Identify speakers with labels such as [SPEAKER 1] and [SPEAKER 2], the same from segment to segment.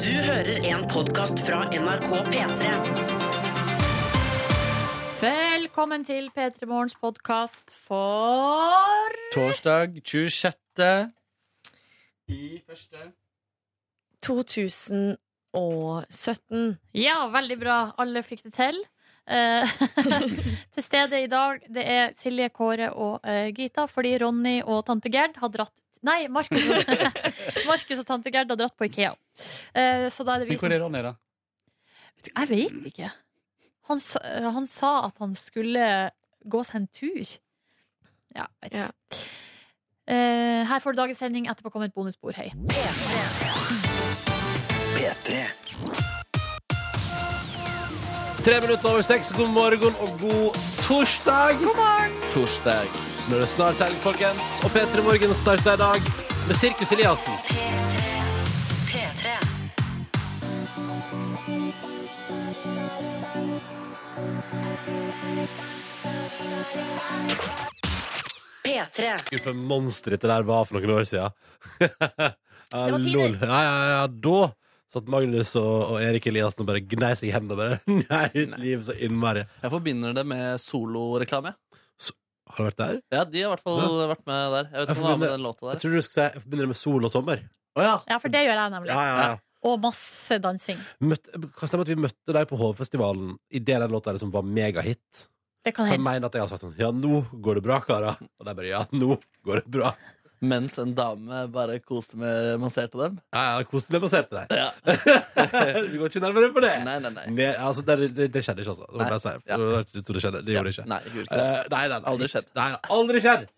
[SPEAKER 1] Du hører en podkast fra NRK P3.
[SPEAKER 2] Velkommen til P3 Morgens podkast for
[SPEAKER 3] Torsdag 26. I første
[SPEAKER 4] 2017.
[SPEAKER 2] Ja, veldig bra. Alle fikk det til. Eh, til stede i dag det er Silje, Kåre og eh, Gita, fordi Ronny og tante Gerd har dratt Nei, Markus og, Markus og tante Gerd har dratt på Ikea. Eh, så da er det vi
[SPEAKER 3] Men hvor er Ronny, da?
[SPEAKER 2] som Jeg vet ikke. Han, sa- han sa at han skulle gå seg en tur. Ja, vet ikke.
[SPEAKER 4] Ja.
[SPEAKER 2] Eh, her får du dagens sending. Etterpå kommer et bonusbord. Hei.
[SPEAKER 5] Tre minutter over seks. God morgen og god torsdag. God morgen. Torsdag. Nå er det snart helg, folkens. Og P3 Morgen starter i dag med Sirkus Eliassen.
[SPEAKER 1] P3.
[SPEAKER 5] Gud, for monsteret det der var for noen år siden. det
[SPEAKER 4] var tider.
[SPEAKER 5] Ja, ja, ja. Da satt Magnus og, og Erik Eliassen og bare gnei seg i hendene. og Bare. Nei, livet så innmari.
[SPEAKER 6] Jeg forbinder det med soloreklame.
[SPEAKER 5] Har du vært der?
[SPEAKER 6] Ja, de har i hvert fall vært med der. Jeg vet
[SPEAKER 5] Jeg
[SPEAKER 6] ikke om det var med
[SPEAKER 5] forbinder-
[SPEAKER 6] den låta
[SPEAKER 5] Jeg
[SPEAKER 6] der.
[SPEAKER 5] tror du skulle si jeg forbinder det med sol og sommer.
[SPEAKER 6] Å ja.
[SPEAKER 2] Ja, for det gjør jeg nemlig.
[SPEAKER 5] ja, ja.
[SPEAKER 2] Og masse dansing.
[SPEAKER 5] Møtte, kan stemme at vi møtte deg på Hovefestivalen idet den låta liksom var megahit.
[SPEAKER 2] Det kan
[SPEAKER 5] For jeg
[SPEAKER 2] hende.
[SPEAKER 5] mener at jeg har sagt sånn Ja, nå går det bra, karer. Og de bare Ja, nå går det bra.
[SPEAKER 6] Mens en dame bare koste med masserte dem.
[SPEAKER 5] Ja, ja, koste meg med å se på deg.
[SPEAKER 6] Ja.
[SPEAKER 5] Vi går ikke nærmere på det.
[SPEAKER 6] Nei, nei, nei.
[SPEAKER 5] Ne- altså, det, det, det skjedde ikke, altså. Det må jeg bare si.
[SPEAKER 6] Ja.
[SPEAKER 5] Det hørtes ut som det skjedde. Det gjorde
[SPEAKER 6] Ja,
[SPEAKER 5] det ikke.
[SPEAKER 6] Nei, jeg gjorde ikke det.
[SPEAKER 5] Eh, nei, nei, nei.
[SPEAKER 6] Aldri skjedd.
[SPEAKER 5] Nei, nei, aldri skjedd. Nei.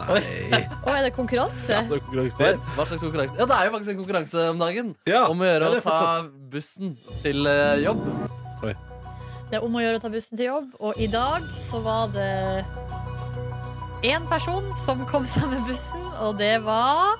[SPEAKER 2] Å, er det konkurranse?
[SPEAKER 5] Når konkurransen
[SPEAKER 6] Hva,
[SPEAKER 5] er
[SPEAKER 6] hva slags konkurranse? Ja, det er jo faktisk en konkurranse om dagen.
[SPEAKER 5] Ja,
[SPEAKER 6] om å gjøre
[SPEAKER 5] ja,
[SPEAKER 6] å
[SPEAKER 5] det er
[SPEAKER 6] ta bussen til eh, jobb.
[SPEAKER 2] Det er om å gjøre å ta bussen til jobb, og i dag så var det én person som kom seg med bussen, og det var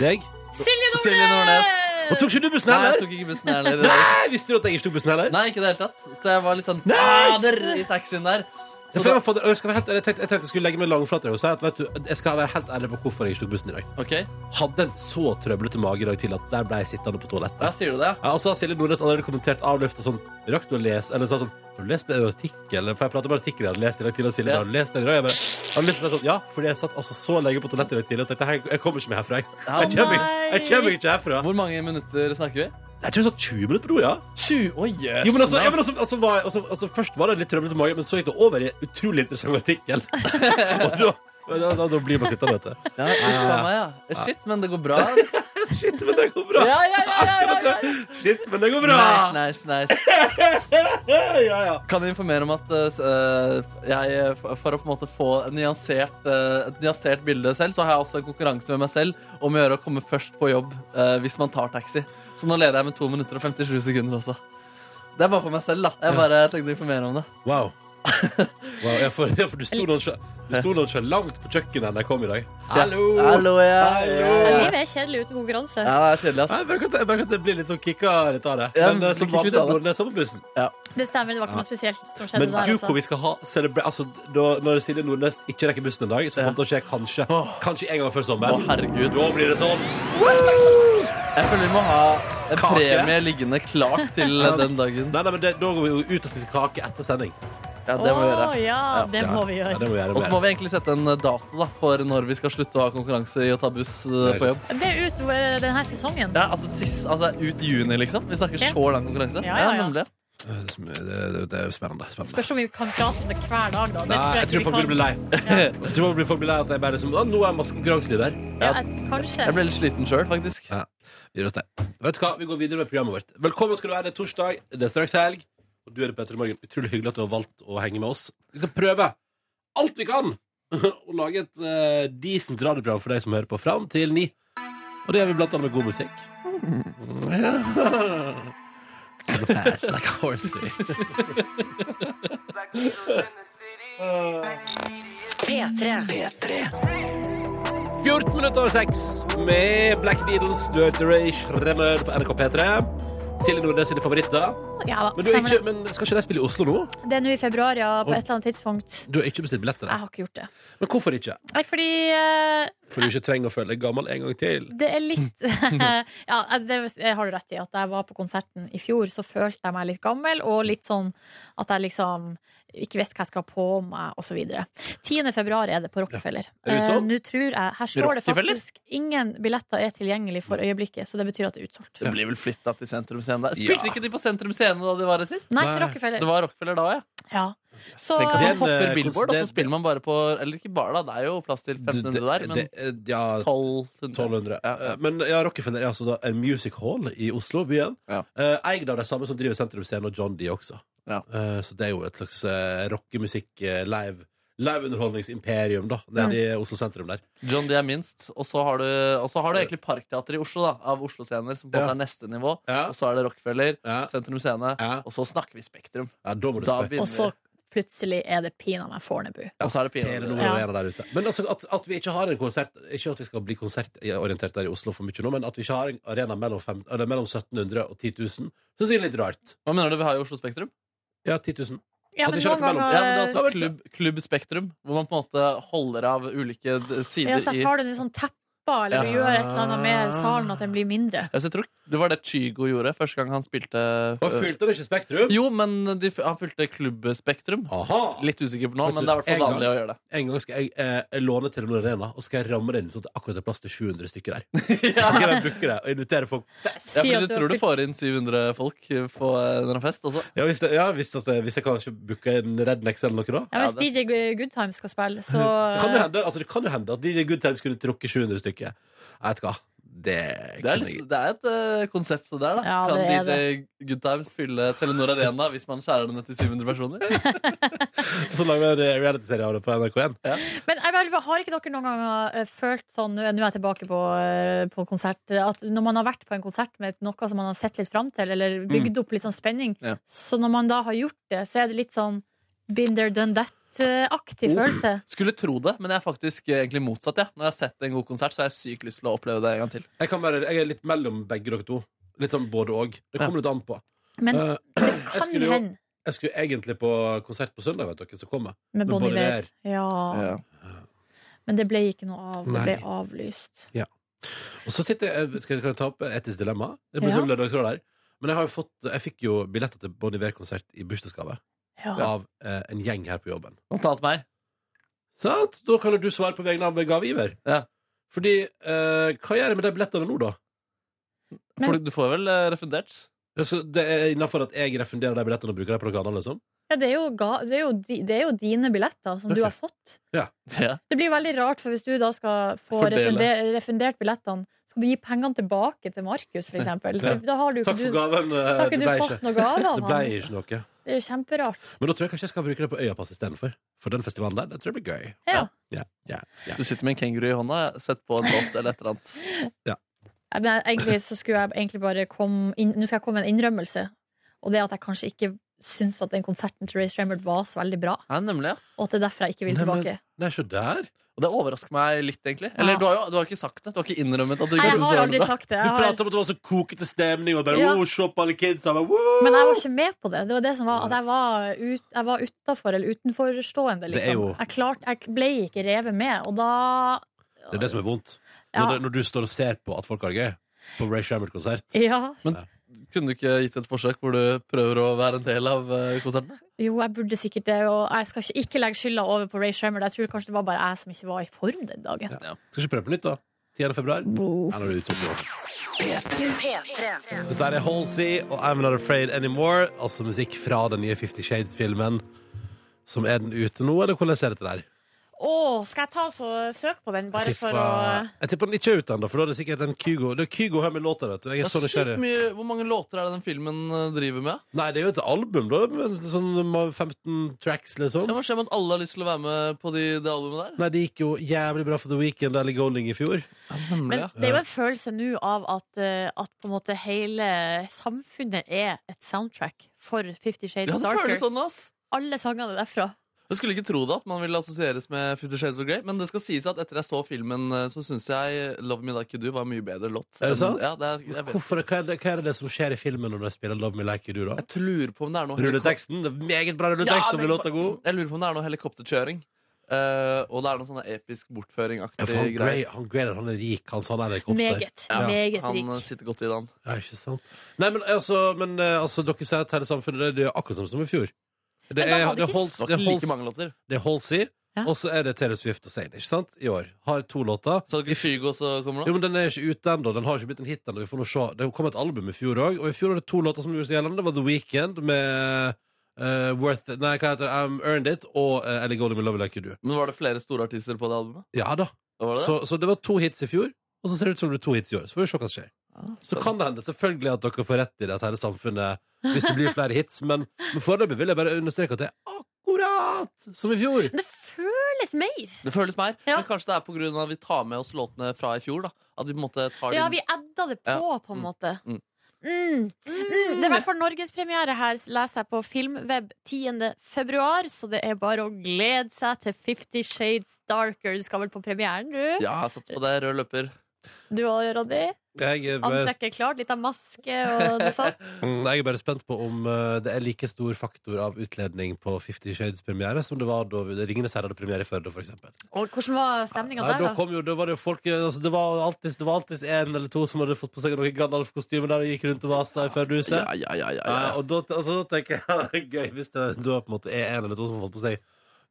[SPEAKER 5] Deg.
[SPEAKER 2] Silje Nordnes!
[SPEAKER 6] Silje Nordnes.
[SPEAKER 5] Og tok ikke du bussen
[SPEAKER 6] Nei, jeg
[SPEAKER 5] heller?
[SPEAKER 6] tok ikke bussen jeg heller.
[SPEAKER 5] Nei, visste du at jeg ikke tok bussen heller?
[SPEAKER 6] Nei, ikke i det hele tatt. Så jeg var litt sånn
[SPEAKER 5] Nei!
[SPEAKER 6] fader i taxien der.
[SPEAKER 5] Ja,
[SPEAKER 6] Så
[SPEAKER 5] for jeg,
[SPEAKER 6] da,
[SPEAKER 5] var fader- jeg, skal være helt, ærlig, jeg, tenkte, jeg tenkte jeg skulle legge meg langflat og si at vet du, jeg skal være helt ærlig på hvorfor jeg ikke tok bussen i dag.
[SPEAKER 6] ok,
[SPEAKER 5] Hadde en så trøblete mage i dag til at der ble jeg sittende på toalettet.
[SPEAKER 6] ja, sier du det?
[SPEAKER 5] Ja, og så har Silje Nordnes allerede kommentert avløftet sånn Rakk du å lese? Eller sa sånn Har du lest en artikkel? For jeg prater om artikler jeg hadde lest i dag tidlig. Og Silje
[SPEAKER 6] Ja.
[SPEAKER 5] har du lest den i dag? Jeg bare jeg hadde lyst til å si sånn Ja, fordi jeg satt altså så lenge på toalettet i dag tidlig og tenkte Jeg, jeg kommer ikke meg herfra, jeg.
[SPEAKER 6] Ja.
[SPEAKER 5] Jeg kommer ikke, jeg kommer ikke herfra.
[SPEAKER 6] Hvor mange minutter snakker vi?
[SPEAKER 5] Jeg tror det satt 20 minutter på do, ja.
[SPEAKER 6] 20 Å, jøs.
[SPEAKER 5] Jo, men altså, ja, men altså, altså, var, jeg- altså, altså Først var det litt trøblete mage, men så gikk det over i en utrolig interessant artikkel. og da, da, da, da blir man sittende, vet du.
[SPEAKER 6] Ja, uff a meg, ja. Shit, men det går bra. eller?
[SPEAKER 5] Shit, men det går bra.
[SPEAKER 6] Ja, ja, ja, ja, ja, ja.
[SPEAKER 5] Shit, men det går bra.
[SPEAKER 6] Nice, nice, nice.
[SPEAKER 5] Ja, ja.
[SPEAKER 6] Kan jeg informere om at eh, s- eh, jeg, eh, f- for å på en måte få en nyansert, eh, et nyansert bilde selv, så har jeg også en konkurranse med meg selv om å gjøre å komme først på jobb eh, hvis man tar taxi. Så nå leder jeg med 2 minutter og 57 sekunder også. Det er bare for meg selv, da. Jeg bare tenkte å informere om det.
[SPEAKER 5] Wow. wow ja, for, ja, for du sto noen sjø- du sto noen sjø langt på kjøkkenet da jeg kom i dag. Hallo!
[SPEAKER 6] Hallo, ja.
[SPEAKER 5] Hallo.
[SPEAKER 2] Ja, Livet er kjedelig uten konkurranse.
[SPEAKER 6] Ja, det er kjedelig,
[SPEAKER 5] Nei,
[SPEAKER 6] ass.
[SPEAKER 5] jeg merker at- jeg merker at det blir litt sånn kicka litt av det.
[SPEAKER 6] Ja,
[SPEAKER 5] Men eh, som
[SPEAKER 6] blir kicka
[SPEAKER 5] vanlig
[SPEAKER 6] litt av det.
[SPEAKER 5] når det er sommerbussen.
[SPEAKER 2] Det stemmer, det var ikke noe spesielt som skjedde
[SPEAKER 5] Men
[SPEAKER 2] der. altså.
[SPEAKER 5] gud, hvor vi skal ha celebre... Altså, da, når Silje Nordnes ikke rekker bussen en dag, så kommer det til å skje kanskje Kanskje en gang før
[SPEAKER 6] Å,
[SPEAKER 5] sommeren.
[SPEAKER 6] herregud.
[SPEAKER 5] Da blir det sånn.
[SPEAKER 6] Jeg føler vi må ha en
[SPEAKER 5] Kake.
[SPEAKER 6] premie liggende klar til eh, den dagen.
[SPEAKER 5] Nei, nei, men det, Da går vi jo ut og spiser kake etter sending.
[SPEAKER 6] Ja, det må vi gjøre.
[SPEAKER 2] Å, ja, det må vi
[SPEAKER 5] Ja,
[SPEAKER 2] gjøre.
[SPEAKER 5] det må vi gjøre.
[SPEAKER 6] Og så må vi egentlig sette en dato da, for når vi skal slutte å ha konkurranse i å ta buss eh, på jobb.
[SPEAKER 2] Det er ut eh, denne sesongen.
[SPEAKER 6] Ja, altså, sist, altså ut juni, liksom. Vi snakker
[SPEAKER 2] Ja.
[SPEAKER 6] så lang konkurranse.
[SPEAKER 2] Ja, ja, ja.
[SPEAKER 6] nemlig.
[SPEAKER 5] Det, det, det er spennende. spennende.
[SPEAKER 2] Spørs om vi kan prate om det hver dag, da. Det
[SPEAKER 5] Nei, jeg tror folk vil bli lei. Jeg tror folk blir- folk blir lei at jeg bare er som, «Å, Nå er jeg masse konkurranselyder.
[SPEAKER 2] Ja, jeg- kanskje.
[SPEAKER 6] Jeg ble litt sliten sjøl, faktisk.
[SPEAKER 5] Ja. Vi gir oss der. Vet du hva, vi går videre med programmet vårt. Velkommen skal du være, det er torsdag, det er straks helg. Og du er det, Petter i morgen. Utrolig hyggelig at du har valgt å henge med oss. Vi skal prøve alt vi kan å lage et eh, decent radioprogram for deg som hører på, fram til ni. Og det gjør vi blant annet med god musikk. Pass like a horsey.
[SPEAKER 1] P3.
[SPEAKER 5] 14 minutter over 6 med Black Beatles, du hørte Ray Schremmer på NRK P3. Silje Nordnes sine favoritter.
[SPEAKER 2] Ja, da,
[SPEAKER 5] Men, du er
[SPEAKER 2] stemmer
[SPEAKER 5] ikke, men skal ikke de spille i Oslo nå?
[SPEAKER 2] det. det er nå i februar, ja. På et eller annet tidspunkt. Ah.
[SPEAKER 5] Du har ikke bestilt billetter?
[SPEAKER 2] Jeg har ikke gjort det.
[SPEAKER 5] Men hvorfor ikke?
[SPEAKER 2] Nei, fordi eh,
[SPEAKER 5] For du ikke trenger å føle deg gammel en gang til.
[SPEAKER 2] Det er litt Ja, eh, det jeg har du rett i. At da jeg var på konserten i fjor, så følte jeg meg litt gammel, og litt sånn at jeg liksom ikke visste hva jeg skal ha på meg, osv. 10. februar er det på Rockefeller.
[SPEAKER 5] Ja. Er det
[SPEAKER 2] Eh,
[SPEAKER 5] utsolgt?
[SPEAKER 2] Nå tror jeg Her står det
[SPEAKER 6] Rockefeller?
[SPEAKER 2] faktisk ingen billetter er tilgjengelig for øyeblikket, så det betyr at det er utsolgt.
[SPEAKER 6] Det blir vel flytta til Sentrum Scene der.
[SPEAKER 5] Ja.
[SPEAKER 6] Spilte ikke de på Sentrum Scene da de var her sist?
[SPEAKER 2] Nei,
[SPEAKER 5] Nei.
[SPEAKER 6] Det
[SPEAKER 2] Rockefeller.
[SPEAKER 6] var Rockefeller da, ja.
[SPEAKER 2] Ja. Så
[SPEAKER 6] Tenk at
[SPEAKER 5] Det er
[SPEAKER 6] man
[SPEAKER 5] en, eh,
[SPEAKER 6] topper Billboard, og
[SPEAKER 5] konsert-
[SPEAKER 6] så spiller man bare på Eller ikke bare, da. Det er jo plass til 1500 der, men
[SPEAKER 5] det, det, ja,
[SPEAKER 6] 1200.
[SPEAKER 5] 1200.
[SPEAKER 6] Ja, ja.
[SPEAKER 5] Eh, Men ja, Rockefeller er altså da en music hall i Oslo, byen.
[SPEAKER 6] Ja.
[SPEAKER 5] Eh, Eid av de samme som driver Sentrum Scene og John D også.
[SPEAKER 6] Ja.
[SPEAKER 5] Eh, Så det er jo et slags eh, rockemusikk, eh, live, liveunderholdningsimperium, da, nede i Oslo sentrum der.
[SPEAKER 6] John D er minst. Og så har du, og så har du egentlig Parkteatret i Oslo, da. Av Oslo-scener, som på en
[SPEAKER 5] Ja.
[SPEAKER 6] måte er neste nivå.
[SPEAKER 5] Ja.
[SPEAKER 6] Og så er det Rockefeller,
[SPEAKER 5] Ja.
[SPEAKER 6] Sentrum Scene,
[SPEAKER 5] Ja.
[SPEAKER 6] og så snakker vi Spektrum.
[SPEAKER 5] Ja, da må du
[SPEAKER 6] Da
[SPEAKER 5] spørre.
[SPEAKER 6] begynner
[SPEAKER 2] Og så
[SPEAKER 6] vi.
[SPEAKER 2] plutselig er det pinadø meg Fornebu.
[SPEAKER 6] Og så er det
[SPEAKER 5] Telenor
[SPEAKER 6] Pinadø.
[SPEAKER 2] Ja.
[SPEAKER 5] Arena der ute. Men altså, at, at vi ikke har en konsert Ikke at vi skal bli konsertorientert der i Oslo for mye nå, men at vi ikke har en arena mellom, fem, eller mellom 1700 og 10 000, syns jeg er litt rart.
[SPEAKER 6] Hva mener du vi har i Oslo Spektrum?
[SPEAKER 5] Ja, 10 000.
[SPEAKER 2] Ja,
[SPEAKER 5] At
[SPEAKER 2] men
[SPEAKER 5] det kjører
[SPEAKER 2] noen
[SPEAKER 6] Ja, men det
[SPEAKER 5] mellom-
[SPEAKER 6] er
[SPEAKER 2] ganger
[SPEAKER 5] da
[SPEAKER 6] altså
[SPEAKER 5] vet du-
[SPEAKER 6] klubb, klubb Spektrum, hvor man på en måte holder av ulike d- sider
[SPEAKER 2] ja, så
[SPEAKER 6] i
[SPEAKER 2] tar du en sånn teppa, eller du
[SPEAKER 5] Ja.
[SPEAKER 2] gjør et eller annet med salen at den blir mindre.
[SPEAKER 6] Ja, så jeg tror Det var det Chygo gjorde første gang han spilte
[SPEAKER 5] Og fylte det ikke Spektrum?
[SPEAKER 6] Jo, men de, f- han fylte Klubbspektrum.
[SPEAKER 5] Aha!
[SPEAKER 6] Litt usikker på nå,
[SPEAKER 5] Ah.
[SPEAKER 6] men
[SPEAKER 5] Vet du,
[SPEAKER 6] det er i hvert
[SPEAKER 5] en
[SPEAKER 6] fall
[SPEAKER 5] gang-
[SPEAKER 6] vanlig å gjøre det.
[SPEAKER 5] En gang skal jeg eh, låne Telenor Arena, og skal jeg ramme det inn sånn at det akkurat er plass til 700 stykker der. Så skal jeg bare booke det og invitere folk.
[SPEAKER 6] Ja,
[SPEAKER 2] Si at
[SPEAKER 6] for du
[SPEAKER 2] du har
[SPEAKER 6] tror du
[SPEAKER 2] fylt-
[SPEAKER 6] får inn 700 folk på en eller annen fest, altså.
[SPEAKER 5] Ja, hvis, det, ja, hvis, altså, hvis jeg kanskje booker en Rednex eller noe da.
[SPEAKER 2] Ja,
[SPEAKER 6] Ja,
[SPEAKER 2] hvis DJ
[SPEAKER 6] det-
[SPEAKER 2] Go- Goodtime skal spille, så
[SPEAKER 5] Kan det, hende, altså, det kan jo hende at DJ Goodtime skulle trukket 700 stykker. Jeg vet hva. Det,
[SPEAKER 6] Det er,
[SPEAKER 5] kan jeg-
[SPEAKER 6] liksom, det er et eh, konsept det der, da.
[SPEAKER 2] Ja,
[SPEAKER 6] kan
[SPEAKER 2] det er
[SPEAKER 6] DJ Good Times fylle Telenor Arena hvis man skjærer den ned til 700 personer?
[SPEAKER 5] Så lager vi en realityserie av det på NRK1.
[SPEAKER 2] Men jeg bare, lurer på, har ikke dere noen ganger eh, følt sånn Nå er nå er jeg tilbake på, eh, på konsert. At når man har vært på en konsert med noe som man har sett litt fram til, eller bygd opp litt sånn spenning,
[SPEAKER 6] Mm. Ja.
[SPEAKER 2] så når man da har gjort det, så er det litt sånn been there, done that-aktig
[SPEAKER 6] Oh.
[SPEAKER 2] følelse.
[SPEAKER 6] Skulle tro det, men jeg er faktisk eh, egentlig motsatt. Ja. Når jeg har sett en god konsert, så har jeg sykt lyst til å oppleve det en gang til.
[SPEAKER 5] Jeg, kan være, jeg er litt mellom begge dere to. Litt sånn både og. Det kommer litt an på.
[SPEAKER 2] Men
[SPEAKER 5] Eh,
[SPEAKER 2] det
[SPEAKER 5] jeg
[SPEAKER 2] kan
[SPEAKER 5] skulle jo-
[SPEAKER 2] hende
[SPEAKER 5] jeg skulle egentlig på konsert på søndag, vet dere, som kommer.
[SPEAKER 2] med Bon
[SPEAKER 5] Bon
[SPEAKER 2] Iver.
[SPEAKER 5] Iver.
[SPEAKER 2] Ja. Men det ble ikke noe av. Det
[SPEAKER 5] Nei.
[SPEAKER 2] ble avlyst.
[SPEAKER 5] Og så sitter jeg, skal jeg, kan jeg ta opp etisk dilemma? Det blir
[SPEAKER 2] Ja.
[SPEAKER 5] sånn lørdagsråd her. Men jeg, har jo fått, jeg fikk jo billetter til Bon Iver-konsert i bursdagsgave
[SPEAKER 2] Ja.
[SPEAKER 5] av eh, en gjeng her på jobben.
[SPEAKER 6] Blant annet meg.
[SPEAKER 5] Sant? Da kan jo du svare på vegne av gavegiver.
[SPEAKER 6] Ja.
[SPEAKER 5] Fordi eh, Hva gjør jeg med de billettene nå, da?
[SPEAKER 2] Men-
[SPEAKER 6] For du får vel eh, refundert?
[SPEAKER 5] Altså, det er innafor at jeg refunderer de billettene og bruker dem på noe annet, liksom?
[SPEAKER 2] Ja, det er jo, ga, det er jo, di, det er jo dine billetter som
[SPEAKER 5] Ok.
[SPEAKER 2] du har fått.
[SPEAKER 6] Ja.
[SPEAKER 2] Det blir veldig rart, for hvis du da skal få
[SPEAKER 6] Fordele.
[SPEAKER 2] refundert, refundert billettene, skal du gi pengene tilbake til Markus, for eksempel.
[SPEAKER 5] Ja.
[SPEAKER 2] Da har du,
[SPEAKER 5] Takk for
[SPEAKER 2] du,
[SPEAKER 5] gaven. eh,
[SPEAKER 2] da har ikke
[SPEAKER 5] det
[SPEAKER 2] du
[SPEAKER 5] ble ikke.
[SPEAKER 2] fått noe gave
[SPEAKER 5] Det
[SPEAKER 2] av
[SPEAKER 5] ble
[SPEAKER 2] han.
[SPEAKER 5] ikke noe.
[SPEAKER 2] Det er jo kjemperart.
[SPEAKER 5] Men da tror jeg kanskje jeg skal bruke det på Øyapass istedenfor. For den festivalen der, det tror jeg blir gøy.
[SPEAKER 2] Ja.
[SPEAKER 5] Ja, ja, ja.
[SPEAKER 6] Du sitter med en kenguru i hånda, sett på en låt eller et eller annet.
[SPEAKER 2] Nei, Men jeg- egentlig så skulle jeg egentlig bare komme inn, Nå skal jeg komme med en innrømmelse, og det er at jeg kanskje ikke syns at den konserten til Ray Stremmerd var så veldig bra,
[SPEAKER 6] Ja, nemlig, ja.
[SPEAKER 2] og at det er derfor jeg ikke vil
[SPEAKER 5] Nei, men-
[SPEAKER 2] tilbake.
[SPEAKER 5] Nei, se der!
[SPEAKER 6] Og det overrasker meg litt, egentlig. Eller
[SPEAKER 2] Ja.
[SPEAKER 6] du har jo du har ikke sagt det. Du har ikke innrømmet at du
[SPEAKER 2] Nei, jeg
[SPEAKER 6] ikke
[SPEAKER 2] har
[SPEAKER 6] synes det
[SPEAKER 2] aldri
[SPEAKER 6] var bra.
[SPEAKER 2] sagt det.
[SPEAKER 5] Du
[SPEAKER 2] Jeg har,
[SPEAKER 5] prater om at det var så kokete stemning, og bare
[SPEAKER 2] Ja.
[SPEAKER 5] oh, se på alle kidsa. Bare, «Woo!»
[SPEAKER 2] men jeg var ikke med på det. Det var det som var at jeg var, ut, jeg var utafor eller utenforstående,
[SPEAKER 5] Det er jo-
[SPEAKER 2] liksom. Jeg, klarte- jeg ble ikke revet med, og da
[SPEAKER 5] Det er det som er vondt.
[SPEAKER 2] Ja.
[SPEAKER 5] Når, det, når du står og ser på at folk har det gøy. På Ray Shammer-konsert.
[SPEAKER 2] Ja,
[SPEAKER 6] Kunne du ikke gitt et forsøk hvor du prøver å være en del av eh, konserten?
[SPEAKER 2] Jo, jeg burde sikkert det, og jeg skal ikke, ikke legge skylda over på Ray Shremmer. Jeg tror kanskje det var bare jeg som ikke var i form den dagen.
[SPEAKER 5] Skal ikke prøve på nytt, da? 10. februar?
[SPEAKER 2] Bo.
[SPEAKER 5] Nei, nå er det utsolgt nå. Dette er Halsey og I'm Not Afraid Anymore, altså musikk fra den nye Fifty Shades-filmen. Som er den ute nå, eller hvordan er dette der?
[SPEAKER 3] Å, skal jeg ta så søke på den, bare for å
[SPEAKER 5] Tippa- Jeg tipper den ikke er ute ennå, for da er det sikkert en Kygo. Det er Kygo her med låta, vet du.
[SPEAKER 6] Det
[SPEAKER 5] Jeg er
[SPEAKER 6] er
[SPEAKER 5] så
[SPEAKER 6] sykt
[SPEAKER 5] nysgjerrig.
[SPEAKER 6] mye, Hvor mange låter er det den filmen eh, driver med?
[SPEAKER 5] Nei, det er jo et album, da. men Sånn 15 tracks,
[SPEAKER 6] Ja,
[SPEAKER 5] liksom.
[SPEAKER 6] Hva skjer med at alle har lyst til å være med på de, det albumet der?
[SPEAKER 5] Nei, det gikk jo jævlig bra for The Weekend eller Golding i fjor.
[SPEAKER 3] Men det er jo en følelse nå av at, eh, at på en måte hele samfunnet er et soundtrack for Fifty Shades
[SPEAKER 6] ja, det
[SPEAKER 3] Darker.
[SPEAKER 6] føles sånn, ass.
[SPEAKER 3] Alle sangene derfra.
[SPEAKER 6] Jeg skulle ikke tro det at man ville assosieres med Fifty Shades of Grey, men det skal sies at etter jeg så filmen, eh, så syns jeg Love Me Like You Do var en mye bedre låt.
[SPEAKER 5] Er det
[SPEAKER 6] enn-
[SPEAKER 5] sant?
[SPEAKER 6] Ja, det er, jeg, vet.
[SPEAKER 5] Hvorfor, hva, er det, hva er det som skjer i filmen når de spiller Love Me Like You Do, da?
[SPEAKER 6] jeg lurer på om det er noe
[SPEAKER 5] Rulleteksten. Det er meget bra rulletekst,
[SPEAKER 6] Ja,
[SPEAKER 5] og blir låta god?
[SPEAKER 6] Jeg lurer på om det er noe helikopterkjøring. Eh, og det er noe sånn episk bortføring-aktig
[SPEAKER 5] Ja, for han,
[SPEAKER 6] greier.
[SPEAKER 5] Gray, han Grader, han er rik, han sa han er helikopter.
[SPEAKER 2] Meget.
[SPEAKER 6] Ja,
[SPEAKER 2] meget
[SPEAKER 6] han eh,
[SPEAKER 2] rik.
[SPEAKER 6] sitter godt i den.
[SPEAKER 5] Ja, ikke sant. Nei, men altså, men, eh, altså dere sier at hele samfunnet det er akkurat samme som i fjor. Det
[SPEAKER 2] da
[SPEAKER 5] er,
[SPEAKER 2] hadde
[SPEAKER 5] det
[SPEAKER 2] ikke-
[SPEAKER 5] holds,
[SPEAKER 6] Det var
[SPEAKER 5] det
[SPEAKER 6] ikke
[SPEAKER 5] holds,
[SPEAKER 6] like mange låter.
[SPEAKER 5] det er Halsey,
[SPEAKER 2] Ja.
[SPEAKER 5] og så er det Taylor Swift og Zayn, ikke sant? I år. Har to låter.
[SPEAKER 6] Så hadde ikke Kygo også kommer
[SPEAKER 5] Jo,
[SPEAKER 6] nå?
[SPEAKER 5] men Den er ikke ute ennå. Den har ikke blitt en hit ennå. Vi får nå se. Det kom et album i fjor òg, og i fjor var det to låter som gjorde seg gjeldende. Det var The Weekend med eh, Worth Nei, hva heter det? I'm Earned It og eh, Ellie Golding med Love Like You Do.
[SPEAKER 6] Men var det flere store artister på det albumet?
[SPEAKER 5] Ja da.
[SPEAKER 6] Hva Var det det?
[SPEAKER 5] Så, så det var to hits i fjor, og så ser det ut som det blir to hits i år. Så får vi se hva som skjer. Så kan det hende selvfølgelig at dere får rett i det, at hele samfunnet Hvis det blir flere hits. Men, men foreløpig vil jeg bare understreke at det er akkurat som i fjor.
[SPEAKER 2] Men det føles mer.
[SPEAKER 6] Det føles mer,
[SPEAKER 2] Ja.
[SPEAKER 6] men kanskje det er på grunn av at vi tar med oss låtene fra i fjor. da At vi på en måte tar
[SPEAKER 2] Ja,
[SPEAKER 6] dem-
[SPEAKER 2] vi adda det på,
[SPEAKER 6] Ja.
[SPEAKER 2] på en
[SPEAKER 6] Mm.
[SPEAKER 2] måte.
[SPEAKER 6] Mm.
[SPEAKER 2] Mm. Mm. Det er i hvert fall norgespremiere her, leser jeg på Filmweb 10. februar, så det er bare å glede seg til Fifty Shades Darker. Du skal vel på premieren, du?
[SPEAKER 6] Ja, jeg satser på det. Rød løper.
[SPEAKER 2] Du og Ronny?
[SPEAKER 5] Jeg eh, er bare,
[SPEAKER 2] Antrekket klart, litt av maske og noe sånt.
[SPEAKER 5] mm, jeg er bare spent på om eh, det er like stor faktor av utkledning på Fifty Shades-premiere som det var da vi- det Ringenes herre hadde premiere i Førde, for eksempel.
[SPEAKER 2] Og hvordan var stemninga
[SPEAKER 5] Nei,
[SPEAKER 2] der,
[SPEAKER 5] da
[SPEAKER 2] da?
[SPEAKER 5] kom jo, da var det jo folk eh, altså, Det var alltid, det var alltid en eller to som hadde fått på seg noen Gandalf-kostymer der og gikk rundt og vasa i Førdehuset.
[SPEAKER 6] Ja, ja, ja, ja,
[SPEAKER 5] Ja,
[SPEAKER 6] ja.
[SPEAKER 5] og da, altså, da tenker jeg det er gøy hvis det da på en måte er en eller to som har fått på seg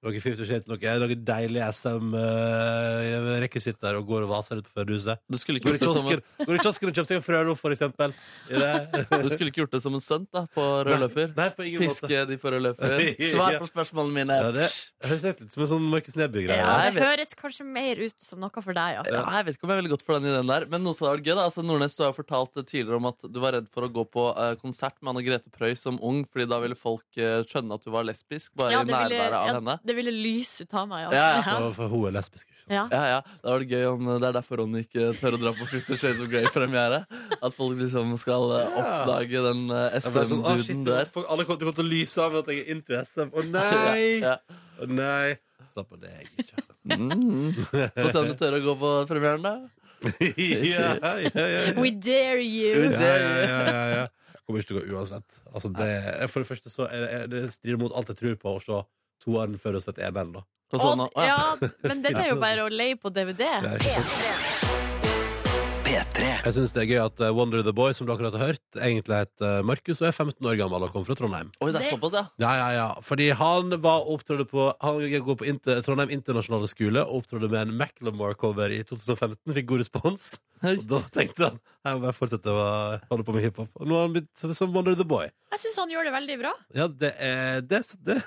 [SPEAKER 5] noe 50 Shades, eh, noe, noe deilig SM-rekvisitter eh, og går og vaser ut på førerhuset.
[SPEAKER 6] Du skulle ikke
[SPEAKER 5] Går i
[SPEAKER 6] gjort det som
[SPEAKER 5] kiosken,
[SPEAKER 6] en,
[SPEAKER 5] går i kiosken og kjøper seg en frøloff, for eksempel. I det.
[SPEAKER 6] du skulle ikke gjort det som en stunt da, på rød løper.
[SPEAKER 5] Nei, på ingen måte.
[SPEAKER 6] Piske de på rød løper. Svar på spørsmålene mine.
[SPEAKER 5] Ja, det høres helt ut som en sånn Markus Neby-greie.
[SPEAKER 2] Ja,
[SPEAKER 6] jeg
[SPEAKER 2] det
[SPEAKER 6] vet-
[SPEAKER 2] høres kanskje mer ut som noe for deg, ja.
[SPEAKER 6] Ja, jeg vet ikke om jeg er veldig godt for den ideen der, men noe som hadde vært gøy da, altså Nordnes, du har jo fortalt tidligere om at du var redd for å gå på eh, konsert med Anne Grete Preus som ung, fordi da ville folk eh, skjønne at du var lesbisk, bare
[SPEAKER 2] Ja,
[SPEAKER 6] i nærværet av
[SPEAKER 2] ja,
[SPEAKER 6] henne.
[SPEAKER 2] det ville lyse ut av meg, ja.
[SPEAKER 6] Ja,
[SPEAKER 5] For, for hun er lesbisk. ikke sant?
[SPEAKER 6] Ja, ja, Det var det gøy om eh, det er derfor Ronny ikke tør å dra på Fifty Shades of Grey-premiere. At folk liksom skal eh,
[SPEAKER 5] Ja.
[SPEAKER 6] oppdage den eh,
[SPEAKER 5] Jeg ble sånn, ah, shit,
[SPEAKER 6] SM-duden
[SPEAKER 5] nå
[SPEAKER 6] der.
[SPEAKER 5] får- Alle kommer til å komme til å lyse av at jeg er into SM. Å
[SPEAKER 6] Ja,
[SPEAKER 5] nei!
[SPEAKER 6] ja.
[SPEAKER 5] Å nei! Slapp av, det er jeg ikke.
[SPEAKER 6] Mm. Få se om du tør å gå på premieren, da.
[SPEAKER 5] ja, ja, ja, ja.
[SPEAKER 2] We dare you!
[SPEAKER 5] Ja, ja, ja, ja, ja. Jeg kommer ikke til å gå uansett. Altså, det, for det første så er det, er det strider mot alt jeg tror på, å se toeren før å sette eneren, da.
[SPEAKER 6] På
[SPEAKER 2] Og-
[SPEAKER 6] sånn, å, ja.
[SPEAKER 2] ja, men den er jo bare å leie på DVD.
[SPEAKER 5] Det er ikke sant. Jeg syns det er gøy at eh, Wonder the Boy, som du akkurat har hørt, egentlig heter eh, Markus og er 15 år gammel og kommer fra Trondheim.
[SPEAKER 6] Oi, det er såpass, ja.
[SPEAKER 5] Ja, ja, ja. Fordi han var opptrådde på Han går på inter, Trondheim internasjonale skole og opptrådde med en Macclemore-cover i 2015. Fikk god respons. Og da tenkte han jeg må bare fortsette å holde på med hiphop. Og nå har han blitt som- som Wonder the Boy.
[SPEAKER 2] Jeg syns han gjør det veldig bra.
[SPEAKER 5] Ja, det er det. det.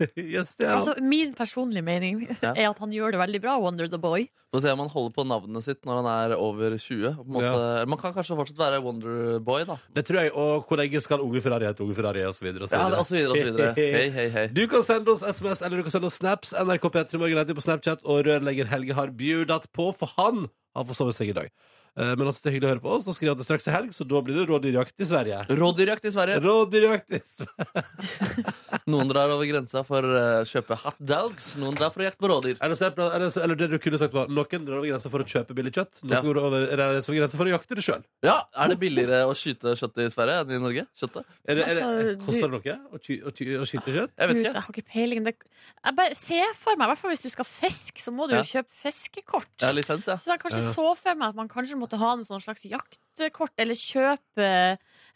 [SPEAKER 5] Yes, det er han.
[SPEAKER 2] Altså, min personlige mening
[SPEAKER 6] Ja.
[SPEAKER 2] er at han gjør det veldig bra, Wonder the Boy.
[SPEAKER 6] Få se om han holder på navnet sitt når han er over 20. På en måte. Man kan kanskje fortsatt være Wonderboy, da.
[SPEAKER 5] det tror jeg. Og hvor lenge skal unge Ferrari hete unge Ferrari, og så videre. Og så
[SPEAKER 6] Ja,
[SPEAKER 5] videre.
[SPEAKER 6] og så videre og så videre. Hei, hei, hei.
[SPEAKER 5] Du kan sende oss SMS eller du kan sende oss snaps. NRK P3 Morgen heter på Snapchat, og rørlegger Helge har bjudat på, for han har forsovet seg i dag. Eh, Men altså, det er hyggelig å høre på oss. Nå skriver han at det straks er helg, så da blir det rådyrjakt i Sverige.
[SPEAKER 6] Rådyrjakt i Sverige.
[SPEAKER 5] Rådyrjakt i Sverige.
[SPEAKER 6] Noen drar over grensa for å kjøpe hot dogs. Noen drar for å jakte på rådyr.
[SPEAKER 5] Eller, så- eller, så- eller det du kunne sagt var noen drar over grensa for å kjøpe billig kjøtt. Noen
[SPEAKER 6] Ja.
[SPEAKER 5] går over reiser over grensa for å jakte det sjøl.
[SPEAKER 6] Ja, Er det billigere å skyte kjøttet i Sverige enn i Norge? Kjøttet?
[SPEAKER 2] Altså, du-
[SPEAKER 5] Koster det noe å, ty, å, ty, å skyte kjøtt?
[SPEAKER 6] Jeg vet
[SPEAKER 2] Gud,
[SPEAKER 6] ikke.
[SPEAKER 2] jeg har ikke peiling. Det, jeg bare ser for meg, i hvert fall hvis du skal fiske, så må du jo
[SPEAKER 6] Ja.
[SPEAKER 2] kjøpe fiskekort.
[SPEAKER 6] Jeg har lisens, ja.
[SPEAKER 2] Så jeg kanskje
[SPEAKER 5] Ja, ja.
[SPEAKER 2] så for meg at man kanskje måtte ha en sånn slags jaktkort, eller kjøpe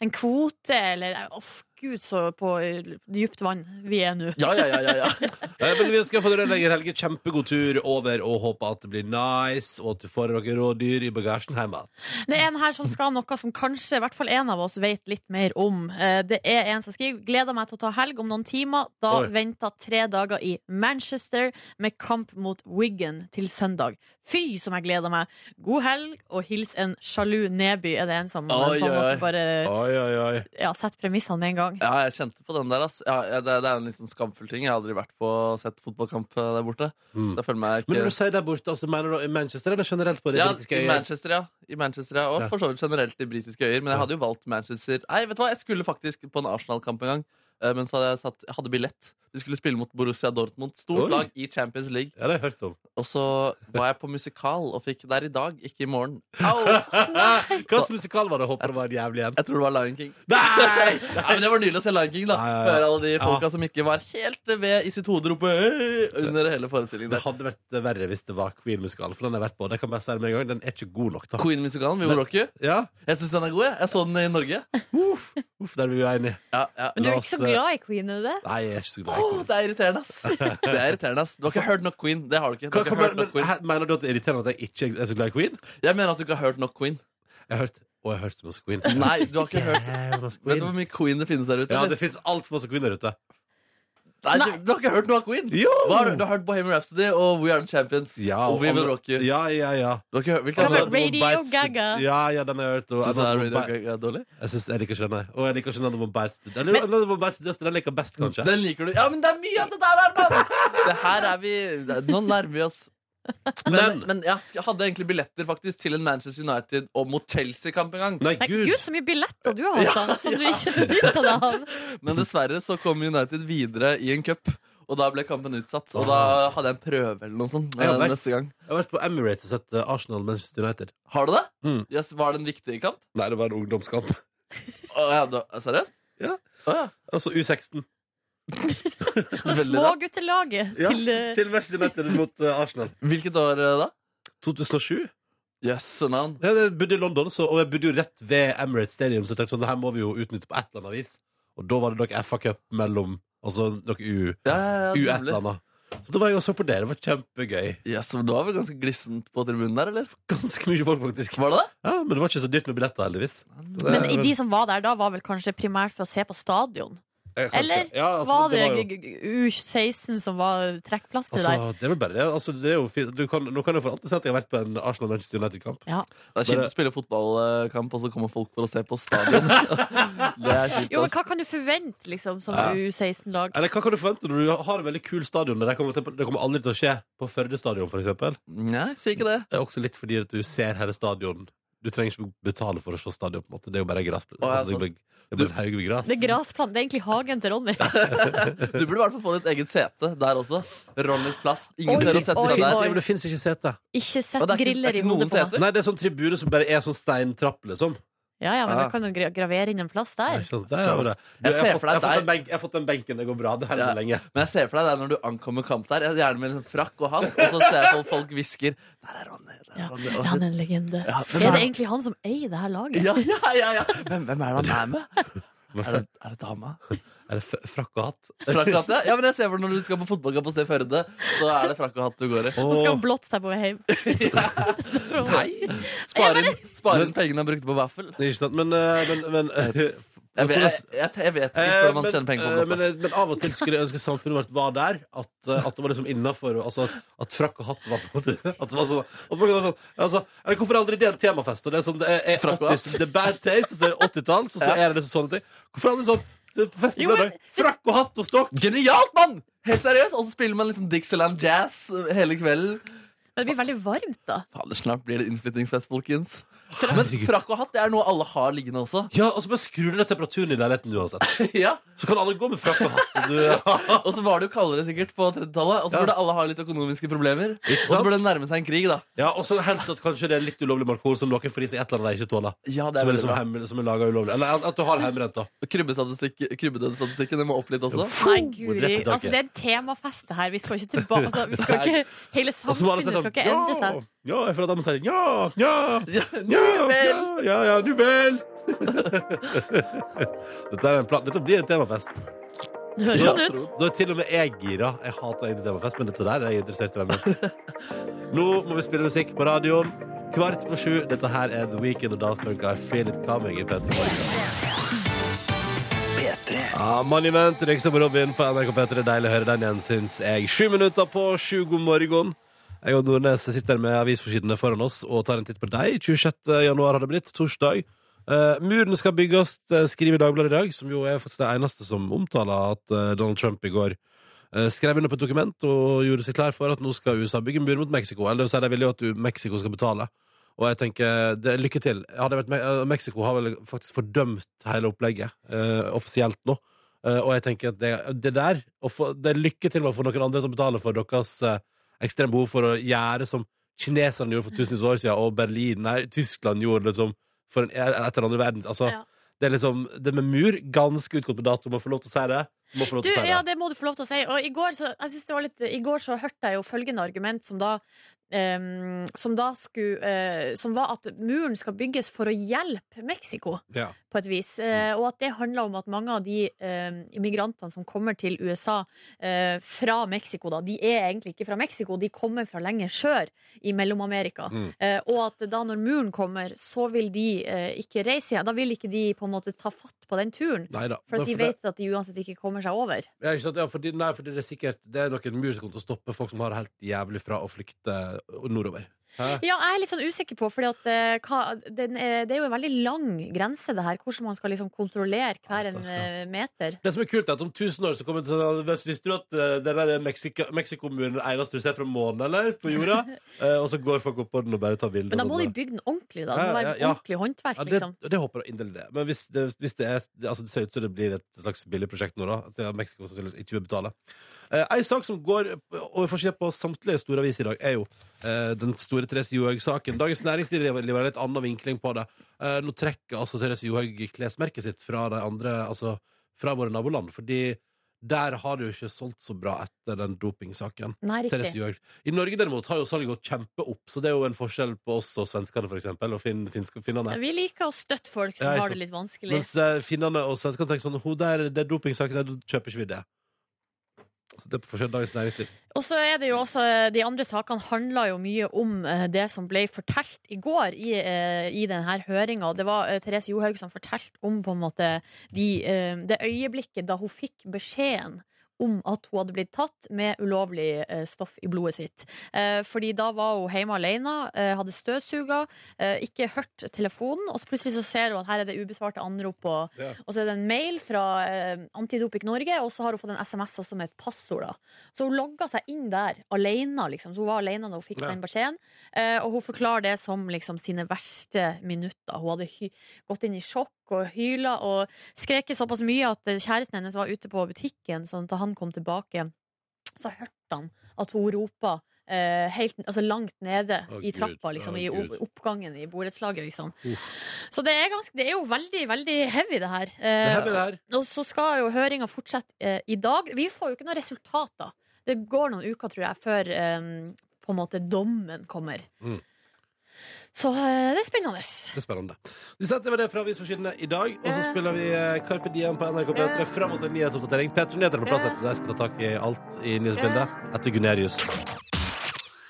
[SPEAKER 2] en kvote, eller Uff, gud, så på eh, dypt vann vi er nå.
[SPEAKER 6] Ja, ja, ja, ja, ja.
[SPEAKER 5] Eh, Men vi ønsker for rørlegger Helge kjempegod tur over og håper at det blir nice, og at du får noen rådyr i bagasjen hjemme.
[SPEAKER 2] Det er en her som skal ha noe som kanskje i hvert fall en av oss vet litt mer om. Eh, Det er en som skriver 'Gleder meg til å ta helg om noen timer'. Da
[SPEAKER 5] Oi.
[SPEAKER 2] venter tre dager i Manchester med kamp mot Wigan til søndag. Fy, som jeg gleder meg! God helg, og hils en sjalu Neby, er det en som eh,
[SPEAKER 6] Oi,
[SPEAKER 2] på en
[SPEAKER 6] oi, oi.
[SPEAKER 2] måte bare
[SPEAKER 5] Oi, oi, oi.
[SPEAKER 2] ja, setter premissene med en gang.
[SPEAKER 6] ja jeg kjente på den der, ass. Ja, ja, det, det er jo en litt sånn skamfull ting. Jeg har aldri vært på og sett fotballkamp eh, der borte.
[SPEAKER 5] Mm.
[SPEAKER 6] Da føler jeg meg
[SPEAKER 5] Men
[SPEAKER 6] ikke
[SPEAKER 5] når du sier der borte, altså, mener du da i Manchester eller generelt på de
[SPEAKER 6] ja,
[SPEAKER 5] britiske
[SPEAKER 6] i
[SPEAKER 5] øyer?
[SPEAKER 6] Manchester, ja. I Manchester, ja. Og
[SPEAKER 5] Ja.
[SPEAKER 6] for så vidt generelt i britiske øyer. Men jeg hadde jo valgt Manchester. Nei, vet du hva, jeg skulle faktisk på en Arsenal-kamp en gang. Eh, Men så hadde jeg, satt, jeg hadde billett. De skulle spille mot Borussia Dortmund. Stort
[SPEAKER 5] Oi.
[SPEAKER 6] lag i Champions League.
[SPEAKER 5] Ja, det har jeg hørt om.
[SPEAKER 6] Og så var jeg på musikal og fikk der i dag, ikke i morgen. Au!
[SPEAKER 5] Hva slags musikal var det? Håper det var en jævlig en.
[SPEAKER 6] Jeg tror det var Lion King.
[SPEAKER 5] Nei!
[SPEAKER 6] Nei, men Det var nydelig å se Lion King. da
[SPEAKER 5] Ja, ja, ja.
[SPEAKER 6] Høre alle de
[SPEAKER 5] Ja.
[SPEAKER 6] folka som ikke var helt ved i sitt hode rope «Hei!» under hele forestillingen.
[SPEAKER 5] Det
[SPEAKER 6] der
[SPEAKER 5] hadde vært eh, verre hvis det var Queen-musikal, for den har jeg vært på. Det kan jeg bare si det med en gang. Den er ikke god nok, da.
[SPEAKER 6] Queen-musikalen, We Will Rock You.
[SPEAKER 5] Ja,
[SPEAKER 6] Jeg syns den er god. jeg Jeg så den i Norge.
[SPEAKER 5] uff, uff, der er vi uenige.
[SPEAKER 6] Ja, ja.
[SPEAKER 3] Men du
[SPEAKER 5] La
[SPEAKER 3] er ikke
[SPEAKER 5] oss,
[SPEAKER 3] så
[SPEAKER 5] eh,
[SPEAKER 3] glad i Queen, er du det?
[SPEAKER 5] Nei, jeg er ikke så glad i
[SPEAKER 6] Åh,
[SPEAKER 5] Queen.
[SPEAKER 6] det er irriterende, ass. Det er irriterende, ass. Du har ikke hørt nok Queen. Det har du ikke. Du
[SPEAKER 5] Hva-
[SPEAKER 6] har
[SPEAKER 5] hva-
[SPEAKER 6] ikke hørt nok
[SPEAKER 5] men,
[SPEAKER 6] Queen.
[SPEAKER 5] hæ, mener du at det er irriterende at jeg ikke er så glad i Queen?
[SPEAKER 6] Jeg mener at du ikke har hørt nok Queen.
[SPEAKER 5] Jeg har hørt Å, jeg har hørt så masse Queen.
[SPEAKER 6] Nei, du har ikke hørt
[SPEAKER 5] Jævlig masse
[SPEAKER 6] Vet du
[SPEAKER 5] Queen.
[SPEAKER 6] hvor mye Queen det finnes der ute?
[SPEAKER 5] Ja,
[SPEAKER 6] eller?
[SPEAKER 5] det fins altfor masse Queen der ute.
[SPEAKER 6] Nei, du, du har ikke hørt noe av Queen?
[SPEAKER 5] Jo!
[SPEAKER 6] Hva har du, du har hørt Bohemian Rhapsody og We Are The Champions.
[SPEAKER 5] Ja,
[SPEAKER 6] og We Will Rock You.
[SPEAKER 5] Ja, ja, ja.
[SPEAKER 6] Du har ikke hørt,
[SPEAKER 3] Hva
[SPEAKER 6] hvilke
[SPEAKER 5] Kan
[SPEAKER 6] andre?
[SPEAKER 3] med
[SPEAKER 5] man-
[SPEAKER 3] Radio
[SPEAKER 5] Bites the-
[SPEAKER 3] Gaga?
[SPEAKER 5] Ja, ja, den har jeg hørt. Og, altså,
[SPEAKER 6] Synes du
[SPEAKER 5] Another
[SPEAKER 6] det er
[SPEAKER 5] One Bite-
[SPEAKER 6] Radio Gaga dårlig?
[SPEAKER 5] jeg syns jeg liker ikke den. jeg. Og jeg liker ikke Another One Bites the- Eller Another One Bites the Dust. Den liker jeg best, kanskje.
[SPEAKER 6] Den liker du. Ja, men det er mye av det der, der, mann! Det her er vi Nå nærmer vi oss. Men,
[SPEAKER 5] Men
[SPEAKER 6] men jeg sk- hadde egentlig billetter faktisk til en Manchester United og mot Chelsea-kamp en gang.
[SPEAKER 5] Nei,
[SPEAKER 3] Nei,
[SPEAKER 5] gud.
[SPEAKER 3] Gud, så mye billetter du har, altså, som du ikke benytta deg av.
[SPEAKER 6] Men dessverre så kom United videre i en cup. Og da ble kampen utsatt. Og
[SPEAKER 2] Ah.
[SPEAKER 6] da hadde jeg en prøve eller noe sånt.
[SPEAKER 5] Jeg har
[SPEAKER 6] eh,
[SPEAKER 5] vært-
[SPEAKER 6] neste gang
[SPEAKER 5] Jeg har vært på Emirates og sett eh, Arsenal Manchester United.
[SPEAKER 6] Har du det?
[SPEAKER 5] Mm.
[SPEAKER 6] Yes, var det en viktig kamp?
[SPEAKER 5] Nei, det var en ungdomskamp.
[SPEAKER 6] Å, ja, da, seriøst?
[SPEAKER 5] Ja.
[SPEAKER 6] Å, ja.
[SPEAKER 5] Altså U16.
[SPEAKER 2] Altså,
[SPEAKER 6] Veldig rart.
[SPEAKER 3] Småguttelaget
[SPEAKER 5] Ja,
[SPEAKER 3] til eh,
[SPEAKER 5] til Manchester United mot eh, Arsenal.
[SPEAKER 6] Hvilket år eh, da?
[SPEAKER 5] 2007.
[SPEAKER 6] Jøsse navn.
[SPEAKER 5] Ja, Jeg bodde i London, så, og jeg bodde jo rett ved Emirates Stadium, så jeg tenkte sånn, det her må vi jo utnytte på et eller annet vis. Og da var det nok FA Cup mellom Altså nok U, U
[SPEAKER 6] Ja, ja,
[SPEAKER 5] et
[SPEAKER 6] ja,
[SPEAKER 5] eller
[SPEAKER 6] nemlig.
[SPEAKER 5] annet. Så da var jeg og så på det. Det var kjempegøy.
[SPEAKER 6] Yes, men du var vel ganske glissent på tribunen der, eller?
[SPEAKER 5] Ganske mye folk, faktisk.
[SPEAKER 6] Var det det?
[SPEAKER 5] Ja, Men det var ikke så dyrt med billetter, heldigvis. Det-
[SPEAKER 2] Men i de som var der da, var vel kanskje primært for å se på stadion?
[SPEAKER 5] Ja, kanskje.
[SPEAKER 2] eller
[SPEAKER 5] Ja, altså,
[SPEAKER 2] var det,
[SPEAKER 5] var jo-
[SPEAKER 2] g- g- U16 som var trekkplass til deg?
[SPEAKER 5] Altså, det er vel bare altså, det er jo fint. Du kan, Nå kan jeg for alltid si at jeg har vært på en Arsenal-Manchester United-kamp.
[SPEAKER 6] Det er kjipt
[SPEAKER 5] Bare-
[SPEAKER 6] å spille fotballkamp, og så kommer folk for å se på stadion. det er kjipt,
[SPEAKER 2] Jo, men
[SPEAKER 6] ass.
[SPEAKER 2] Hva kan du forvente liksom, som
[SPEAKER 5] altså- Ja.
[SPEAKER 2] U16-lag?
[SPEAKER 5] Eller hva kan du forvente når du har en veldig kul stadion? Det kommer, for eksempel- det kommer aldri til å skje på Førde stadion, for eksempel.
[SPEAKER 6] Nei, sier ikke det.
[SPEAKER 5] Det er også litt fordi at du ser hele stadion. Du trenger ikke betale for å se stadion, på en måte. Det er jo bare gress.
[SPEAKER 6] ja,
[SPEAKER 5] altså, det,
[SPEAKER 6] sånn.
[SPEAKER 5] blir, det blir en haug med gress.
[SPEAKER 2] Det er grasplan. Det er egentlig hagen til Ronny.
[SPEAKER 6] Du burde i hvert fall få ditt eget sete der også. Ronnys plass. Ingen
[SPEAKER 2] Oi,
[SPEAKER 6] tør å sette
[SPEAKER 2] oi,
[SPEAKER 6] seg
[SPEAKER 5] finnes-
[SPEAKER 6] der.
[SPEAKER 5] ja, men det fins ikke sete.
[SPEAKER 2] Ikke
[SPEAKER 6] Og
[SPEAKER 2] sett
[SPEAKER 6] det er ikke- det er
[SPEAKER 2] griller i
[SPEAKER 6] ikke
[SPEAKER 2] hodet på
[SPEAKER 6] noen
[SPEAKER 2] meg.
[SPEAKER 6] seter.
[SPEAKER 5] Nei, det er sånn tribune som bare er sånn steintrapp, liksom.
[SPEAKER 2] Ja, ja, men
[SPEAKER 6] Ja.
[SPEAKER 2] vi kan jo gra- gravere inn en plass
[SPEAKER 5] Nei,
[SPEAKER 2] der.
[SPEAKER 5] ikke sant? Det er jo det. Du,
[SPEAKER 6] Jeg ser
[SPEAKER 5] har
[SPEAKER 6] for
[SPEAKER 5] fått,
[SPEAKER 6] deg
[SPEAKER 5] jeg har fått
[SPEAKER 6] deg-
[SPEAKER 5] den benk, jeg har fått den benken. Det går bra. Det holder
[SPEAKER 6] Ja.
[SPEAKER 5] lenge.
[SPEAKER 6] Men jeg ser for deg det er når du ankommer kamp der, jeg- gjerne med liksom frakk og hatt, og så ser jeg på folk hvisker Der er Ronny. Der
[SPEAKER 2] Ja.
[SPEAKER 6] er Ronny.
[SPEAKER 2] Er
[SPEAKER 6] Og-
[SPEAKER 2] han en legende?
[SPEAKER 6] Ja,
[SPEAKER 2] Er det
[SPEAKER 6] hvem,
[SPEAKER 2] egentlig han som eier det her
[SPEAKER 6] er,
[SPEAKER 2] laget?
[SPEAKER 6] ja, ja, ja, ja. Hvem, hvem er det han er med? Er det, er det dama?
[SPEAKER 5] Er det f- frakk og hatt?
[SPEAKER 6] Frakk og hatt, ja. ja men jeg ser for deg Når du skal på fotballkamp og se Førde, så er det frakk og hatt du går i.
[SPEAKER 2] Så skal han blotte seg på vei hjem.
[SPEAKER 6] Nei! Spar inn, spar inn pengene han brukte på vaffel.
[SPEAKER 5] Det er ikke sant. Men, eh, men, men eh,
[SPEAKER 6] Jeg, vet- jeg, jeg, jeg vet ikke
[SPEAKER 5] Eh,
[SPEAKER 6] hvordan man tjener penger
[SPEAKER 5] eh,
[SPEAKER 6] på
[SPEAKER 5] men,
[SPEAKER 6] det.
[SPEAKER 5] men av og til skulle jeg ønske samfunnet vårt var der. At, eh, at det var liksom innafor. Altså, at frakk og hatt var på en måte At det var sånn, at man kan være sånn altså, eller, Hvorfor er aldri det en temafest? Og det er sånn, det er, er
[SPEAKER 6] Frakk og
[SPEAKER 5] 80s, det er bad taste, og så er det 80-tall, så, så er det liksom sånne ting. Hvorfor er aldri sånn så på festen
[SPEAKER 2] Jo,
[SPEAKER 5] på
[SPEAKER 2] men-
[SPEAKER 5] lørdag, Frakk og hatt og stokk!
[SPEAKER 6] Genialt, mann! Helt seriøst. Og så spiller man liksom Dixieland Jazz hele kvelden.
[SPEAKER 2] Men det blir veldig varmt, da.
[SPEAKER 6] Fader, snart blir det innflyttingsfest, folkens. Men frakk og hatt det er noe alle har liggende også.
[SPEAKER 5] Ja, og så bare skrur du ned temperaturen i leiligheten uansett.
[SPEAKER 6] ja.
[SPEAKER 5] Så kan alle gå med frakk og hatt. Og du,
[SPEAKER 6] Og så var det jo kaldere sikkert på 30-tallet, og så
[SPEAKER 5] Ja.
[SPEAKER 6] burde alle ha litt økonomiske problemer. Og
[SPEAKER 5] Ikke
[SPEAKER 6] så
[SPEAKER 5] sant?
[SPEAKER 6] burde det nærme seg en krig, da.
[SPEAKER 5] ja, og så helst at kanskje det er litt ulovlig markol som noen får i seg et eller annet de ikke tåler.
[SPEAKER 6] Ja, det er
[SPEAKER 5] Som er,
[SPEAKER 6] veldig
[SPEAKER 5] liksom
[SPEAKER 6] bra.
[SPEAKER 5] hem, som er laget ulovlig. Eller at, at du har hjemmebrent, da.
[SPEAKER 6] Og krybbestatistikk- Krybbedødsstatistikken den må opp litt også.
[SPEAKER 2] Nei,
[SPEAKER 5] Hvor
[SPEAKER 2] guri.
[SPEAKER 5] rett i taket.
[SPEAKER 2] Altså, det er en temafest, det her. Vi skal ikke tilbake altså, vi skal
[SPEAKER 6] Nei.
[SPEAKER 2] ikke, Hele
[SPEAKER 5] Og så må alle
[SPEAKER 2] samfunnet skal
[SPEAKER 5] si sånn
[SPEAKER 2] ikke endre seg.
[SPEAKER 5] Ja, jeg føler at de sier ja, ja,
[SPEAKER 6] Ja,
[SPEAKER 5] ja,
[SPEAKER 6] nu
[SPEAKER 5] ja,
[SPEAKER 6] vel.
[SPEAKER 5] ja, ja, nu vel. Dette, er en plan. Dette blir en temafest.
[SPEAKER 2] Det høres sånn ut.
[SPEAKER 5] Da er til og med jeg gira. Jeg hater egentlig temafest, men dette der er jeg interessert i. hvem er. Nå må vi spille musikk på radioen. Kvart på sju. Dette her er The Weekend og Dansberg I Feel It Coming i P3 Morgen. Ja, Monument, Røykstad og Robin på NRK P3. Deilig å høre den igjen, syns jeg. Sju minutter på sju, god morgen. Jeg og Nordnes sitter med avisforsidene foran oss og tar en titt på deg. 26. januar har det blitt, torsdag. Eh, muren skal bygges, eh, skriver Dagbladet i dag, som jo er faktisk det eneste som omtaler at eh, Donald Trump i går eh, skrev under på et dokument og gjorde seg klar for at nå skal USA bygge en mur mot Mexico. Eller det vil si, de vil jo at du- Mexico skal betale. Og jeg tenker, det, lykke til. Hadde jeg vært, Me- eh, Mexico har vel faktisk fordømt hele opplegget eh, offisielt nå. Eh, Eh, og jeg tenker at det, det der å få, Det er lykke til å få noen andre til å betale for deres eh, ekstreme behov for å gjøre som kineserne gjorde for tusenvis av år siden, og Berlin, nei, Tyskland gjorde liksom for en, etter andre verden. Altså,
[SPEAKER 7] Ja.
[SPEAKER 5] Det er liksom Det med mur, ganske utgått på dato. Må få lov til å si det. Må få lov
[SPEAKER 2] Du,
[SPEAKER 5] til å si
[SPEAKER 2] ja,
[SPEAKER 5] det.
[SPEAKER 2] det må du få lov til å si. Og i går så, jeg synes det var litt, i går så hørte jeg jo følgende argument som da ehm, som da skulle eh, Som var at muren skal bygges for å hjelpe Mexico,
[SPEAKER 5] Ja.
[SPEAKER 2] på et vis. Eh,
[SPEAKER 5] Mm.
[SPEAKER 2] og at det handler om at mange av de ehm, immigrantene som kommer til USA eh, fra Mexico, da, de er egentlig ikke fra Mexico, de kommer fra lenger sør i Mellom-Amerika.
[SPEAKER 5] Mm.
[SPEAKER 2] Eh, og at da når muren kommer, så vil de eh, ikke reise igjen. Da vil ikke de på en måte ta fatt på den turen.
[SPEAKER 5] Nei da.
[SPEAKER 2] For
[SPEAKER 5] Da
[SPEAKER 2] at de
[SPEAKER 5] får det-
[SPEAKER 2] vet at de uansett ikke kommer seg over.
[SPEAKER 5] Ja, ikke sant? Ja, fordi, nei, fordi det er sikkert Det er nok en mur som kommer til å stoppe folk som har det helt jævlig fra å flykte nordover. Hæ?
[SPEAKER 2] Ja, jeg er litt sånn usikker på, fordi at eh, hva, den, eh, det er jo en veldig lang grense, det her. Hvordan man skal liksom kontrollere hver
[SPEAKER 5] Alt
[SPEAKER 2] en
[SPEAKER 5] man skal.
[SPEAKER 2] eh, meter.
[SPEAKER 5] Det som er kult, er at om 1000 år så kommer det til å Hvis- Visste du at eh, den der Mexica- Mexico-muren er den eneste du ser fra månen, eller? På jorda? Eh, og så går folk opp på den og bare tar bilder.
[SPEAKER 2] Men da
[SPEAKER 5] og
[SPEAKER 2] må
[SPEAKER 5] sånn,
[SPEAKER 2] de bygge den ordentlig, da. Det
[SPEAKER 5] Ja,
[SPEAKER 2] må
[SPEAKER 5] ja,
[SPEAKER 2] være
[SPEAKER 5] ja.
[SPEAKER 2] ordentlig håndverk,
[SPEAKER 5] ja, det,
[SPEAKER 2] liksom.
[SPEAKER 5] det håper jeg inderlig det. Men hvis det, hvis det er det, altså, det ser ut som det blir et slags billig prosjekt nå, da. At ja, Mexico sannsynligvis ikke vil betale. Eh, en sak som går over forsida på samtlige store aviser i dag, er jo eh, den store Therese Johaug-saken. Dagens Næringsliv har en litt annen vinkling på det. Eh, nå trekker altså Therese Johaug klesmerket sitt fra de andre, altså fra våre naboland, fordi der har det jo ikke solgt så bra etter den dopingsaken.
[SPEAKER 2] Nei,
[SPEAKER 5] Therese
[SPEAKER 2] riktig.
[SPEAKER 5] Johaug. I Norge derimot har jo salget gått kjempeopp, så det er jo en forskjell på oss og svenskene, for eksempel, og fin, finske, finnene.
[SPEAKER 2] Vi liker å støtte folk som
[SPEAKER 5] Ja, ikke
[SPEAKER 2] har
[SPEAKER 5] sant.
[SPEAKER 2] det litt vanskelig.
[SPEAKER 5] Mens eh, finnene og svenskene tenker sånn Hun der, det er dopingsaken, der kjøper ikke vi det. Så det er på forskjell Dagens Næringsliv.
[SPEAKER 2] Og så er det jo også De andre sakene handla jo mye om eh, det som ble fortalt i går i, eh, i denne høringa. Det var eh, Therese Johaug som fortalte om på en måte de, eh, det øyeblikket da hun fikk beskjeden om at hun hadde blitt tatt med ulovlig eh, stoff i blodet sitt. Eh, fordi da var hun hjemme alene, eh, hadde støvsuga, eh, ikke hørt telefonen, og så plutselig så ser hun at her er det ubesvarte anrop, og,
[SPEAKER 5] Ja.
[SPEAKER 2] og så er det en mail fra eh, Antidoping Norge, og så har hun fått en SMS også med et passord. da. Så hun logga seg inn der alene, liksom. Så hun var alene da hun fikk
[SPEAKER 5] Ja.
[SPEAKER 2] den beskjeden. Eh, og hun forklarer det som liksom sine verste minutter. Hun hadde hy gått inn i sjokk og hyla og skreket såpass mye at eh, kjæresten hennes var ute på butikken, sånn at da han kom tilbake, så hørte han at hun ropa eh, helt, altså langt nede
[SPEAKER 5] Å,
[SPEAKER 2] i
[SPEAKER 5] Gud.
[SPEAKER 2] trappa, liksom,
[SPEAKER 5] Å,
[SPEAKER 2] i opp
[SPEAKER 5] Gud.
[SPEAKER 2] oppgangen i borettslaget. Liksom. Så det er, ganske, det er jo veldig, veldig heavy, det her.
[SPEAKER 5] Det
[SPEAKER 2] Eh,
[SPEAKER 5] her blir det her.
[SPEAKER 2] og så skal jo høringa fortsette eh, i dag. Vi får jo ikke noen resultater. Det går noen uker, tror jeg, før eh, på en måte dommen kommer.
[SPEAKER 5] Mm.
[SPEAKER 2] Så eh, det er spennende.
[SPEAKER 5] Det er spennende. Vi setter med det fra avisforsidene i dag, og så spiller vi eh, Carpe Diem på NRK P3 fram mot en nyhetsoppdatering. P3 Nyheter er på plass etter det. Jeg skal ta tak i alt i nyhetsbildet etter Gunerius.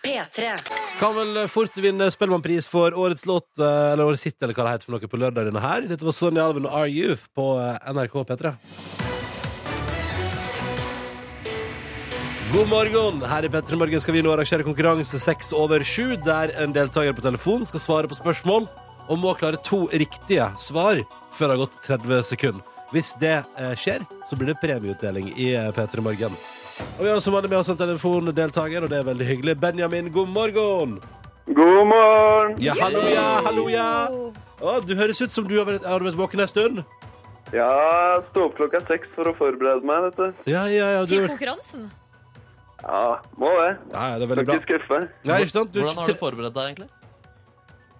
[SPEAKER 1] P3.
[SPEAKER 5] Kan vel eh, fort vinne Spellemannpris for årets låt, eh, eller årets hit, eller hva det heter for noe på lørdag denne her. Dette var Sonja Alven og Are Youth på eh, NRK P3. God morgen! Her i P3 Morgen skal vi nå arrangere konkurranse seks over sju, der en deltaker på telefon skal svare på spørsmål og må klare to riktige svar før det har gått 30 sekunder. Hvis det eh, skjer, så blir det premieutdeling i eh, P3 Morgen. Og vi har også med oss en telefondeltaker, og det er veldig hyggelig. Benjamin, god morgen!
[SPEAKER 8] God morgen!
[SPEAKER 5] Ja, hallo, ja, hallo, ja! Å, du høres ut som du har vært, har du vært våken en stund.
[SPEAKER 8] Ja, jeg sto opp klokka seks for å forberede meg, vet du.
[SPEAKER 5] Ja, ja, ja, du,
[SPEAKER 2] Til
[SPEAKER 5] ja,
[SPEAKER 2] konkurransen.
[SPEAKER 8] Ja, må det.
[SPEAKER 5] ja det er
[SPEAKER 8] Skal
[SPEAKER 5] veldig bra.
[SPEAKER 8] ikke skuffe.
[SPEAKER 5] Nei, ikke sant? Du,
[SPEAKER 6] Hvordan har du forberedt deg, egentlig?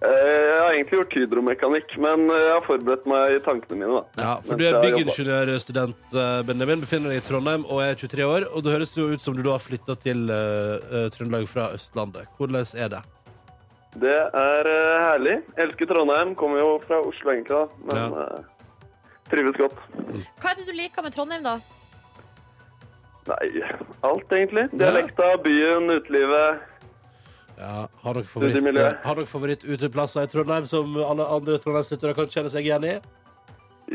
[SPEAKER 8] Eh, Jeg har egentlig gjort hydromekanikk, men eh, jeg har forberedt meg i tankene mine, da.
[SPEAKER 5] Ja, for
[SPEAKER 8] Mens
[SPEAKER 5] du er
[SPEAKER 8] jeg har jobbet.
[SPEAKER 5] byggingeniørstudent, eh, Benjamin. Befinner deg i Trondheim og er 23 år. Og det høres jo ut som du da har flytta til eh, eh, Trøndelag fra Østlandet. Hvordan er det?
[SPEAKER 8] Det er eh, herlig. Elsker Trondheim. Kommer jo fra Oslo, egentlig, da. Men
[SPEAKER 5] Ja.
[SPEAKER 8] eh, trives godt.
[SPEAKER 2] Hva er det du liker med Trondheim, da?
[SPEAKER 8] Nei, alt, egentlig. Dialekta, byen, utelivet.
[SPEAKER 5] Ja, har dere
[SPEAKER 8] Ryddig
[SPEAKER 5] favoritt, eh,
[SPEAKER 8] miljø.
[SPEAKER 5] har dere favoritt uteplasser i Trondheim som alle andre trondheimslyttere kan kjenne seg igjen i?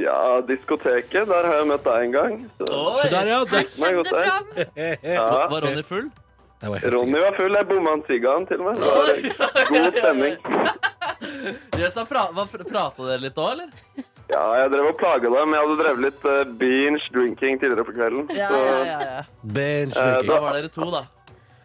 [SPEAKER 8] Ja, diskoteket. Der har jeg møtt deg en gang. Så.
[SPEAKER 5] Så der, ja. Det,
[SPEAKER 7] Her kommer det fram!
[SPEAKER 8] Ja.
[SPEAKER 6] Var Ronny full?
[SPEAKER 5] det var jeg helt
[SPEAKER 8] Ronny
[SPEAKER 5] sikker.
[SPEAKER 8] var full. Jeg bomma en sigaen, til og med. Det var god stemning.
[SPEAKER 6] Yes, da pra hva- pr- Prata dere litt òg, eller?
[SPEAKER 8] Ja, jeg drev og plaga dem. Jeg hadde drevet litt eh, binge drinking tidligere på kvelden.
[SPEAKER 6] Ja,
[SPEAKER 8] så
[SPEAKER 6] ja, ja, ja.
[SPEAKER 5] Bench
[SPEAKER 8] Eh,
[SPEAKER 5] drinking.
[SPEAKER 6] Da var dere to, da.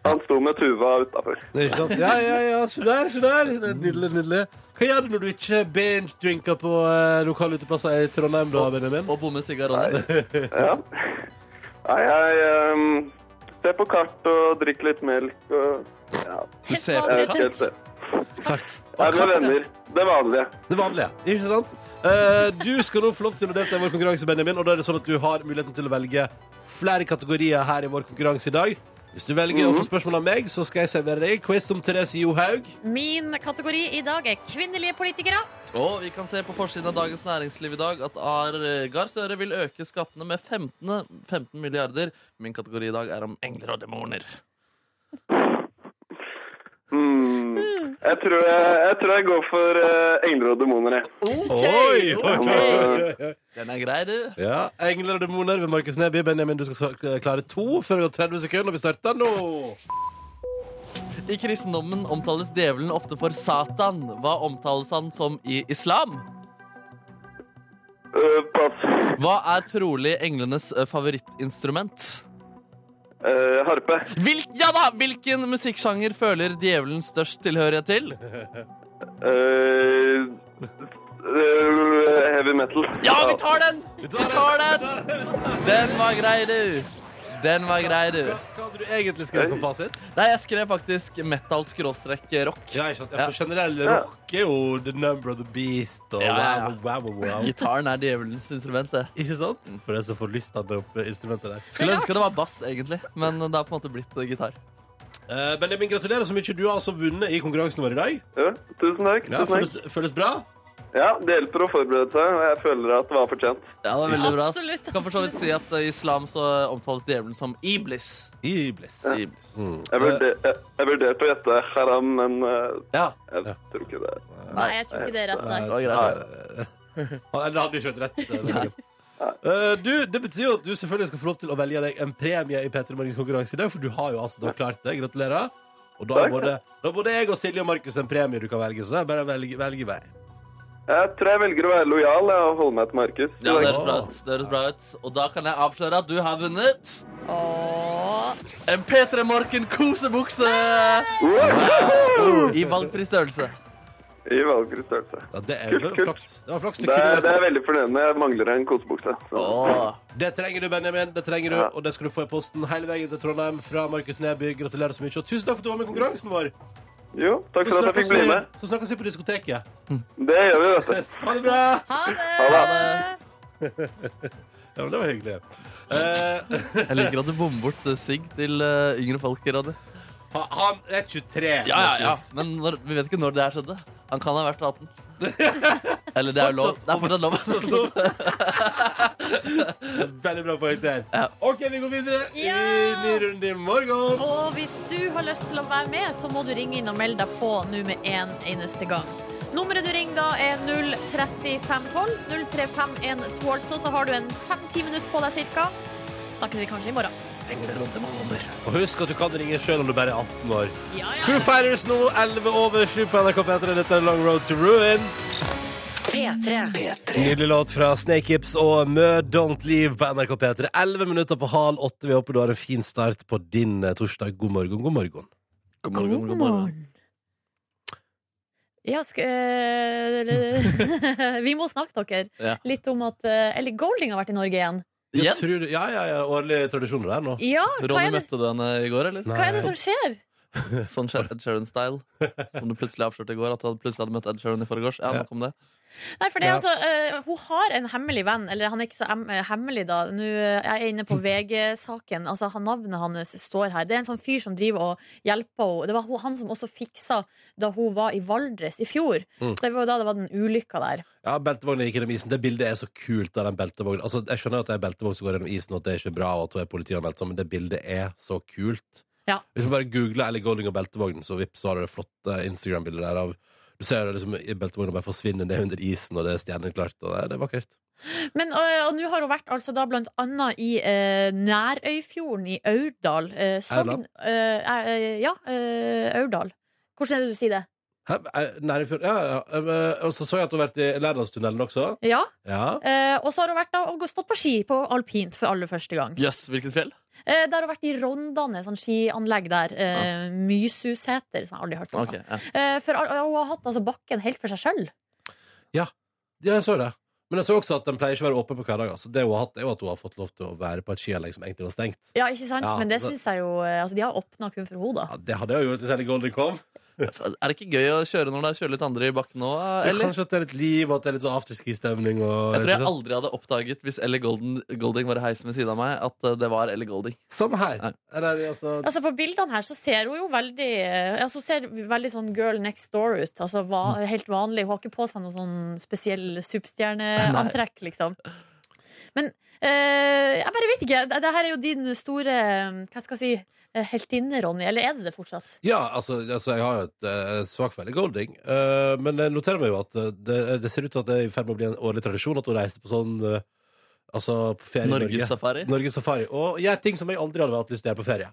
[SPEAKER 8] Han sto med tuva utafor.
[SPEAKER 5] Det er ikke sant? Ja, ja, ja, se der, se der. Det er Nydelig, nydelig. Hva gjør du når du ikke binge-drinker på eh, lokale uteplasser i Trondheim, da, Benjamin?
[SPEAKER 6] Og bomme sigarer.
[SPEAKER 8] Ja. Nei, jeg ehm, ser på kart og drikker litt melk og ja,
[SPEAKER 6] Du ser
[SPEAKER 8] jeg
[SPEAKER 6] på
[SPEAKER 8] vet ikke
[SPEAKER 6] katt.
[SPEAKER 8] helt det.
[SPEAKER 5] Kart.
[SPEAKER 8] Er med venner. Det vanlige.
[SPEAKER 5] Det vanlige, ikke sant? Eh, du skal nå få lov til å delta i vår konkurranse, Benjamin. Og da er det sånn at du har muligheten til å velge flere kategorier her i vår konkurranse i dag. Hvis du velger å få spørsmål av meg, så skal jeg servere deg quiz om Therese Johaug.
[SPEAKER 2] Min kategori i dag er kvinnelige politikere.
[SPEAKER 6] Og vi kan se på forsiden av Dagens Næringsliv i dag at Ar eh, Gahr Støre vil øke skattene med 15, 15 milliarder. Min kategori i dag er om engler og demoner.
[SPEAKER 8] Hmm. Jeg, tror jeg, jeg tror jeg går for eh, engler og demoner, jeg.
[SPEAKER 5] Oi, oi, oi, oi, oi.
[SPEAKER 6] Den er grei, du.
[SPEAKER 5] Ja, Engler og demoner ved Markus Neby. Benjamin, du skal klare to før det går 30 sekunder. Og vi starter nå.
[SPEAKER 6] I kristendommen omtales djevelen ofte for Satan. Hva omtales han som i islam?
[SPEAKER 8] Eh, pass.
[SPEAKER 6] Hva er trolig englenes eh, favorittinstrument?
[SPEAKER 8] Eh, harpe.
[SPEAKER 6] Hvilk, ja da! Hvilken musikksjanger føler djevelen størst tilhørighet til?
[SPEAKER 8] Eh, eh, heavy metal.
[SPEAKER 6] Ja, vi tar den! Vi tar den! Den var grei, du. Den var grei, du.
[SPEAKER 5] Hva hadde du egentlig skrevet som fasit?
[SPEAKER 6] Nei, jeg skrev faktisk metal-rock.
[SPEAKER 5] Ja, ikke sant? Ja, for generell rock er jo the number of the beast. Og
[SPEAKER 6] Ja, ja, ja.
[SPEAKER 5] wow, wow, wow, wow.
[SPEAKER 6] Gitaren er djevelens instrument, det.
[SPEAKER 5] Ikke sant? For det er så forlystende opp instrumentet der.
[SPEAKER 6] Skulle ønske det var bass, egentlig, men det har på en måte blitt eh, gitar.
[SPEAKER 5] Eh, Benjamin, gratulerer så mye. Du har altså vunnet i konkurransen vår i dag.
[SPEAKER 8] Ja, tusen
[SPEAKER 5] Ja,
[SPEAKER 8] takk. tusen takk.
[SPEAKER 5] føles, føles bra?
[SPEAKER 8] Ja, Det hjelper å forberede seg, og jeg føler at det var fortjent.
[SPEAKER 6] Ja, det var veldig bra. ass.
[SPEAKER 2] Absolutt,
[SPEAKER 6] Kan for så vidt si at eh, i islam så omtales djevelen som iblis.
[SPEAKER 5] Iblis.
[SPEAKER 6] Iblis.
[SPEAKER 8] Mm.
[SPEAKER 5] Eh.
[SPEAKER 8] Jeg vurder- jeg- jeg vurderte å gjette haram, men eh,
[SPEAKER 6] Ja,
[SPEAKER 8] jeg tror ikke det.
[SPEAKER 2] Nei, jeg tror ikke det er rett. Nei.
[SPEAKER 6] det var greit.
[SPEAKER 5] Eh, Eller det hadde jo ikke vært rett. eh, Eh, du, det betyr jo at du selvfølgelig skal få lov til å velge deg en premie i P3 Morgens konkurranse i dag, for du har jo altså da klart det. Gratulerer. Og da er
[SPEAKER 8] Takk.
[SPEAKER 5] både, da er både jeg og Silje og Markus en premie du kan velge, så det er bare å velge, velge vei.
[SPEAKER 8] Jeg tror jeg velger å være lojal jeg, og holde meg til Markus.
[SPEAKER 6] Ja, det høres bra ut. Det høres bra ut. Og da kan jeg avsløre at du har vunnet en P3 Morken kosebukse! Wow! I valgfri størrelse.
[SPEAKER 8] I valgfri størrelse.
[SPEAKER 5] Ja, det er jo
[SPEAKER 8] Kult, kult.
[SPEAKER 5] flaks. Det var flaks du
[SPEAKER 8] Det er,
[SPEAKER 5] kunne
[SPEAKER 8] det er
[SPEAKER 5] vært
[SPEAKER 8] veldig fornøyende. Jeg mangler en kosebukse. Så.
[SPEAKER 5] Det trenger du, Benjamin. Det trenger du, og det skal du få i posten hele veien til Trondheim fra Markus Neby. Gratulerer så mye, og tusen takk for at du var med i konkurransen vår.
[SPEAKER 8] Jo, takk
[SPEAKER 5] Så
[SPEAKER 8] for at jeg
[SPEAKER 5] snakkes
[SPEAKER 8] fikk bli
[SPEAKER 5] vi-
[SPEAKER 8] med.
[SPEAKER 5] Så snakkes vi på diskoteket.
[SPEAKER 8] Det gjør vi, vet du.
[SPEAKER 5] Ha det bra!
[SPEAKER 8] Ha det.
[SPEAKER 5] Ja, men det var hyggelig. Eh,
[SPEAKER 6] Jeg liker at du bommer bort eh, sigg til eh, yngre folk i radio.
[SPEAKER 5] ha- han er 23. Markus.
[SPEAKER 6] Men når, vi vet ikke når det her skjedde. Han kan ha vært 18. Eller det er jo lov. Det er fortsatt lov.
[SPEAKER 5] Veldig bra poeng der.
[SPEAKER 6] Ja.
[SPEAKER 5] OK, vi går videre i ny runde i morgen.
[SPEAKER 2] Og hvis du har lyst til å være med, så må du ringe inn og melde deg på nå med en eneste gang. Nummeret du ringer da er 03512. 03512, altså. Så har du en fem-ti minutter på deg cirka. Snakkes vi kanskje i morgen.
[SPEAKER 5] Og husk at du kan ringe sjøl om du bare er 18 år.
[SPEAKER 2] Ja, ja.
[SPEAKER 5] Foo Fighters nå, 11 over 7 på NRK P3. Dette er Long Road to Ruin.
[SPEAKER 1] P3.
[SPEAKER 5] Nydelig låt fra Snake Hips og Mø Don't Leave på NRK P3. 11 minutter på hal 8. Vi håper du har en fin start på din eh, torsdag. God morgen, god morgen.
[SPEAKER 6] God
[SPEAKER 2] Ja, sk øh, vi må snakke, dere.
[SPEAKER 6] Ja.
[SPEAKER 2] Litt om at øh, Ellie Golding har vært i Norge igjen.
[SPEAKER 5] Jeg
[SPEAKER 6] Igjen?
[SPEAKER 5] tror, ja, ja, ja, årlige tradisjoner der nå.
[SPEAKER 2] Ja, hva
[SPEAKER 6] Ronny,
[SPEAKER 2] er det,
[SPEAKER 6] møtte du henne i går, eller?
[SPEAKER 2] hva er det som skjer?
[SPEAKER 6] Sånn Ed Sheeran-style. Som du plutselig avslørte i går. At du hadde plutselig hadde møtt Ed Sheeran i forgårs. Ja,
[SPEAKER 5] Ja.
[SPEAKER 6] nok om det.
[SPEAKER 2] Nei, for det er
[SPEAKER 5] Ja.
[SPEAKER 2] altså, øh, Hun har en hemmelig venn, eller han er ikke så hem hemmelig, da. Nå øh, jeg er jeg inne på VG-saken. Altså, han- Navnet hans står her. Det er en sånn fyr som driver og hjelper henne. Det var hun- han som også fiksa da hun var i Valdres i fjor.
[SPEAKER 5] Mm.
[SPEAKER 2] Det var jo da det var den ulykka der.
[SPEAKER 5] Ja, beltevogna gikk gjennom isen. Det bildet er så kult. av den beltevognen. Altså, jeg skjønner at det er beltevogn som går gjennom isen, og at det er ikke bra, og at hun er politianmeldt, men det bildet er så kult.
[SPEAKER 2] Ja.
[SPEAKER 5] Hvis man bare googler Ellie Golding og beltevognen, så vips, så har du det flotte Instagram-bildet der av du ser det liksom i beltevogna bare forsvinner ned under isen, og det er stjerneklart. og Det det er vakkert.
[SPEAKER 2] Men, og, og nå har hun vært altså da blant annet i eh, Nærøyfjorden i Aurdal. Eh, Sogn
[SPEAKER 5] Aurdal?
[SPEAKER 2] eh, er- eh, Ja, eh, Aurdal. Hvordan er det du sier det?
[SPEAKER 5] Hæ? Eh, Nære fjord Ja, ja. Eh, Og så så jeg at hun har vært i Lærdalstunnelen også.
[SPEAKER 2] Ja.
[SPEAKER 5] Ja.
[SPEAKER 2] Eh, og så har hun vært da, og stått på ski på alpint for aller første gang.
[SPEAKER 6] Jøss, hvilket fjell?
[SPEAKER 2] Eh, det har vært i Rondane, sånn skianlegg der. Eh, Mysusæter, som jeg aldri har hørt om.
[SPEAKER 6] Ok, ja.
[SPEAKER 2] Eh, for al- hun har hatt altså bakken helt for seg sjøl.
[SPEAKER 5] Ja, jeg så det. Men jeg så også at den pleier ikke å være åpen på hverdager. Så det hun har hatt, er jo at hun har fått lov til å være på et skianlegg som egentlig var stengt.
[SPEAKER 2] Ja, ikke sant?
[SPEAKER 5] Ja,
[SPEAKER 2] Men det
[SPEAKER 5] så-
[SPEAKER 2] syns jeg jo eh, Altså, de har åpna kun for henne, da.
[SPEAKER 5] Ja, Det hadde jeg jo gjort hvis Henny Golden kom.
[SPEAKER 6] Er det ikke gøy å kjøre når det er kjølig litt andre i bakken nå? Eller?
[SPEAKER 5] Kanskje at det er litt liv, og at det er litt sånn afterski-stemning. og- sånn.
[SPEAKER 6] Jeg tror jeg aldri hadde oppdaget, hvis Ellie Golden, Golding var i heisen ved siden av meg, at eh, det var Ellie Golding.
[SPEAKER 5] Samme her.
[SPEAKER 6] Nei.
[SPEAKER 5] Eller, altså,
[SPEAKER 2] Altså På bildene her så ser hun jo veldig eh, Altså hun ser veldig sånn girl next door ut. Altså va Helt vanlig. Hun har ikke på seg noe sånn spesiell superstjerneantrekk, liksom. Men eh, jeg bare vet ikke. Det, det her er jo din store eh, Hva skal jeg si eh, heltinne, Ronny. Eller er det det fortsatt?
[SPEAKER 5] Ja, altså, altså jeg har jo et uh, svak for Ellie Golding. eh, men jeg noterer meg jo at eh, det, det ser ut til at det er i ferd med å bli en årlig tradisjon at hun reiser på sånn eh, Altså på ferie i Norge.
[SPEAKER 6] Norgessafari.
[SPEAKER 5] Norgessafari. Og gjør ting som jeg aldri hadde hatt lyst til å gjøre på ferie.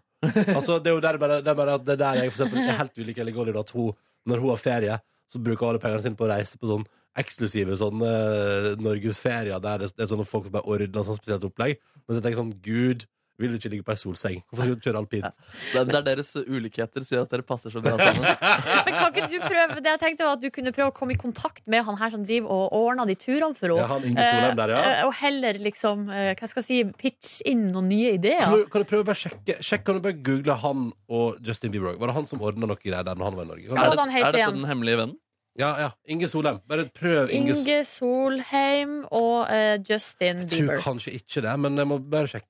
[SPEAKER 5] Altså Det er jo der bare, det er bare at det er der jeg for eksempel er helt ulik Ellie Golding. At hun, når hun har ferie, så bruker hun alle pengene sine på å reise på sånn eksklusive sånne eh, norgesferier der det, det er sånne folk som bare ordner sånn spesielt opplegg. Men så tenker jeg sånn Gud, vil du ikke ligge på ei solseng? Hvorfor skal du kjøre alpint?
[SPEAKER 6] Det er, det er deres ulikheter som gjør at dere passer så bra sammen.
[SPEAKER 2] Men kan ikke du prøve Det jeg tenkte var at du kunne prøve å komme i kontakt med han her som driver og ordner de turene for
[SPEAKER 5] Ja,
[SPEAKER 2] henne.
[SPEAKER 5] han Inge Solheim der, ja.
[SPEAKER 2] Eh, eh, og heller liksom eh, Hva skal jeg si pitche inn noen nye ideer.
[SPEAKER 5] Kan du, kan du prøve å bare sjekke Sjekk, kan du bare google han og Justin Bieber? Var det han som ordna noe greier der når han var i Norge? Kan
[SPEAKER 2] Ja,
[SPEAKER 6] Er,
[SPEAKER 2] da
[SPEAKER 5] du-
[SPEAKER 2] han
[SPEAKER 6] det,
[SPEAKER 2] helt
[SPEAKER 6] er dette
[SPEAKER 2] igjen.
[SPEAKER 6] den hemmelige vennen?
[SPEAKER 5] Ja, ja. Inge Solheim. Bare prøv Inge, Solheim.
[SPEAKER 2] Inge Solheim og eh, Justin
[SPEAKER 5] Jeg tror
[SPEAKER 2] Bieber.
[SPEAKER 5] kanskje ikke det, men jeg må bare sjekke.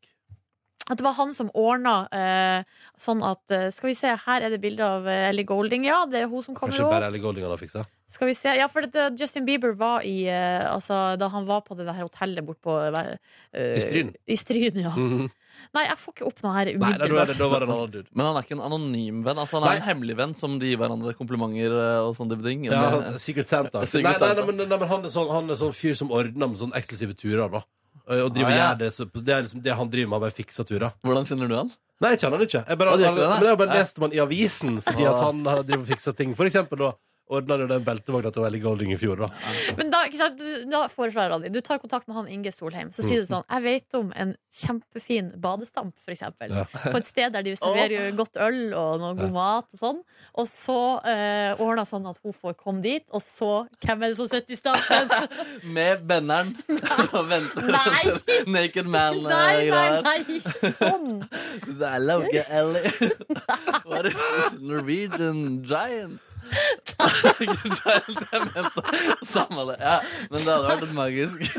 [SPEAKER 2] At det var han som ordna eh, sånn at eh, Skal vi se, her er det bilde av eh, Ellie Golding. Ja, det er hun som kommer
[SPEAKER 5] Kanskje
[SPEAKER 2] òg.
[SPEAKER 5] bare Ellie Golding han har fiksa.
[SPEAKER 2] Skal vi se. Ja, for det, Justin Bieber var i eh, Altså, da han var på det der hotellet bortpå
[SPEAKER 5] I Stryn.
[SPEAKER 2] I Stryn, ja.
[SPEAKER 5] Mhm.
[SPEAKER 2] Nei, jeg får ikke opp noe her
[SPEAKER 5] Nei, da, da,
[SPEAKER 2] umiddelbart.
[SPEAKER 5] da var det en annen dude.
[SPEAKER 6] Men han er ikke en anonym venn. Altså, han er
[SPEAKER 5] Nei.
[SPEAKER 6] en hemmelig venn som de gir hverandre komplimenter eh, og sånn type ting.
[SPEAKER 5] Ja, Secret Santa. Nei,
[SPEAKER 6] Secret
[SPEAKER 5] nei, nei,
[SPEAKER 6] Santa.
[SPEAKER 5] men, nei, men han er sånn, han er sånn fyr som ordner med sånne eksklusive turer, da. Eh, Og
[SPEAKER 6] Ah,
[SPEAKER 5] driver
[SPEAKER 6] ja.
[SPEAKER 5] og gjør det, så det er liksom det han driver med, han bare fikser turer.
[SPEAKER 6] Hvordan kjenner du han?
[SPEAKER 5] Nei, jeg kjenner han ikke. Jeg bare,
[SPEAKER 6] Å, du gjør ikke det, nei?
[SPEAKER 5] men jeg har bare
[SPEAKER 6] Nei.
[SPEAKER 5] lest om han i avisen fordi at han har driver og fikser ting. For eksempel da ordna han jo den beltevogna til Ellie Golding i fjor, da.
[SPEAKER 2] Men da, ikke sant, du- da foreslår jeg, Ronny, du tar kontakt med han Inge Solheim. Så sier du sånn Jeg vet om en kjempefin badestamp, for eksempel.
[SPEAKER 5] Ja.
[SPEAKER 2] På et sted der de serverer jo godt øl og noe god mat og sånn. Og så eh, ordner sånn at hun får komme dit, og så Hvem er det som sitter i stampen?
[SPEAKER 6] Med benneren og venter
[SPEAKER 2] Nei!
[SPEAKER 6] Naked eh,
[SPEAKER 2] Nei, nei,
[SPEAKER 6] man-greier.
[SPEAKER 2] nei, ikke sånn!
[SPEAKER 6] Det er Lauke Ellie. What is this Norwegian giant? giant, jeg mente samme det. Ja, men det hadde vært et magisk.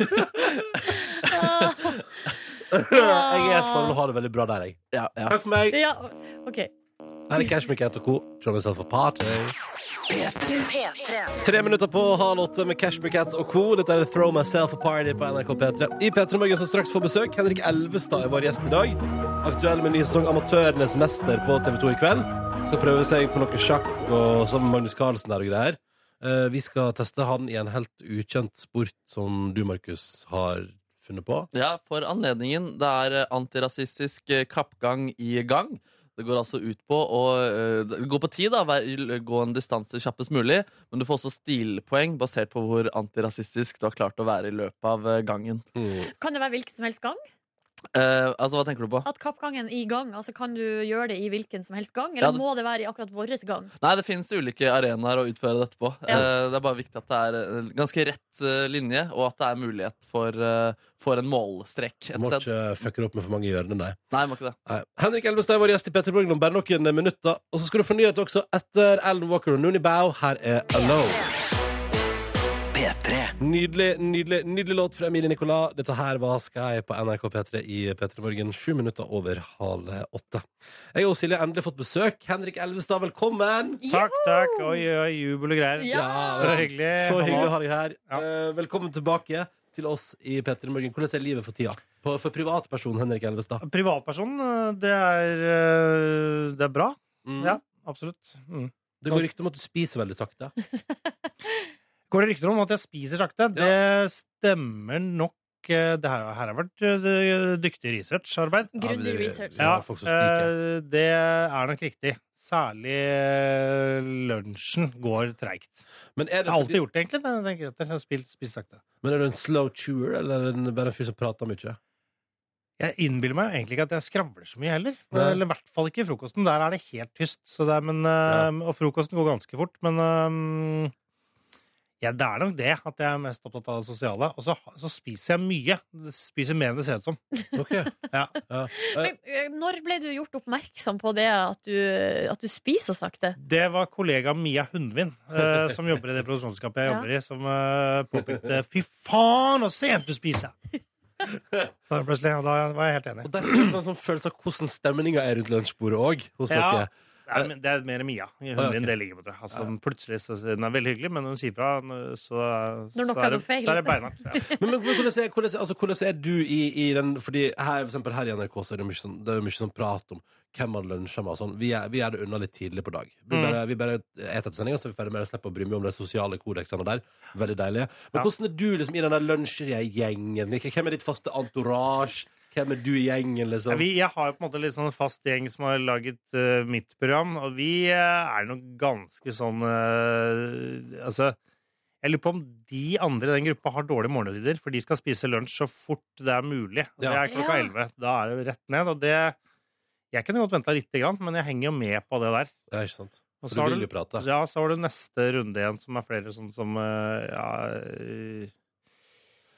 [SPEAKER 5] Jeg er i hvert fall har det veldig bra der, jeg.
[SPEAKER 6] Ja, ja.
[SPEAKER 5] Takk for meg.
[SPEAKER 2] Ja, OK.
[SPEAKER 5] Her er Cash Miquette og co. Drum yourself a party. Tre minutter på halv åtte med Cash Miquette og co. Dette er Throw Myself a Party på NRK P3. I P3 Morgen som straks får besøk, Henrik Elvestad er vår gjest i dag. Aktuell med ny sesong Amatørenes mester på TV2 i kveld. Skal prøve seg på noe sjakk og sammen med Magnus Carlsen der og greier. Eh, Vi skal teste han i en helt ukjent sport som du, Markus, har funnet på.
[SPEAKER 6] Ja, for anledningen. Det er eh, antirasistisk eh, kappgang i gang. Det går altså ut på å eh, det går på tid, da. hver- Gå en distanse kjappest mulig. Men du får også stilpoeng basert på hvor antirasistisk du har klart å være i løpet av eh, gangen.
[SPEAKER 2] Kan det være hvilken som helst gang?
[SPEAKER 6] Eh, altså, hva tenker du på?
[SPEAKER 2] At kappgangen i gang? Altså Kan du gjøre det i hvilken som helst gang?
[SPEAKER 6] Ja,
[SPEAKER 2] Eller
[SPEAKER 6] det-
[SPEAKER 2] må det være i akkurat vår gang?
[SPEAKER 6] Nei, det finnes ulike arenaer å utføre dette på.
[SPEAKER 2] Ja.
[SPEAKER 6] Eh, Det er bare viktig at det er eh, ganske rett eh, linje, og at det er mulighet for, eh, for en målstrek. Et
[SPEAKER 5] Må
[SPEAKER 6] sted.
[SPEAKER 5] ikke fucke det opp med for mange hjørner, nei.
[SPEAKER 6] Nei, må ikke det.
[SPEAKER 5] Nei. Eh, Henrik Elvestad er vår gjest i Petter Borgen om bare noen minutter. Og så skal du få nyhet også etter Alan Walker og Nooni Bao. Her er Alone. Nydelig, nydelig nydelig låt fra Emilie Nicolas. Dette her var Sky på NRK P3 i P3 Morgen. Sju minutter over halv åtte. Jeg og Silje har endelig fått besøk. Henrik Elvestad, velkommen!
[SPEAKER 9] Takk, takk. Oi, oi, jubel og greier.
[SPEAKER 2] Ja!
[SPEAKER 9] Så hyggelig.
[SPEAKER 5] Så hyggelig å
[SPEAKER 9] mamma.
[SPEAKER 5] ha deg her.
[SPEAKER 9] Ja.
[SPEAKER 5] Eh, Velkommen tilbake til oss i P3 Morgen. Hvordan er livet for tida? På- For privatpersonen Henrik Elvestad.
[SPEAKER 9] Privatperson, det er, eh, det er bra.
[SPEAKER 5] Mm.
[SPEAKER 9] Ja, absolutt. Mm.
[SPEAKER 5] Det går rykter om at du spiser veldig sakte.
[SPEAKER 9] Går det rykter om at jeg spiser sakte? Det stemmer nok. eh, Det her, her har vært eh, dyktig researcharbeid.
[SPEAKER 2] Grundig
[SPEAKER 5] Ja, men-
[SPEAKER 2] research.
[SPEAKER 5] Ja, folk som stikker.
[SPEAKER 9] eh, det er nok riktig. Særlig eh, lunsjen går treigt.
[SPEAKER 5] Men er
[SPEAKER 9] Jeg
[SPEAKER 5] det fordi-
[SPEAKER 9] har alltid gjort det, egentlig. men Jeg tenker at jeg har spilt, spist sakte.
[SPEAKER 5] Men er du en slow chewer, eller er du bare en fyr som prater mye?
[SPEAKER 9] Jeg innbiller meg jo egentlig ikke at jeg skravler så mye heller.
[SPEAKER 5] Nei.
[SPEAKER 9] Eller i hvert fall ikke i frokosten. Der er det helt tyst. Så det er, men, eh, Og frokosten går ganske fort, men eh, ja, det er nok det at jeg er mest opptatt av det sosiale. Og så, så spiser jeg mye. Spiser mer enn det ser ut som.
[SPEAKER 5] Ok.
[SPEAKER 9] Ja.
[SPEAKER 3] Men, eh, når ble du gjort oppmerksom på det at du, at du spiser så sakte?
[SPEAKER 9] Det var kollega Mia Hundvin, eh, som jobber i det produksjonsskapet jeg
[SPEAKER 3] Ja.
[SPEAKER 9] jobber i, som eh, påpekte 'fy faen, så sent du spiser'. Så plutselig, og da var jeg helt enig.
[SPEAKER 5] Og derfor er det sånn, sånn følelse av hvordan stemninga er rundt lunsjbordet òg, hos
[SPEAKER 9] Ja.
[SPEAKER 5] dere.
[SPEAKER 9] Nei, men det er mer Mia. Hun
[SPEAKER 5] Å, ja, ok.
[SPEAKER 9] det ligger på det. Altså,
[SPEAKER 5] Ja.
[SPEAKER 9] Plutselig så, Hun er veldig hyggelig, men når hun sier fra, så, så,
[SPEAKER 3] Når noe
[SPEAKER 9] er,
[SPEAKER 3] er
[SPEAKER 9] det,
[SPEAKER 3] noe feil.
[SPEAKER 9] så er det beinhardt. Ja.
[SPEAKER 5] Men, men hvordan, er, hvordan, er, altså, hvordan er du i, i den Fordi her, for eksempel, her i NRK så er det mye sånn, det er mye sånn prat om hvem man lunsjer med. og Sånn. Vi, er, vi er det unna litt tidlig på dag. Vi
[SPEAKER 9] Mm.
[SPEAKER 5] bare, vi bare et etter sendinga, så er vi ferdig med å slippe å bry meg om de sosiale kodeksene der. Veldig deilig. Men
[SPEAKER 9] Ja.
[SPEAKER 5] hvordan er du liksom, i den der lunsjgjengen? Like, Hvem er ditt faste entourage? Hvem er du i gjengen, liksom?
[SPEAKER 9] Vi, jeg har jo på en måte litt sånn fast gjeng som har laget eh, mitt program, og vi eh, er nok ganske sånn eh, Altså jeg lurer på om de andre i den gruppa har dårlige morgenrutiner, for de skal spise lunsj så fort det er mulig. Det
[SPEAKER 5] Ja.
[SPEAKER 9] er
[SPEAKER 3] Ja.
[SPEAKER 9] klokka elleve. Da er det rett ned. Og det Jeg kunne godt venta lite grann, men jeg henger jo med på det der.
[SPEAKER 5] Ja, ikke sant?
[SPEAKER 9] Og
[SPEAKER 5] For
[SPEAKER 9] så har
[SPEAKER 5] du
[SPEAKER 9] du-
[SPEAKER 5] vil jo prate.
[SPEAKER 9] Ja, så har du neste runde igjen, som er flere sånn som eh, ja, eh,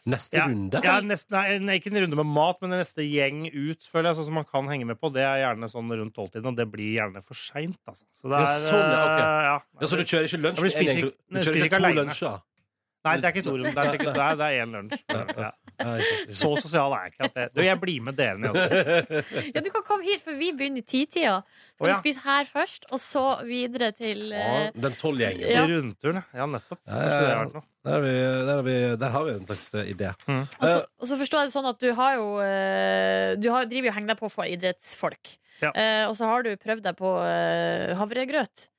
[SPEAKER 5] Neste
[SPEAKER 9] ja,
[SPEAKER 5] runde? altså.
[SPEAKER 9] ja neste, nei, nei, ikke en runde med mat, men en neste gjeng ut, føler jeg, sånn som man kan henge med på. Det er gjerne sånn rundt tolvtiden, og det blir gjerne for seint, altså. Så det
[SPEAKER 5] Ja,
[SPEAKER 9] er
[SPEAKER 5] sånn, ja, ok.
[SPEAKER 9] eh, ja.
[SPEAKER 5] Ja, så du kjører ikke lunsj
[SPEAKER 9] Ja, men
[SPEAKER 5] med en
[SPEAKER 9] spiser
[SPEAKER 5] gjeng?
[SPEAKER 9] ikke-
[SPEAKER 5] Du
[SPEAKER 9] spiser
[SPEAKER 5] kjører
[SPEAKER 9] ikke
[SPEAKER 5] ikke to
[SPEAKER 9] alene.
[SPEAKER 5] lunsjer?
[SPEAKER 9] Nei, det er ikke to runder. Det er ikke- det er- det er én lunsj. Ja.
[SPEAKER 5] Ja, ikke sant, ikke sant.
[SPEAKER 9] Så sosial er jeg ikke at det Du, jeg blir med dere ned også.
[SPEAKER 3] Ja, du kan komme hit, for vi begynner i titida. Skal
[SPEAKER 9] Å,
[SPEAKER 3] du
[SPEAKER 9] ja.
[SPEAKER 3] spise her først, og så videre til eh,
[SPEAKER 5] Ja, Den tolvgjengen.
[SPEAKER 3] Ja.
[SPEAKER 9] Rundturen, ja. Nettopp.
[SPEAKER 5] Ja, ja,
[SPEAKER 9] Kanskje det har
[SPEAKER 5] ja.
[SPEAKER 9] vært noe.
[SPEAKER 5] Der, har vi, der, har vi, der har vi en slags eh, idé.
[SPEAKER 9] Mm.
[SPEAKER 3] og,
[SPEAKER 2] Altså,
[SPEAKER 3] så, og så forstår jeg det sånn at du har jo eh, Du har, driver jo og henger deg på for idrettsfolk.
[SPEAKER 9] Ja.
[SPEAKER 3] Eh, og så har du prøvd deg på eh, havregrøt.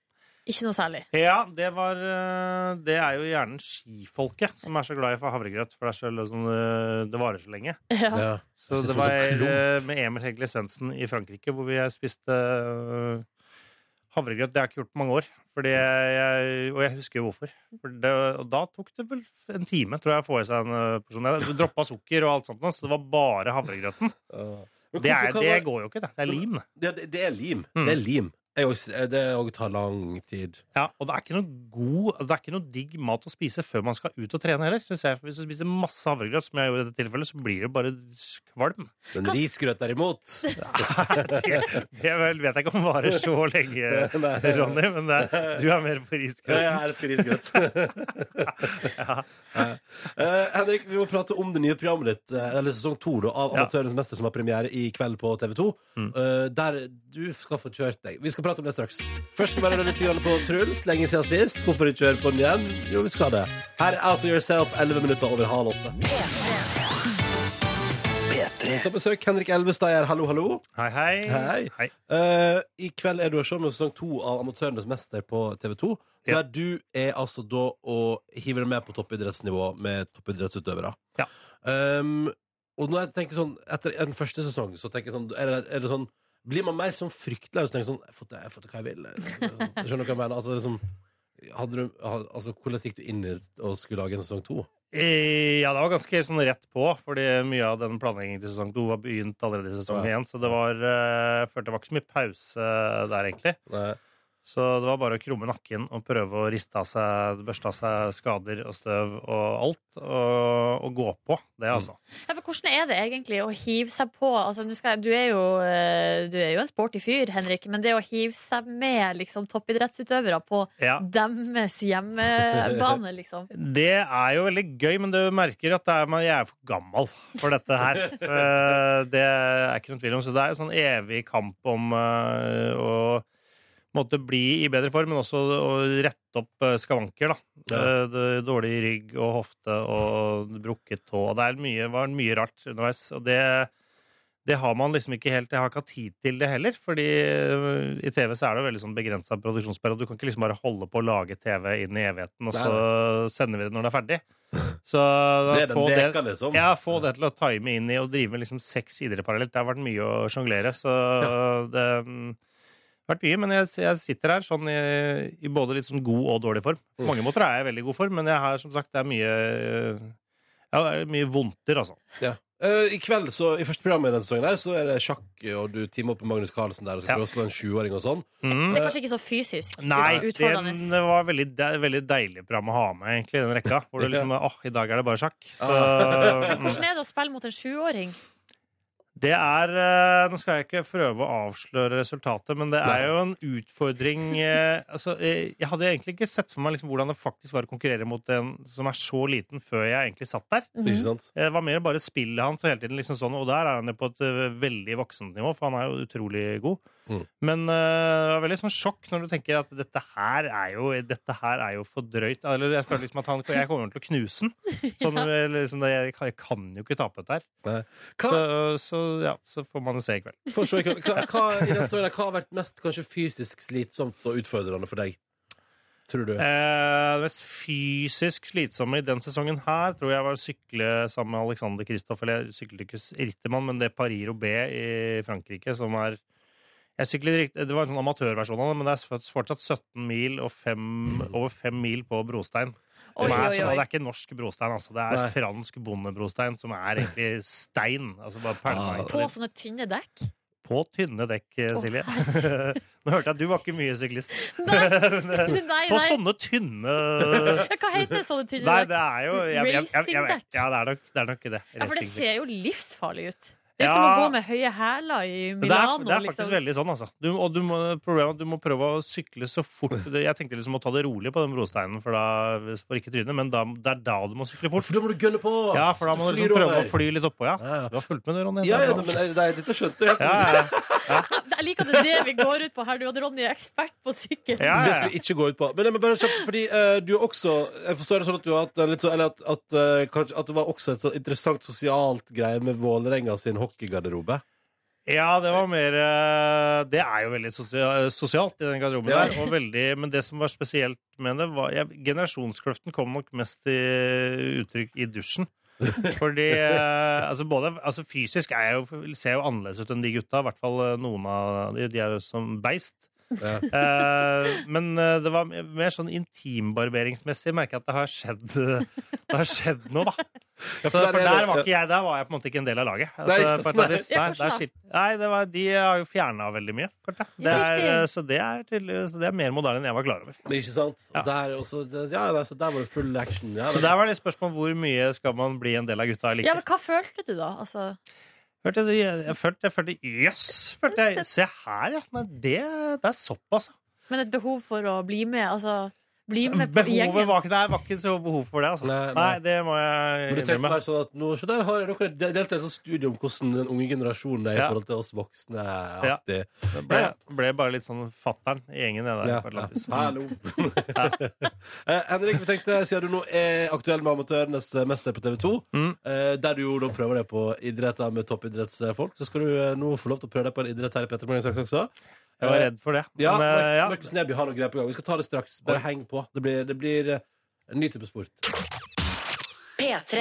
[SPEAKER 3] Ikke noe særlig.
[SPEAKER 9] Ja, det var eh, Det er jo gjerne skifolket som er så glad i havregrøt, for det, er så, liksom, eh, det varer så lenge.
[SPEAKER 5] Ja.
[SPEAKER 3] Ja.
[SPEAKER 9] Så
[SPEAKER 5] Det
[SPEAKER 9] det
[SPEAKER 5] ser
[SPEAKER 9] var
[SPEAKER 5] ut som en
[SPEAKER 9] eh, med Emil Hegle Svendsen i Frankrike, hvor vi spiste eh, havregrøt. Det har jeg ikke gjort på mange år, fordi jeg, og jeg husker jo hvorfor. For det, og da tok det vel en time, tror jeg, å få i seg en eh, porsjon. Jeg droppa sukker og alt sånt, nå, så det var bare havregrøten.
[SPEAKER 5] Men
[SPEAKER 9] Det,
[SPEAKER 5] hvorfor
[SPEAKER 9] er,
[SPEAKER 5] kan
[SPEAKER 9] det
[SPEAKER 5] man-
[SPEAKER 9] går jo ikke, det. Det er lim.
[SPEAKER 5] Ja, det, det er lim.
[SPEAKER 9] Mm.
[SPEAKER 5] Det er lim. Jeg også, eh, det også tar lang tid.
[SPEAKER 9] Ja, og det er ikke noe god, det er ikke noe digg mat å spise før man skal ut og trene heller. Synes jeg, For hvis du spiser masse havregrøt, som jeg gjorde i dette tilfellet, så blir det bare kvalm.
[SPEAKER 5] Men risgrøt derimot
[SPEAKER 9] Det, det vel vet jeg ikke om varer så lenge, Ronny, men det, du er mer på
[SPEAKER 5] Ja,
[SPEAKER 9] risgrøt.
[SPEAKER 5] Jeg elsker risgrøt. Eh, Henrik, vi må prate om det nye programmet ditt, eh, eller sesong to da, av
[SPEAKER 9] Ja.
[SPEAKER 5] Amatørens mester, som har premiere i kveld på TV 2. Eh, der du skal få kjørt deg. Vi skal prate om det straks. Først skal vi bare høre litt grann på Truls. Lenge siden sist. Hvorfor ikke høre på den igjen? Jo, vi skal det. Her er Out of Yourself, 11 minutter over halv åtte. Vi skal besøke Henrik Elvestad her. Hallo, hallo.
[SPEAKER 9] Hei, hei.
[SPEAKER 5] Hei.
[SPEAKER 9] Hei.
[SPEAKER 5] Eh, I kveld er du å se med sesong to av Amatørenes mester på TV 2.
[SPEAKER 9] Ja.
[SPEAKER 5] Der du er altså da og hiver deg med på toppidrettsnivå med toppidrettsutøvere.
[SPEAKER 9] Ja.
[SPEAKER 5] Um, og når jeg tenker sånn etter den første sesongen, så tenker jeg sånn Er det, er det sånn blir man mer sånn fryktløs og tenker sånn Jeg har fått det, jeg har fått det hva jeg vil. Skjønner du hva jeg mener? Altså, liksom, hadde du, ha- altså, hvordan gikk du inn i det og skulle lage en sesong to?
[SPEAKER 9] Eh, Ja, det var ganske sånn rett på, fordi mye av den planleggingen til sesong to var begynt allerede i sesong
[SPEAKER 5] Ja.
[SPEAKER 9] én, så det var eh, Jeg følte det var ikke så mye pause der, egentlig.
[SPEAKER 5] Nei.
[SPEAKER 9] Så det var bare å krumme nakken og prøve å riste av seg, børste av seg skader og støv og alt, og, og gå på det, altså.
[SPEAKER 3] Ja, for hvordan er det egentlig å hive seg på altså, nå skal jeg, du, er jo, eh, du er jo en sporty fyr, Henrik, men det å hive seg med liksom, toppidrettsutøvere på
[SPEAKER 9] Ja.
[SPEAKER 3] deres hjemmebane, liksom.
[SPEAKER 9] Det er jo veldig gøy, men du merker at det er, man- jeg er for gammel for dette her. Eh, Det er ikke noen tvil om. Så det er en sånn evig kamp om eh, å måtte bli i bedre form, men også å rette opp eh, skavanker. da.
[SPEAKER 5] Ja.
[SPEAKER 9] Eh, det- Dårlig rygg og hofte og brukket tå. og Det er mye, var mye rart underveis. og det... Det har man liksom ikke helt, jeg har ikke hatt tid til det heller, fordi eh, i TV så er det jo veldig sånn begrensa produksjonsperiode. Du kan ikke liksom bare holde på å lage TV inn i evigheten, og
[SPEAKER 5] Nei,
[SPEAKER 9] så sender vi det når det er ferdig. Så
[SPEAKER 5] Det er
[SPEAKER 9] få
[SPEAKER 5] den
[SPEAKER 9] det,
[SPEAKER 5] leka, liksom.
[SPEAKER 9] ja, få det til å time inn i og drive med liksom seks idretter parallelt. Det har vært mye å sjonglere, så det mm, har vært mye. Men jeg, jeg sitter her sånn i, i både litt sånn god og dårlig form. På mange måter er jeg i veldig god form, men jeg har som sagt det er mye, ja, det er mye vondter, altså.
[SPEAKER 5] Eh, I kveld, så, i første program i denne sesongen her, så er det sjakk, og du teamer opp med Magnus Carlsen der, og så
[SPEAKER 9] Ja.
[SPEAKER 5] skal du også være en 20-åring og sånn.
[SPEAKER 9] Mm.
[SPEAKER 2] Det er kanskje ikke så fysisk
[SPEAKER 9] Nei, det,
[SPEAKER 2] utfordrende.
[SPEAKER 9] det var veldig, det er et veldig deilig program å ha med, egentlig, i den rekka. Hvor du liksom åh, i dag er det bare sjakk. Så, mm.
[SPEAKER 5] Ah.
[SPEAKER 2] Hvordan er det å spille mot en sjuåring?
[SPEAKER 9] Det er eh, Nå skal jeg ikke prøve å avsløre resultatet, men det er
[SPEAKER 5] Nei.
[SPEAKER 9] jo en utfordring eh, altså, eh, Jeg hadde egentlig ikke sett for meg liksom, hvordan det faktisk var å konkurrere mot en som er så liten, før jeg egentlig satt der. Eh,
[SPEAKER 5] Ikke sant?
[SPEAKER 9] Det var mer bare spillet hans og hele tiden liksom sånn, og der er han jo på et eh, veldig voksent nivå, for han er jo utrolig god.
[SPEAKER 5] Mm.
[SPEAKER 9] Men eh, det var veldig sånn sjokk når du tenker at dette her er jo, dette her er jo for drøyt. Eller jeg føler liksom at han, jeg kommer til å knuse den. Sånn, eh, liksom, det- jeg, kan- jeg kan jo ikke tape dette her.
[SPEAKER 5] Hva,
[SPEAKER 9] Så, så ja, så får man jo se i kveld.
[SPEAKER 5] for å se, hva, hva, hva, i denne sesongen her, hva har vært mest kanskje fysisk slitsomt og utfordrende for deg? Tror du?
[SPEAKER 9] Eh, det mest fysisk slitsomme i den sesongen her tror jeg var å sykle sammen med Alexander Kristoff. Eller jeg syklet ikke s- Rittermann, men det er Paris-Roubais i Frankrike som er jeg syklet, rikt- Det var en sånn amatørversjon av det, men det er s- fortsatt 17 mil og fem, over 5 mil på brostein.
[SPEAKER 2] Oi,
[SPEAKER 9] Som
[SPEAKER 2] oi,
[SPEAKER 9] er, sånn, det
[SPEAKER 2] oi.
[SPEAKER 9] er ikke norsk brostein, altså. Det er
[SPEAKER 5] Nei.
[SPEAKER 9] fransk bondebrostein, som er egentlig stein. Altså bare
[SPEAKER 5] Ah.
[SPEAKER 9] permanent.
[SPEAKER 2] På sånne tynne dekk?
[SPEAKER 9] På tynne dekk, eh,
[SPEAKER 2] Å,
[SPEAKER 9] Silje. Nå hørte jeg at du var ikke mye syklist.
[SPEAKER 2] Nei,
[SPEAKER 9] Men, eh,
[SPEAKER 2] nei, nei.
[SPEAKER 9] på sånne tynne
[SPEAKER 2] Ja, Hva heter sånne tynne
[SPEAKER 9] Nei,
[SPEAKER 2] dekk?
[SPEAKER 9] det er jo jeg, jeg, jeg, jeg, jeg,
[SPEAKER 2] Racingdekk.
[SPEAKER 9] Ja, det er nok det. Er nok
[SPEAKER 2] Ja,
[SPEAKER 9] det.
[SPEAKER 2] for det
[SPEAKER 9] Racingdekk.
[SPEAKER 2] ser jo livsfarlig ut. Det er
[SPEAKER 9] Ja.
[SPEAKER 2] som å gå med høye hæler i
[SPEAKER 9] Men det er,
[SPEAKER 2] Milano.
[SPEAKER 9] det er faktisk
[SPEAKER 2] liksom.
[SPEAKER 9] veldig sånn, altså. Du, og du må, problemet er at du må prøve å sykle så fort du- Jeg tenkte liksom å ta det rolig på den brosteinen, for, da, for ikke trynet, men da, det er da du må sykle fort.
[SPEAKER 5] For da må du gønne på!
[SPEAKER 9] Ja, for da må
[SPEAKER 5] flyr
[SPEAKER 9] du liksom prøve
[SPEAKER 5] over.
[SPEAKER 9] å fly litt oppå, ja.
[SPEAKER 5] Ja, ja.
[SPEAKER 9] Du har fulgt med, du, Ronny.
[SPEAKER 5] Ja, ja, men nei, nei, dette skjønte jeg.
[SPEAKER 9] ja, ja.
[SPEAKER 2] Jeg liker at det er det vi går ut på her. Du og Ronny er ekspert på sykkel.
[SPEAKER 9] ja,
[SPEAKER 5] Det
[SPEAKER 9] ja.
[SPEAKER 5] skal vi ikke gå ut på. Men, jeg må bare kjapt, fordi eh, du er også Jeg forstår det sånn at du har hatt en litt sånn Eller at, at, eh, kanskje, at det var også et sånn interessant sosialt greie med Vålerenga sin hockeygarderobe.
[SPEAKER 9] Ja, det var mer eh, Det er jo veldig sosia- eh, sosialt i den garderoben
[SPEAKER 5] Ja.
[SPEAKER 9] der. Og veldig, men det som var spesielt med det, var jeg, Generasjonskløften kom nok mest til uttrykk i dusjen. Fordi eh, altså både altså Fysisk er jeg jo, ser jeg jo annerledes ut enn de gutta. I hvert fall eh, noen av de. De er jo som beist.
[SPEAKER 5] Ja.
[SPEAKER 9] Eh, men eh, det var mer sånn intimbarberingsmessig. Merker jeg at det har skjedd Det har skjedd noe, da.
[SPEAKER 5] Ja,
[SPEAKER 9] Så, for
[SPEAKER 5] er
[SPEAKER 9] der
[SPEAKER 5] det-
[SPEAKER 9] var ikke jeg, der var jeg på en måte ikke en del av laget. Altså,
[SPEAKER 5] Nei, ikke sant.
[SPEAKER 9] på et eller annet vis.
[SPEAKER 2] Nei. Ja,
[SPEAKER 9] Nei,
[SPEAKER 2] hvordan
[SPEAKER 9] der
[SPEAKER 2] da?
[SPEAKER 9] skil- Nei, det var, de har jo fjerna veldig mye. følte jeg. Det
[SPEAKER 2] Ja,
[SPEAKER 9] er,
[SPEAKER 2] riktig.
[SPEAKER 9] eh, så det er, tydeligvis- det er mer moderne enn jeg var klar over.
[SPEAKER 5] Men Ikke sant?
[SPEAKER 9] Ja.
[SPEAKER 5] Og Der, også, ja, nei, så der var det full action. Ja,
[SPEAKER 9] Så der var det spørsmål hvor mye skal man bli en del av gutta eller
[SPEAKER 2] Ja,
[SPEAKER 9] ikke.
[SPEAKER 2] men hva følte du da? Altså,
[SPEAKER 9] Hørte jeg, jeg, jeg følte jeg følte, Jøss! Følte jeg, se her, ja. Nei, det, det er såpass. altså.
[SPEAKER 2] men et behov for å bli med? Altså, bli med på
[SPEAKER 9] Behovet
[SPEAKER 2] gjengen?
[SPEAKER 9] var ikke der. Var ikke så behov for det. Altså.
[SPEAKER 5] Nei,
[SPEAKER 9] Nei,
[SPEAKER 5] nei.
[SPEAKER 9] det må jeg
[SPEAKER 5] Men du tenker
[SPEAKER 9] innrømme.
[SPEAKER 5] bare sånn at nå, så der har dere delt et sånt studie om hvordan den unge generasjonen er i
[SPEAKER 9] Ja.
[SPEAKER 5] forhold til oss voksne.
[SPEAKER 9] Ja.
[SPEAKER 5] aktig.
[SPEAKER 9] Det ble, ble bare litt sånn fattern i gjengen. jeg Der,
[SPEAKER 5] Ja,
[SPEAKER 9] på et eller annet vis.
[SPEAKER 5] ja. Hallo. Eh, Henrik, vi tenkte, siden du nå er aktuell med Amatørenes mester på TV 2,
[SPEAKER 9] Mm.
[SPEAKER 5] der du jo da prøver deg på idretter med toppidrettsfolk, så skal du eh, nå få lov til å prøve deg på en idrett her i Petter Morgens Saks også.
[SPEAKER 9] Jeg var redd for det.
[SPEAKER 5] Ja,
[SPEAKER 9] Men, eh, ja.
[SPEAKER 5] Markus Neby har noe greier på gang. Vi skal ta det straks. Bare heng på. Det blir, det blir eh, en ny type sport.
[SPEAKER 1] P3.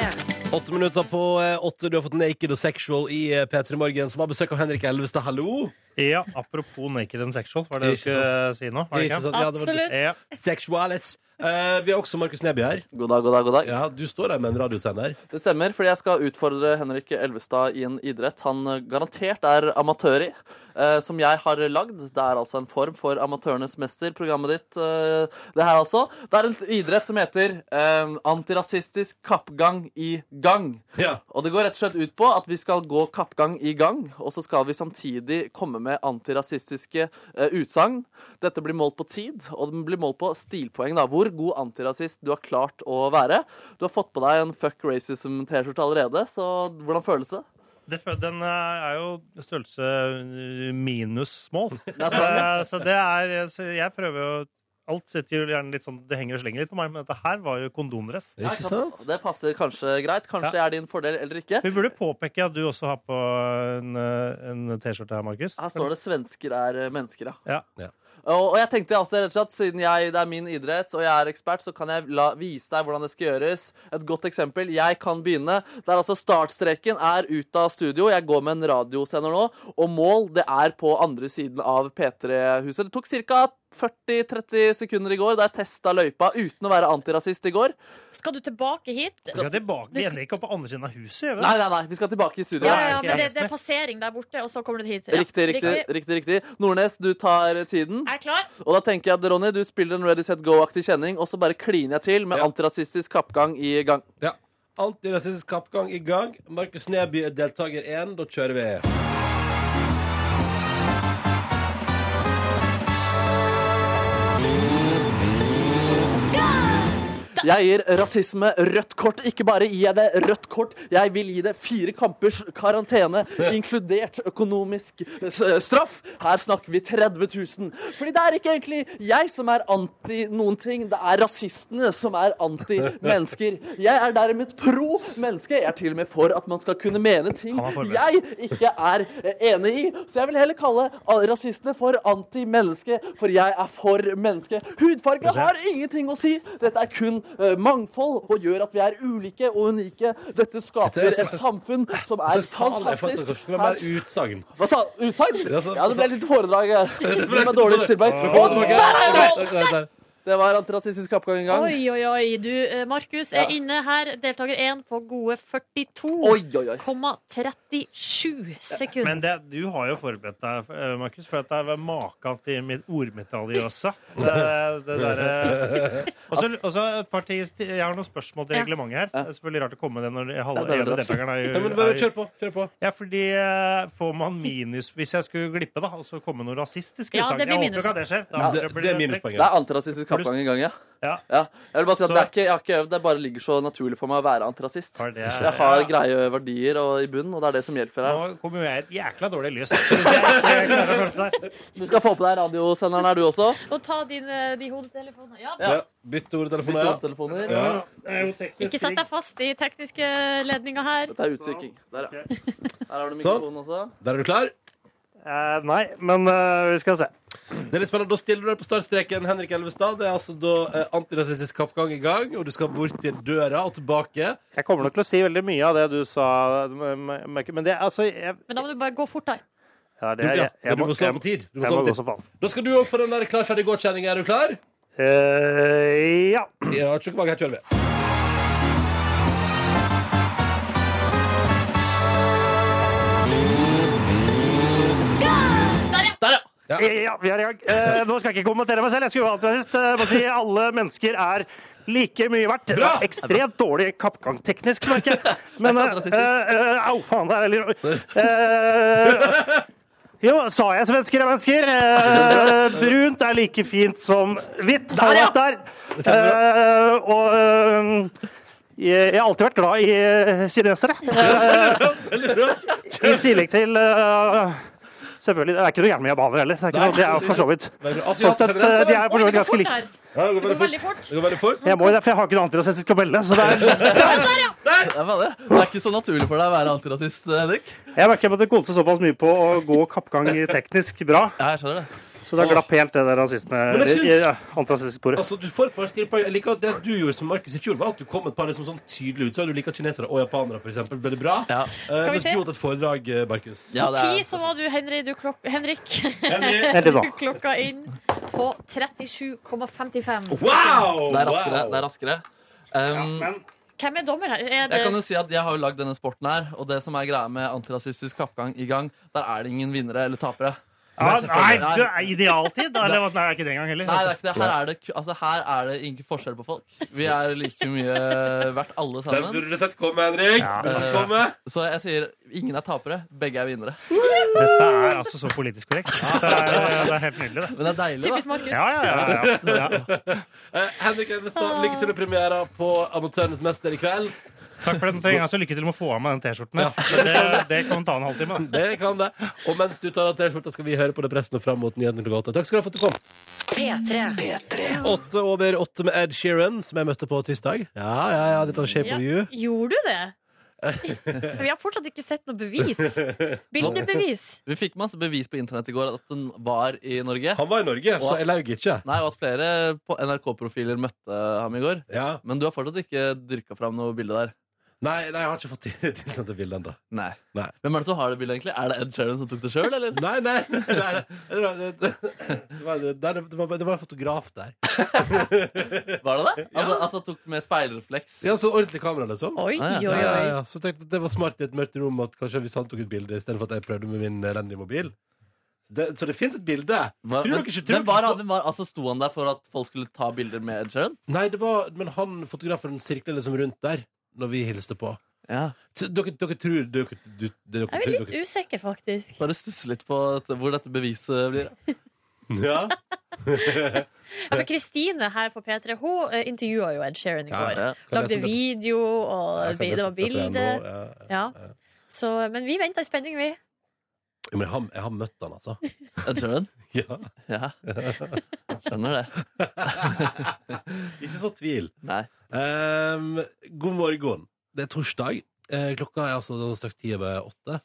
[SPEAKER 5] Åtte minutter på eh, åtte. Du har fått Naked og Sexual i eh, P3 Morgen, som har besøk av Henrik Elvestad. Hallo!
[SPEAKER 9] Ja, apropos naked and sexual, var det du
[SPEAKER 5] Ikke
[SPEAKER 9] skulle si nå? Var det
[SPEAKER 5] Ikke
[SPEAKER 9] ikke?
[SPEAKER 5] sant? Ja, det var-
[SPEAKER 2] Absolutt.
[SPEAKER 9] Ja.
[SPEAKER 5] Sexuales. Eh, vi har også Markus Neby her.
[SPEAKER 6] God dag, god dag, god dag.
[SPEAKER 5] Ja, Du står der med en radiosender.
[SPEAKER 6] Det stemmer, fordi jeg skal utfordre Henrik Elvestad i en idrett han eh, garantert er amatør i, eh, som jeg har lagd. Det er altså en form for Amatørenes mester, programmet ditt. Eh, det her altså. Det er en idrett som heter eh, antirasistisk kappgang i gang.
[SPEAKER 5] Ja.
[SPEAKER 6] Og det går rett og slett ut på at vi skal gå kappgang i gang, og så skal vi samtidig komme med antirasistiske eh, utsagn. Dette blir målt på tid, og den blir målt på stilpoeng, da. Hvor god antirasist du har klart å være. Du har fått på deg en fuck racism-T-skjorte allerede, så hvordan føles det?
[SPEAKER 9] Det, fø- den eh, er jo størrelse eh, minus small.
[SPEAKER 6] Det er trang, ja.
[SPEAKER 9] Eh, så det er så Jeg prøver jo Alt sitter jo gjerne litt sånn Det henger og slenger litt på meg, men dette her var jo kondomdress.
[SPEAKER 5] Ikke sant?
[SPEAKER 6] Det passer kanskje greit. Kanskje jeg er din fordel eller ikke.
[SPEAKER 9] Vi burde påpeke at du også har på en, eh, en T-skjorte her, Markus.
[SPEAKER 6] Her står det 'svensker er eh, mennesker',
[SPEAKER 9] Ja.
[SPEAKER 5] Ja.
[SPEAKER 6] Og, og jeg tenkte altså, rett og slett, siden jeg, det er min idrett og jeg er ekspert, så kan jeg la, vise deg hvordan det skal gjøres. Et godt eksempel. Jeg kan begynne. Det er altså Startstreken er ut av studio. Jeg går med en radiosender nå. Og mål, det er på andre siden av P3-huset. Det tok ca. 40-30 sekunder i går da jeg testa løypa uten å være antirasist i går.
[SPEAKER 10] Skal du tilbake hit?
[SPEAKER 9] Vi skal tilbake. Vi ender ikke opp på andre siden av huset, gjør vi det?
[SPEAKER 6] Nei, nei, nei, vi skal tilbake i studio.
[SPEAKER 9] Ja,
[SPEAKER 2] Ja,
[SPEAKER 9] ja,
[SPEAKER 2] ja, men det,
[SPEAKER 9] greit.
[SPEAKER 2] det er passering der borte, og så kommer du hit. Ja.
[SPEAKER 6] Riktig, riktig, riktig, riktig. Nordnes, du tar tiden.
[SPEAKER 2] Jeg er klar.
[SPEAKER 6] Og da tenker jeg at Ronny, du spiller en Ready Set Go-aktig kjenning, og så bare kliner jeg til med
[SPEAKER 5] Ja.
[SPEAKER 6] antirasistisk kappgang i gang.
[SPEAKER 5] Antirasistisk kappgang i gang. Markus Neby er deltaker én. Da kjører vi.
[SPEAKER 6] Jeg gir rasisme rødt kort. Ikke bare gir jeg det rødt kort, jeg vil gi det fire kampers karantene, inkludert økonomisk s- straff. Her snakker vi 30 000. Fordi det er ikke egentlig jeg som er anti noen ting, det er rasistene som er anti-mennesker. Jeg er derimot pro menneske. Jeg er til og med for at man skal kunne mene ting
[SPEAKER 9] Han var forberedt.
[SPEAKER 6] jeg ikke er eh, enig i. Så jeg vil heller kalle a- rasistene for anti-menneske, for jeg er for menneske. Hudfarge
[SPEAKER 9] se.
[SPEAKER 6] har ingenting å si. Dette er kun eh, mangfold og gjør at vi er ulike og unike. Dette
[SPEAKER 5] Dette er
[SPEAKER 6] skaper
[SPEAKER 5] en slags-
[SPEAKER 6] et samfunn som
[SPEAKER 5] Så
[SPEAKER 6] er
[SPEAKER 5] tale er faktisk-
[SPEAKER 6] fantastisk.
[SPEAKER 5] Det skal være
[SPEAKER 6] Her-
[SPEAKER 5] mer utsagn.
[SPEAKER 6] Hva sa Utsagn?
[SPEAKER 5] Ja, så-
[SPEAKER 6] Ja, det ble litt foredrag her. Det ble dårlig Silberg.
[SPEAKER 5] Kom tilbake.
[SPEAKER 6] Det var antirasistisk oppgang en gang.
[SPEAKER 2] Oi, oi, oi. Du, eh, Markus, er
[SPEAKER 6] Ja.
[SPEAKER 2] inne her, deltaker 1, på gode
[SPEAKER 6] Oi, oi, oi.
[SPEAKER 2] 42,37 sekunder.
[SPEAKER 9] Men det, du har jo forberedt deg, eh, Markus, for at det er maken til mitt ordmetalliøse. Det, det derre Og så- og så et par ting til. Jeg har noen spørsmål til
[SPEAKER 2] Ja.
[SPEAKER 9] reglementet her. Det er selvfølgelig rart å komme med det når halve
[SPEAKER 6] Ja, det er
[SPEAKER 9] ene
[SPEAKER 6] rart.
[SPEAKER 9] deltakeren
[SPEAKER 5] Ja, men bare
[SPEAKER 9] er
[SPEAKER 5] kjør på. Kjør på.
[SPEAKER 9] Ja, fordi eh, får man minus Hvis jeg skulle glippe, da, og så komme noe rasistisk
[SPEAKER 2] Ja,
[SPEAKER 9] utsagn
[SPEAKER 2] det blir
[SPEAKER 9] Jeg håper
[SPEAKER 2] minus,
[SPEAKER 9] ikke at det skjer. Da
[SPEAKER 5] Det,
[SPEAKER 9] blir
[SPEAKER 5] det er
[SPEAKER 9] trekk.
[SPEAKER 6] Det
[SPEAKER 5] minuspoenget.
[SPEAKER 6] er antirasistisk oppgang en gang, ja.
[SPEAKER 9] Ja.
[SPEAKER 6] ja. Jeg vil bare si at
[SPEAKER 9] Så-
[SPEAKER 6] det er ikke, jeg har ikke øvd, det bare ligger så naturlig for meg å være antirasist.
[SPEAKER 9] Har det-
[SPEAKER 6] Så jeg har
[SPEAKER 9] ja.
[SPEAKER 6] greie verdier og, i bunnen, og det er det som hjelper her.
[SPEAKER 9] Nå kommer jo jeg i et jækla dårlig lys. Hvis jeg ikke klarer å følge deg.
[SPEAKER 6] Du skal få på deg radiosenderen her, du også.
[SPEAKER 2] Og ta din, eh, de hodetelefonene. Ja.
[SPEAKER 5] Ja. Bytt ordtelefoner.
[SPEAKER 6] Bytte
[SPEAKER 5] Ja.
[SPEAKER 6] hodetelefoner.
[SPEAKER 5] Ja.
[SPEAKER 2] Ikke sett deg fast i tekniske ledninger her.
[SPEAKER 6] Dette er utsyking. Der, ja. Der har du
[SPEAKER 5] Sånn.
[SPEAKER 6] mikrofonen også.
[SPEAKER 5] Der er du klar?
[SPEAKER 9] Eh, Nei, men eh, vi skal se.
[SPEAKER 5] Det er litt spennende. Da stiller du deg på startstreken, Henrik Elvestad. Det er altså da eh, antirasistisk kappgang i gang, og du skal bort til døra og tilbake.
[SPEAKER 9] Jeg kommer nok til å si veldig mye av det du sa, Merke, men det altså jeg,
[SPEAKER 2] Men da må du bare gå fortere.
[SPEAKER 9] ja, det,
[SPEAKER 5] Du,
[SPEAKER 9] jeg,
[SPEAKER 5] ja.
[SPEAKER 9] jeg,
[SPEAKER 5] Men du
[SPEAKER 9] må-
[SPEAKER 5] må slå
[SPEAKER 9] jeg-
[SPEAKER 5] på tid. Du må
[SPEAKER 9] Jeg
[SPEAKER 5] slå
[SPEAKER 9] må
[SPEAKER 5] på
[SPEAKER 9] gå
[SPEAKER 5] tid.
[SPEAKER 9] som faen.
[SPEAKER 5] Da skal du òg få den der klar, ferdig, gå-kjenninga. Er du klar?
[SPEAKER 9] Eh, ja.
[SPEAKER 5] Ja, tjukkebag, her kjører vi.
[SPEAKER 9] Eh, ja, vi er i gang. Eh, nå skal jeg ikke kommentere meg selv. Jeg skulle jo alltid sist. Eh, bare si alle mennesker er like mye verdt. Det
[SPEAKER 5] Bra!
[SPEAKER 9] er ekstremt dårlig kappgang teknisk, merker jeg. Men eh,
[SPEAKER 6] Det er ikke
[SPEAKER 9] eh, eh, Au, faen, det er veldig eh, Jo, sa jeg svensker er mennesker? Eh, brunt er like fint som hvitt. Der, ja! Der. Eh, og eh, jeg, jeg har alltid vært glad i eh, kinesere. Eh, I tillegg til eh, Selvfølgelig, Det er ikke noe gærent med japanere heller. Det er, ikke noe, det er jo for så vidt
[SPEAKER 5] Veldig bra.
[SPEAKER 9] Sånn sett, eh, De er
[SPEAKER 2] Oi, det
[SPEAKER 9] for så vidt
[SPEAKER 2] går
[SPEAKER 9] ganske
[SPEAKER 2] fort
[SPEAKER 9] like.
[SPEAKER 2] her.
[SPEAKER 5] Ja, det
[SPEAKER 2] Det
[SPEAKER 5] går
[SPEAKER 2] går
[SPEAKER 5] veldig
[SPEAKER 2] veldig fort.
[SPEAKER 5] fort. Det går veldig fort.
[SPEAKER 9] Jeg må jo det, for jeg har ikke noe antirasistisk kabelle. Så det
[SPEAKER 6] Ja,
[SPEAKER 9] er,
[SPEAKER 6] men det, det er ikke så naturlig for deg å være antirasist, Henrik.
[SPEAKER 9] jeg merker at det koste såpass mye på å gå kappgang teknisk bra,
[SPEAKER 6] Ja, jeg skjønner det.
[SPEAKER 9] så det glapp helt det der rasisme...
[SPEAKER 5] Men jeg syns-
[SPEAKER 9] ja, Antirasistsporet.
[SPEAKER 5] Altså, du får et par stilpoeng. Jeg liker at det du gjorde som Markus i fjor, var at du kom med et par liksom, sånn tydelige utsagn. Du liker kinesere og japanere, for eksempel. Veldig bra.
[SPEAKER 6] Ja.
[SPEAKER 5] Eh,
[SPEAKER 2] Skal vi
[SPEAKER 5] mens
[SPEAKER 2] se?
[SPEAKER 5] du holdt et foredrag, eh, Markus.
[SPEAKER 6] Ja, det
[SPEAKER 2] Ti,
[SPEAKER 6] er,
[SPEAKER 2] så var du, Henrik, du, klok Henrik,
[SPEAKER 5] Henry.
[SPEAKER 9] Vent litt
[SPEAKER 2] du
[SPEAKER 9] nå.
[SPEAKER 2] klokka inn på 37,55.
[SPEAKER 5] Oh. Wow!
[SPEAKER 6] det er raskere.
[SPEAKER 5] Wow!
[SPEAKER 6] Det er raskere. Um,
[SPEAKER 2] Hvem er dommer her? Er det
[SPEAKER 6] Jeg kan jo si at jeg har jo lagd denne sporten her, og det som er greia med antirasistisk kappgang i gang, der er det ingen vinnere eller tapere.
[SPEAKER 9] Ja, nei,
[SPEAKER 6] selvfølgelig.
[SPEAKER 9] du er idealtid? da, Eller hva? Nei, ikke den gang heller.
[SPEAKER 6] Nei, det er ikke det. Her er det, ku- altså, her er det ingen forskjell på folk. Vi er like mye verdt, alle
[SPEAKER 5] Den
[SPEAKER 6] sammen.
[SPEAKER 5] burde du sett komme, Henrik.
[SPEAKER 9] Ja.
[SPEAKER 5] Burde du sett komme.
[SPEAKER 6] Så jeg sier ingen er tapere, begge er vinnere.
[SPEAKER 9] Dette er altså så politisk korrekt. Det er, det er helt nydelig, det.
[SPEAKER 6] Men det er deilig, da.
[SPEAKER 2] typisk Markus.
[SPEAKER 9] Ja, ja, ja, ja, ja.
[SPEAKER 5] Eh, Henrik
[SPEAKER 2] Ah.
[SPEAKER 5] Elvestad, lykke til med premiera på Amatørenes mester i kveld.
[SPEAKER 9] Takk for den ting. Altså, lykke til med å få av meg den T-skjorten. her. Det, det kan ta en halvtime. da.
[SPEAKER 5] Det kan det. Og mens du tar av T-skjorta, skal vi høre på Depressen og fram mot nyhetene klokka åtte. Takk skal du ha for at du kom.
[SPEAKER 1] P3.
[SPEAKER 5] Åtte over åtte med Ed Sheeran, som jeg møtte på tirsdag. Ja, ja, ja, litt av Shape
[SPEAKER 2] Ja.
[SPEAKER 5] of You.
[SPEAKER 2] Gjorde du det? Vi har fortsatt ikke sett noe bevis. Bildebevis.
[SPEAKER 6] Vi fikk masse bevis på internett i går at den var i Norge.
[SPEAKER 5] Han var i Norge, så jeg laug ikke.
[SPEAKER 6] Nei, og at flere på NRK-profiler møtte ham i går.
[SPEAKER 5] Ja.
[SPEAKER 6] Men du har fortsatt ikke dyrka fram noe bilde der.
[SPEAKER 5] Nei, nei, jeg har ikke fått til- tilsendt et bilde ennå.
[SPEAKER 6] Nei.
[SPEAKER 5] Nei.
[SPEAKER 6] Hvem er det som har det bildet, egentlig? Er det Ed Sheeran som tok det sjøl, eller?
[SPEAKER 5] Nei, nei, nei, nei, nei, nei, det, var, det, var, det, var, det var en fotograf der.
[SPEAKER 6] Var det det? Altså, altså tok med speilrefleks?
[SPEAKER 5] Ja, så ordentlig kamera, liksom.
[SPEAKER 2] Oi,
[SPEAKER 6] Ah,
[SPEAKER 2] oi,
[SPEAKER 6] ja.
[SPEAKER 5] Ja, ja,
[SPEAKER 2] oi.
[SPEAKER 5] ja. Så tenkte jeg at det var smart i et mørkt rom at kanskje hvis han tok et bilde istedenfor at jeg prøvde med min elendige mobil. Det, så det fins et bilde.
[SPEAKER 6] Hva,
[SPEAKER 5] tror
[SPEAKER 6] men,
[SPEAKER 5] dere ikke tror
[SPEAKER 6] men var,
[SPEAKER 5] dere-
[SPEAKER 6] han- var, altså, sto han der for at folk skulle ta bilder med Ed Sheeran?
[SPEAKER 5] Nei, det var, men han fotografen sirkla liksom rundt der når vi hilste på.
[SPEAKER 6] Ja.
[SPEAKER 5] Så Dere, dere tror dere, du, dere,
[SPEAKER 2] Jeg er
[SPEAKER 5] dere,
[SPEAKER 2] litt usikker, faktisk.
[SPEAKER 6] Bare stusse litt på at- hvor dette beviset blir.
[SPEAKER 5] Ja?
[SPEAKER 2] Ja, for Altså, Kristine her på P3 Hun eh, intervjua jo Ed Sheeran i
[SPEAKER 5] Ja,
[SPEAKER 2] går.
[SPEAKER 6] ja.
[SPEAKER 5] Kan jeg
[SPEAKER 2] Lagde
[SPEAKER 5] sette-
[SPEAKER 2] video,
[SPEAKER 5] Ja,
[SPEAKER 2] og
[SPEAKER 5] kan jeg
[SPEAKER 2] det var
[SPEAKER 5] sette opp igjen
[SPEAKER 2] bilde.
[SPEAKER 5] nå? Ja, ja.
[SPEAKER 2] Ja. Så, men vi venter i spenning, vi.
[SPEAKER 5] Jo, Men jeg har, jeg har møtt han, altså.
[SPEAKER 6] Ed Sheeran?
[SPEAKER 5] Ja.
[SPEAKER 6] Ja. Skjønner det.
[SPEAKER 5] Ikke så tvil.
[SPEAKER 6] Nei.
[SPEAKER 5] Ehm, god morgen. Det er torsdag. Eh, klokka er altså den straks ti over åtte.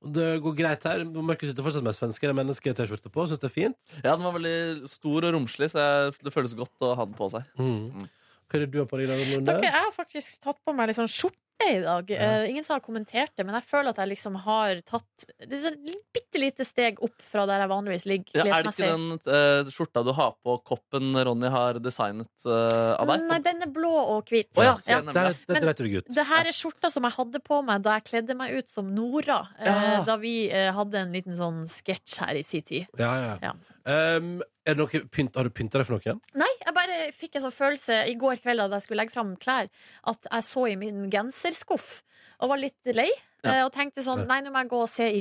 [SPEAKER 5] Og Det går greit her. Markus sitter fortsatt med svensker. Menneske T-skjorte på. Syns det er fint.
[SPEAKER 6] Ja, den var veldig stor og romslig, så jeg, det føles godt å ha den på seg.
[SPEAKER 5] Mm. Hva er det du har på deg i dag, Nordnes?
[SPEAKER 2] Dere, jeg har faktisk tatt på meg litt sånn skjorte i dag. Eh, ingen som har kommentert det, men jeg føler at jeg liksom har tatt Det er et bitte lite steg opp fra der jeg vanligvis ligger
[SPEAKER 6] Ja, er det
[SPEAKER 2] klesmessig.
[SPEAKER 6] ikke den eh, skjorta du har på koppen Ronny har designet eh, av deg?
[SPEAKER 2] Nei, den er blå og hvit.
[SPEAKER 6] Å ja, så
[SPEAKER 2] Ja.
[SPEAKER 6] jeg
[SPEAKER 5] Der,
[SPEAKER 6] nemlig.
[SPEAKER 5] der
[SPEAKER 2] Men-
[SPEAKER 5] dreit du deg ut.
[SPEAKER 2] Det her er skjorta som jeg hadde på meg da jeg kledde meg ut som Nora. eh,
[SPEAKER 6] Ja.
[SPEAKER 2] Da vi eh, hadde en liten sånn sketsj her i sin tid.
[SPEAKER 5] Ja, ja.
[SPEAKER 2] Ja.
[SPEAKER 5] Ehm, er det noe pynt, har du pynta deg for noen?
[SPEAKER 2] Nei, jeg bare fikk en sånn følelse i går kveld da jeg skulle legge fram klær, at jeg så i min genserskuff og var litt lei. eh, Og tenkte sånn, nei, nå må jeg gå og se i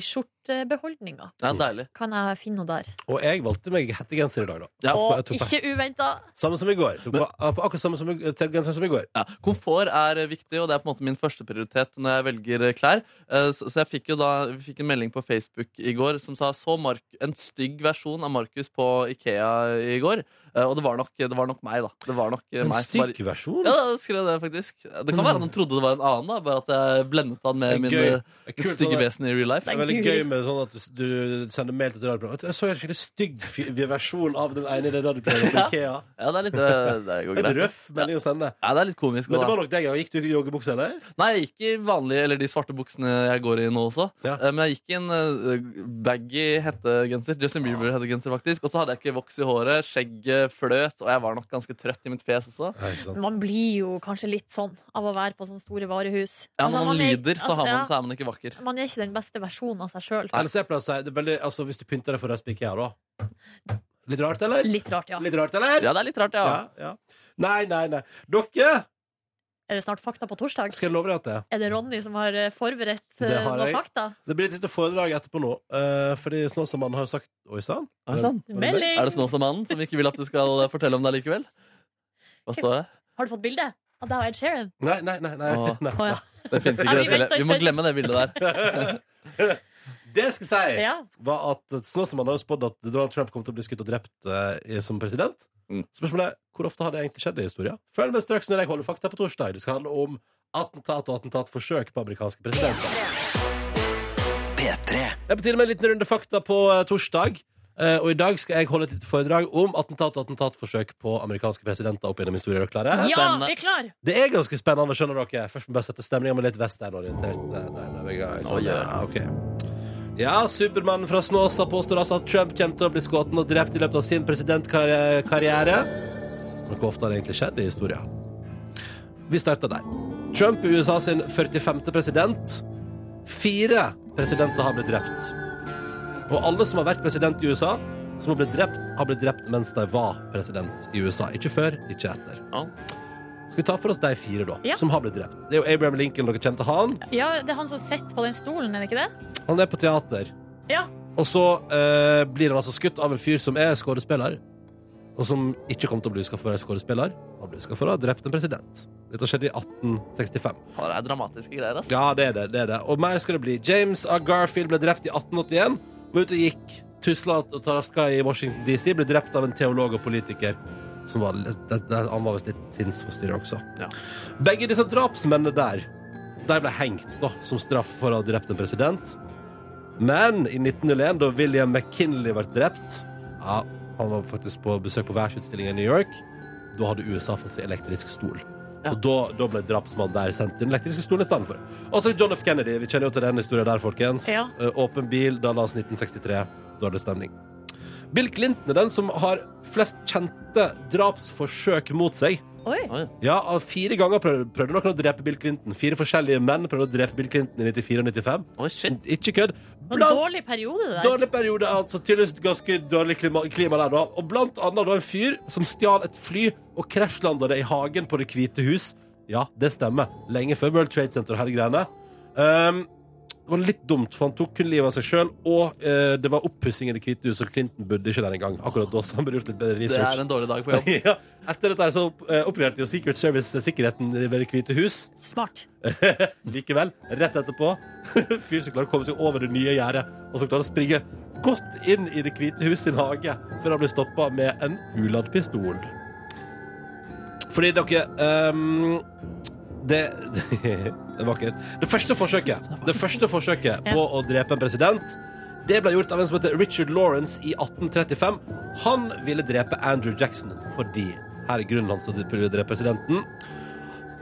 [SPEAKER 2] skjortebeholdninga.
[SPEAKER 6] Ja, deilig.
[SPEAKER 2] Kan jeg finne noe der?
[SPEAKER 5] Og jeg valgte meg hettegenser i dag, da.
[SPEAKER 6] Ja.
[SPEAKER 5] jeg
[SPEAKER 2] Og
[SPEAKER 5] tok på-
[SPEAKER 2] ikke uventa.
[SPEAKER 5] Samme som i går. Tok på, på akkurat samme som, i- til genseren som i går.
[SPEAKER 6] Ja. Komfort er eh, viktig, og det er på en måte min førsteprioritet når jeg velger eh, klær. Eh, Så så jeg fikk jo da vi fikk en melding på Facebook i går som sa så Mark, en stygg versjon av Markus på Ikea i går. Eh, Og det var nok, det var nok meg, da. Det var nok eh,
[SPEAKER 5] En
[SPEAKER 6] meg. som var-
[SPEAKER 5] stygg versjon.
[SPEAKER 6] Ja, da skrev jeg det faktisk. Det kan være at han trodde det var en annen, da, bare at jeg blendet han med
[SPEAKER 5] Det er
[SPEAKER 6] min
[SPEAKER 5] gøy.
[SPEAKER 6] eh,
[SPEAKER 5] Det er
[SPEAKER 6] mitt
[SPEAKER 5] kult,
[SPEAKER 6] stygge
[SPEAKER 5] sånn-
[SPEAKER 6] vesen i real life.
[SPEAKER 5] Det er veldig gøy med sånn at du, du sender mail til et radioprogram. Jeg så en skikkelig stygg fi- versjon av den ene i det radioprogrammet på Ikea.
[SPEAKER 6] Ja, det er litt, eh, det går
[SPEAKER 5] Det er
[SPEAKER 6] greit.
[SPEAKER 5] en røff melding å sende.
[SPEAKER 6] Ja, det er litt komisk.
[SPEAKER 5] Men
[SPEAKER 6] da.
[SPEAKER 5] det var nok deg. ja. Gikk du i joggebukse, eller?
[SPEAKER 6] Nei, jeg gikk i vanlige, eller de svarte buksene jeg går i nå også.
[SPEAKER 5] Ja.
[SPEAKER 6] Eh, Men jeg gikk i en eh, baggy hettegenser, Justin
[SPEAKER 5] Ah.
[SPEAKER 6] Bieber-hettegenser faktisk. Og så hadde jeg ikke voks i håret, skjegget fløt, og jeg var nok ganske trøtt i mitt fjes også.
[SPEAKER 5] Nei, ikke sant.
[SPEAKER 2] Man blir jo kanskje litt sånn av å være på sånne store varehus.
[SPEAKER 6] Ja,
[SPEAKER 2] Altså,
[SPEAKER 6] når man
[SPEAKER 2] er-
[SPEAKER 6] lider, så,
[SPEAKER 2] altså,
[SPEAKER 6] har
[SPEAKER 2] ja,
[SPEAKER 6] man, så er man ikke vakker.
[SPEAKER 2] Man er ikke den beste versjonen av seg sjøl.
[SPEAKER 5] Eller så jeg pleier å si det er veldig, altså, Hvis du pynter deg for å reise på Ikea, da. Litt rart, eller?
[SPEAKER 2] Litt rart, ja.
[SPEAKER 5] Litt rart, eller?
[SPEAKER 6] Ja, det er litt rart, ja.
[SPEAKER 5] ja. Nei, nei, nei. Dere!
[SPEAKER 2] Er det snart fakta på torsdag?
[SPEAKER 5] Skal jeg love deg at det
[SPEAKER 2] Er det Ronny som har eh, forberedt
[SPEAKER 5] Det
[SPEAKER 2] eh,
[SPEAKER 5] har
[SPEAKER 2] noen
[SPEAKER 5] jeg.
[SPEAKER 2] fakta?
[SPEAKER 5] Det blir et lite foredrag etterpå nå. eh, fordi Snåsamannen har jo sagt Oi sann.
[SPEAKER 6] Er det sant?
[SPEAKER 2] Melding!
[SPEAKER 6] Er det Snåsamannen som ikke vil at du skal eh, fortelle om det likevel? Hva står det?
[SPEAKER 2] Har du fått bilde av deg og Ed Sheeran?
[SPEAKER 5] Nei, nei, nei. nei,
[SPEAKER 6] Åh.
[SPEAKER 5] nei.
[SPEAKER 2] Å, ja.
[SPEAKER 6] Det finnes
[SPEAKER 2] Ja,
[SPEAKER 6] ikke
[SPEAKER 2] vi
[SPEAKER 6] det selv.
[SPEAKER 2] venter i
[SPEAKER 6] Vi må
[SPEAKER 2] spenning.
[SPEAKER 6] glemme det bildet der.
[SPEAKER 5] Det jeg skal si,
[SPEAKER 2] Ja.
[SPEAKER 5] var at Snåsamannen har jo spådd at Donald Trump kommer til å bli skutt og drept eh, som president.
[SPEAKER 6] Mm.
[SPEAKER 5] Spørsmålet er hvor ofte har det egentlig skjedd i historien? Følg med straks når jeg holder fakta på torsdag. Det skal handle om attentat og attentatforsøk på amerikanske presidenter. Det er på tide med en liten runde fakta på eh, torsdag. Eh, og i dag skal jeg holde et lite foredrag om attentat og attentatforsøk på amerikanske presidenter opp gjennom historien. Er dere klare?
[SPEAKER 2] ja,
[SPEAKER 6] Spennende.
[SPEAKER 2] vi er klar!
[SPEAKER 5] Det er ganske spennende, skjønner dere. Først må vi bare sette stemninga med litt westernorientert. eh, der, der, begge ganger. Sånn, ja, ok. Ja, Supermannen fra Snåsa påstår altså at Trump kommer til å bli skutt og drept i løpet av sin presidentkarriere. Men hvor ofte har det egentlig skjedd i historien? Vi starter der. Trump er USA sin 45. president. Fire presidenter har blitt drept. Og alle som har vært president i USA, som har blitt drept, har blitt drept mens de var president i USA. Ikke før, ikke etter.
[SPEAKER 6] Ja.
[SPEAKER 5] Skal vi ta for oss de fire, da,
[SPEAKER 2] Ja.
[SPEAKER 5] som har blitt drept? Det er jo Abraham Lincoln, dere kjente han.
[SPEAKER 2] Ja, Det er han som sitter på den stolen, er det ikke det?
[SPEAKER 5] Han er på teater.
[SPEAKER 2] Ja.
[SPEAKER 5] Og så eh, blir han altså skutt av en fyr som er skuespiller, og som ikke kom til å bli huska for å være skuespiller. Han ble huska for å ha drept en president. Dette skjedde i 1865.
[SPEAKER 6] Faen, Det er dramatiske greier, ass.
[SPEAKER 5] Ja, det er det. det er det. Og mer skal det bli. James A. Garfield ble drept i 1881. Var ute og gikk, tusla og traska i Washington DC. Ble drept av en teolog og politiker. Som var, det, det, han var visst litt sinnsforstyrra også.
[SPEAKER 6] Ja.
[SPEAKER 5] Begge disse drapsmennene der De ble hengt da, som straff for å ha drept en president. Men i 1901, da William McKinley ble drept ja, Han var faktisk på besøk på verdensutstillingen i New York. Da hadde USA fått seg elektrisk stol. Så da, da ble drapsmannen der sendt til den elektriske stolen i stedet for. Og så John F. Kennedy. Vi kjenner jo til den historien der, folkens.
[SPEAKER 2] Ja.
[SPEAKER 5] Eh, Åpen bil, Dallas 1963. Da er det stemning. Bill Clinton er den som har flest kjente drapsforsøk mot seg.
[SPEAKER 3] Oi.
[SPEAKER 5] Ja, av Fire ganger prøvde, prøvde noen å drepe Bill Clinton. Fire forskjellige menn prøvde å drepe Bill Clinton i 94 og 95.
[SPEAKER 6] Oi, shit.
[SPEAKER 5] Ikke kødd.
[SPEAKER 3] En
[SPEAKER 5] Blant
[SPEAKER 3] dårlig periode, det der.
[SPEAKER 5] Dårlig periode, altså tydeligvis ganske dårlig klima, klima der da Og blant annet da en fyr som stjal et fly Og krasjlandet det i hagen på det hvite hus Ja, det stemmer Lenge før World Trade Center og hele greiene Ehm, Det var litt dumt, for han tok kun livet av seg selv Og eh, det var oppussing i det hvite hus Og Clinton bodde ikke der engang Akkurat da, så han burde gjort litt bedre
[SPEAKER 6] Det er
[SPEAKER 5] research
[SPEAKER 6] en dårlig dag på jobb.
[SPEAKER 5] ja, etter dette her så opp- eh, oppleverte jo Secret Service eh, sikkerheten ved det hvite hus
[SPEAKER 3] Smart.
[SPEAKER 5] Likevel, rett etterpå Fyr som klarer å komme seg over det nye gjerdet Og som klarer å springe godt inn i det hvite hus sin hage Før han blir stoppet med en huladd pistol Fordi dere ehm, det, det er vakkert Det første forsøket Det første forsøket på å drepe en president Det ble gjort av en som heter Richard Lawrence i 1835 Han ville drepe Andrew Jackson Fordi her er grunnen hans til å drepe presidenten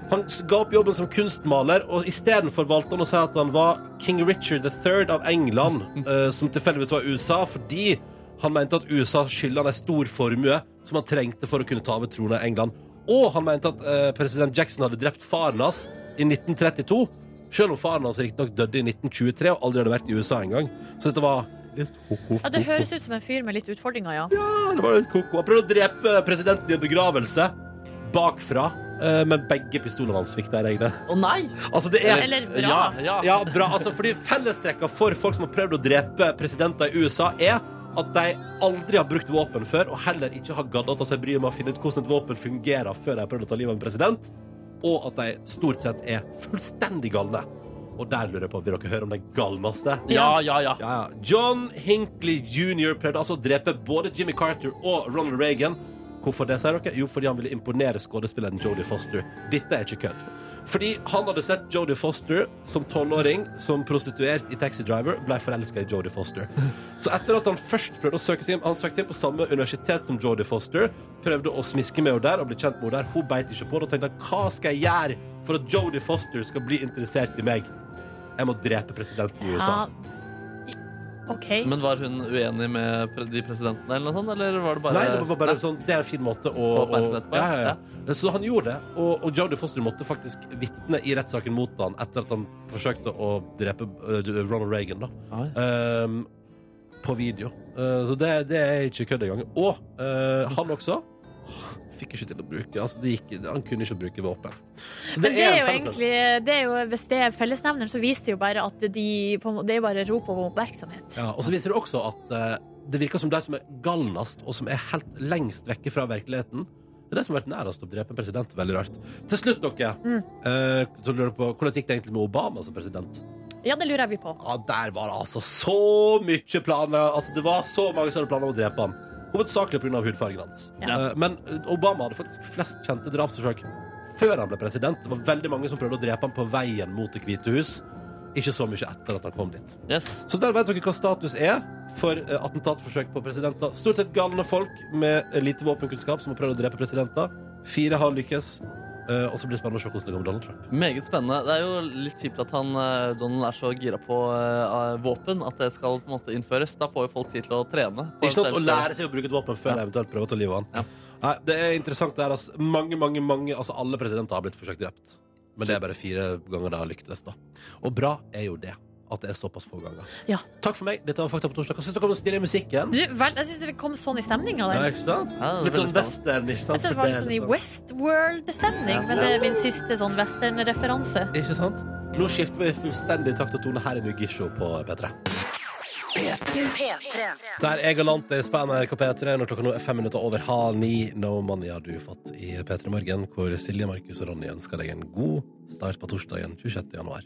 [SPEAKER 5] han ga opp jobben som kunstmaler, og istedenfor valgte han å si at han var king Richard III av England, eh, som tilfeldigvis var USA, fordi han mente at USA skylda han en stor formue som han trengte for å kunne ta over tronen i England. Og han mente at eh, president Jackson hadde drept faren hans i 1932, selv om faren hans riktignok døde i 1923 og aldri hadde vært i USA engang. Så dette var litt ho-ho.
[SPEAKER 3] Ja, det høres ut som en fyr med litt utfordringer, ja.
[SPEAKER 5] Det var litt koko. Han prøvde å drepe presidenten i en begravelse bakfra, eh, men begge pistolene hans fikk der, egentlig.
[SPEAKER 6] Å nei!
[SPEAKER 5] Altså, det er
[SPEAKER 3] Eller bra.
[SPEAKER 6] Ja, ja.
[SPEAKER 5] ja, bra. Altså, fordi fellestrekka for folk som har prøvd å drepe presidenter i USA, er at de aldri har brukt våpen før, og heller ikke har gadda til seg bryet med å finne ut hvordan et våpen fungerer før de har prøvd å ta livet av en president, og at de stort sett er fullstendig galne. Og der lurer jeg på, vil dere høre om den galneste?
[SPEAKER 6] Ja, ja, ja.
[SPEAKER 5] Ja, ja. John Hinckley jr. prøvde altså å drepe både Jimmy Carter og Ronald Reagan. Hvorfor det, sier dere? Jo, fordi han ville imponere skuespilleren Jodie Foster. Dette er ikke kødd. Fordi han hadde sett Jodie Foster som tolvåring, som prostituert i Taxi Driver, ble forelska i Jodie Foster. Så etter at han først prøvde å søke seg inn, han søkte inn på samme universitet som Jodie Foster, prøvde å smiske med henne der og bli kjent med henne der, hun beit ikke på det, og tenkte han, hva skal jeg gjøre for at Jodie Foster skal bli interessert i meg? Jeg må drepe presidenten i USA.
[SPEAKER 2] Ja. OK.
[SPEAKER 6] Men var hun uenig med pre- de presidentene, eller noe sånt? Eller var det bare
[SPEAKER 5] Nei, det var bare sånn, det er en fin måte å
[SPEAKER 6] Få oppmerksomhet på,
[SPEAKER 5] ja,
[SPEAKER 6] ja.
[SPEAKER 5] ja, ja. Så han gjorde det, og, og Jodie Foster måtte faktisk vitne i rettssaken mot han etter at han forsøkte å drepe eh, Ronald Reagan, da.
[SPEAKER 6] Oi.
[SPEAKER 5] Ehm, på video. Eh, så det, det er ikke kødd engang. Og eh, han også fikk ikke til å bruke altså det gikk, Han kunne ikke bruke våpen. Så
[SPEAKER 2] Men det er jo
[SPEAKER 5] en felles-
[SPEAKER 2] egentlig det er jo, Hvis det er fellesnevneren, så viser det jo bare at de på en måte- Det er jo bare rop om oppmerksomhet.
[SPEAKER 5] Ja, og så viser det også at eh, det virker som de som er galnest, og som er helt lengst vekke fra virkeligheten, det er de som har vært nærest å drepe en president. Veldig rart. Til slutt, dere. eh, så lurer jeg på, hvordan gikk det egentlig med Obama som president?
[SPEAKER 3] Ja, det lurer jeg på.
[SPEAKER 5] Ja, Der var det altså så mye planer. Altså, det var så mange som hadde planer om å drepe han. Hovedsakelig pga. hudfargen hans.
[SPEAKER 2] Ja.
[SPEAKER 5] Eh, Men Obama hadde faktisk flest kjente drapsforsøk før han ble president. Det var veldig mange som prøvde å drepe han på veien mot Det hvite hus. Ikke så mye etter at han kom dit.
[SPEAKER 6] Yes.
[SPEAKER 5] Så der vet dere hva status er for eh, attentatforsøk på presidenter. Stort sett galne folk med eh, lite våpenkunnskap som har prøvd å drepe presidenter. Fire har lykkes. Eh, og så blir det spennende å se hvordan det går med Donald Trump.
[SPEAKER 6] Meget spennende. Det er jo litt kjipt at han, eh, Donald er så gira på eh, våpen at det skal på en måte innføres. Da får jo folk tid til å trene. på
[SPEAKER 5] Ikke sant, Å
[SPEAKER 6] eventuelt-
[SPEAKER 5] lære seg å bruke et våpen før
[SPEAKER 6] Ja.
[SPEAKER 5] de eventuelt prøver å ta livet av han.
[SPEAKER 6] Ja.
[SPEAKER 5] Nei, det er interessant. det her, altså. Mange, mange, mange, altså Alle presidenter har blitt forsøkt drept. Men det er bare fire ganger det har lyktes. da Og bra er jo det. At det er såpass få ganger.
[SPEAKER 2] Ja.
[SPEAKER 5] Takk for meg. Dette var Fakta på torsdag. Hva syns dere om den snille musikken?
[SPEAKER 2] Du, vel, jeg syns vi kom sånn i stemninga
[SPEAKER 5] Ja,
[SPEAKER 2] der.
[SPEAKER 5] ikke sant?
[SPEAKER 6] Ja, det er
[SPEAKER 5] Litt
[SPEAKER 6] veldig
[SPEAKER 5] sånn western. ikke sant?
[SPEAKER 2] Jeg tror det
[SPEAKER 5] For
[SPEAKER 2] var
[SPEAKER 5] det er
[SPEAKER 2] litt sånn i
[SPEAKER 5] liksom-
[SPEAKER 2] Westworld-stemning, men det er min siste sånn western-referanse.
[SPEAKER 5] Ikke sant? Nå skifter vi fullstendig takt og tone. Her er Mugisho på P3. Der er Galantis på NRK P3 når klokka nå er fem minutter over halv ni. No money har du fått i P3 Morgen, hvor Silje, Markus og Ronny ønsker deg en god start på torsdagen 26. januar.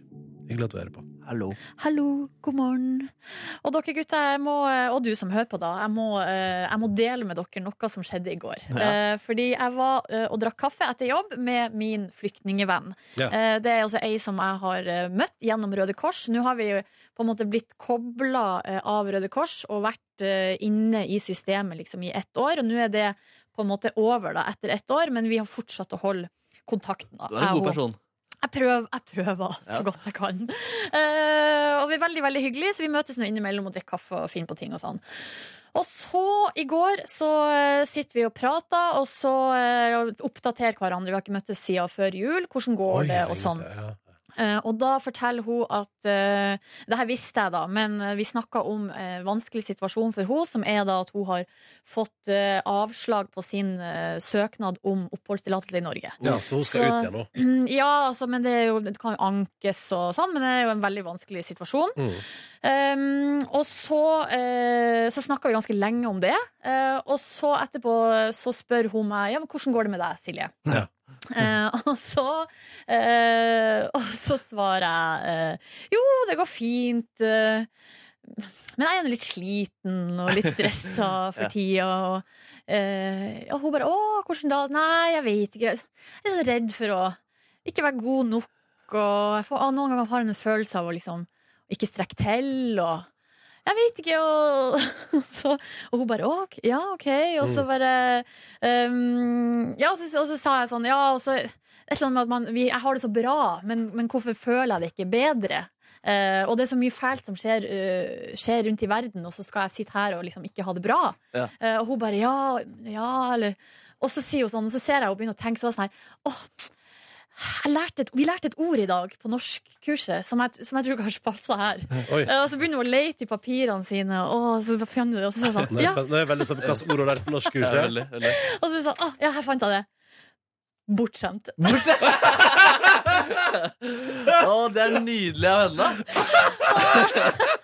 [SPEAKER 5] Hyggelig at du hører på.
[SPEAKER 6] Hallo.
[SPEAKER 2] Hallo, god morgen. Og dere gutter, jeg må, og du som hører på, da. Jeg må, eh, jeg må dele med dere noe som skjedde i går. Eh, Fordi jeg var eh, og drakk kaffe etter jobb med min flyktningevenn.
[SPEAKER 5] Ja.
[SPEAKER 2] Eh, Det er altså ei som jeg har eh, møtt gjennom Røde Kors. Nå har vi jo på en måte blitt kobla av Røde Kors og vært eh, inne i systemet liksom i ett år. Og nå er det på en måte over da, etter ett år, men vi har fortsatt å holde
[SPEAKER 3] kontakten. da.
[SPEAKER 6] Du er en god
[SPEAKER 3] Jeg og-
[SPEAKER 6] person.
[SPEAKER 2] Jeg prøver, jeg prøver så
[SPEAKER 6] Ja.
[SPEAKER 2] godt jeg kan. Eh, og vi er veldig veldig hyggelige, så vi møtes nå innimellom og drikker kaffe og finner på ting. og sånn. Og så, i går, så eh, sitter vi og prater, og så eh, oppdaterer hverandre. Vi har ikke møttes siden før jul. Hvordan går
[SPEAKER 5] Oi,
[SPEAKER 2] det,
[SPEAKER 5] herregud,
[SPEAKER 2] og sånn.
[SPEAKER 5] ja.
[SPEAKER 2] Eh, og da forteller hun at eh, Det her visste jeg, da, men eh, vi snakka om eh, vanskelig situasjon for hun som er da at hun har fått eh, avslag på sin eh, søknad om oppholdstillatelse i Norge.
[SPEAKER 5] Ja, så hun skal
[SPEAKER 2] Så-
[SPEAKER 5] ut igjen nå.
[SPEAKER 2] Ja, altså, men det, er jo, det kan jo ankes og sånn, men det er jo en veldig vanskelig situasjon.
[SPEAKER 5] Mm.
[SPEAKER 2] Um, og så, uh, så snakka vi ganske lenge om det, uh, og så etterpå så spør hun meg ja, men hvordan går det med deg, Silje.
[SPEAKER 5] Ja.
[SPEAKER 2] Eh, og, så, eh, og så svarer jeg eh, jo, det går fint. eh, men jeg er nå litt sliten og litt stressa for tida. Og, eh, og hun bare 'Å, hvordan da?' Nei, jeg vet ikke. Jeg er så redd for å ikke være god nok. Og jeg får, ah, noen ganger har jeg en følelse av å liksom ikke strekke til. Og jeg vet ikke, og, og så, og hun bare «Å, ok, ja, OK. Og så bare ehm, Ja, og så, og så sa jeg sånn, ja, og så et eller annet med at man vi, Jeg har det så bra, men, men hvorfor føler jeg det ikke bedre? Eh, og det er så mye fælt som skjer, eh, skjer rundt i verden, og så skal jeg sitte her og liksom ikke ha det bra.
[SPEAKER 6] Ja.
[SPEAKER 2] Eh, og hun bare ja, ja, eller Og så sier hun sånn, og så ser jeg hun begynner å tenke så var jeg sånn her åh, jeg lærte et, vi lærte et ord i dag på norskkurset som, jeg- som jeg tror kanskje passer her.
[SPEAKER 5] Oi.
[SPEAKER 2] Eh, Og så begynner hun å lete i papirene sine, og så fant hun det. Og så sa hun
[SPEAKER 5] Nå
[SPEAKER 2] sånn,
[SPEAKER 5] er jeg,
[SPEAKER 2] ja,
[SPEAKER 5] spent, nå er jeg veldig spent på hva slags ord hun lærte på
[SPEAKER 6] Ja,
[SPEAKER 5] norskkurset.
[SPEAKER 6] veldig, veldig.
[SPEAKER 2] og så sa hun, ah, ja, her fant jeg det. Bortskjemt.
[SPEAKER 6] Å, det er nydelig av henne.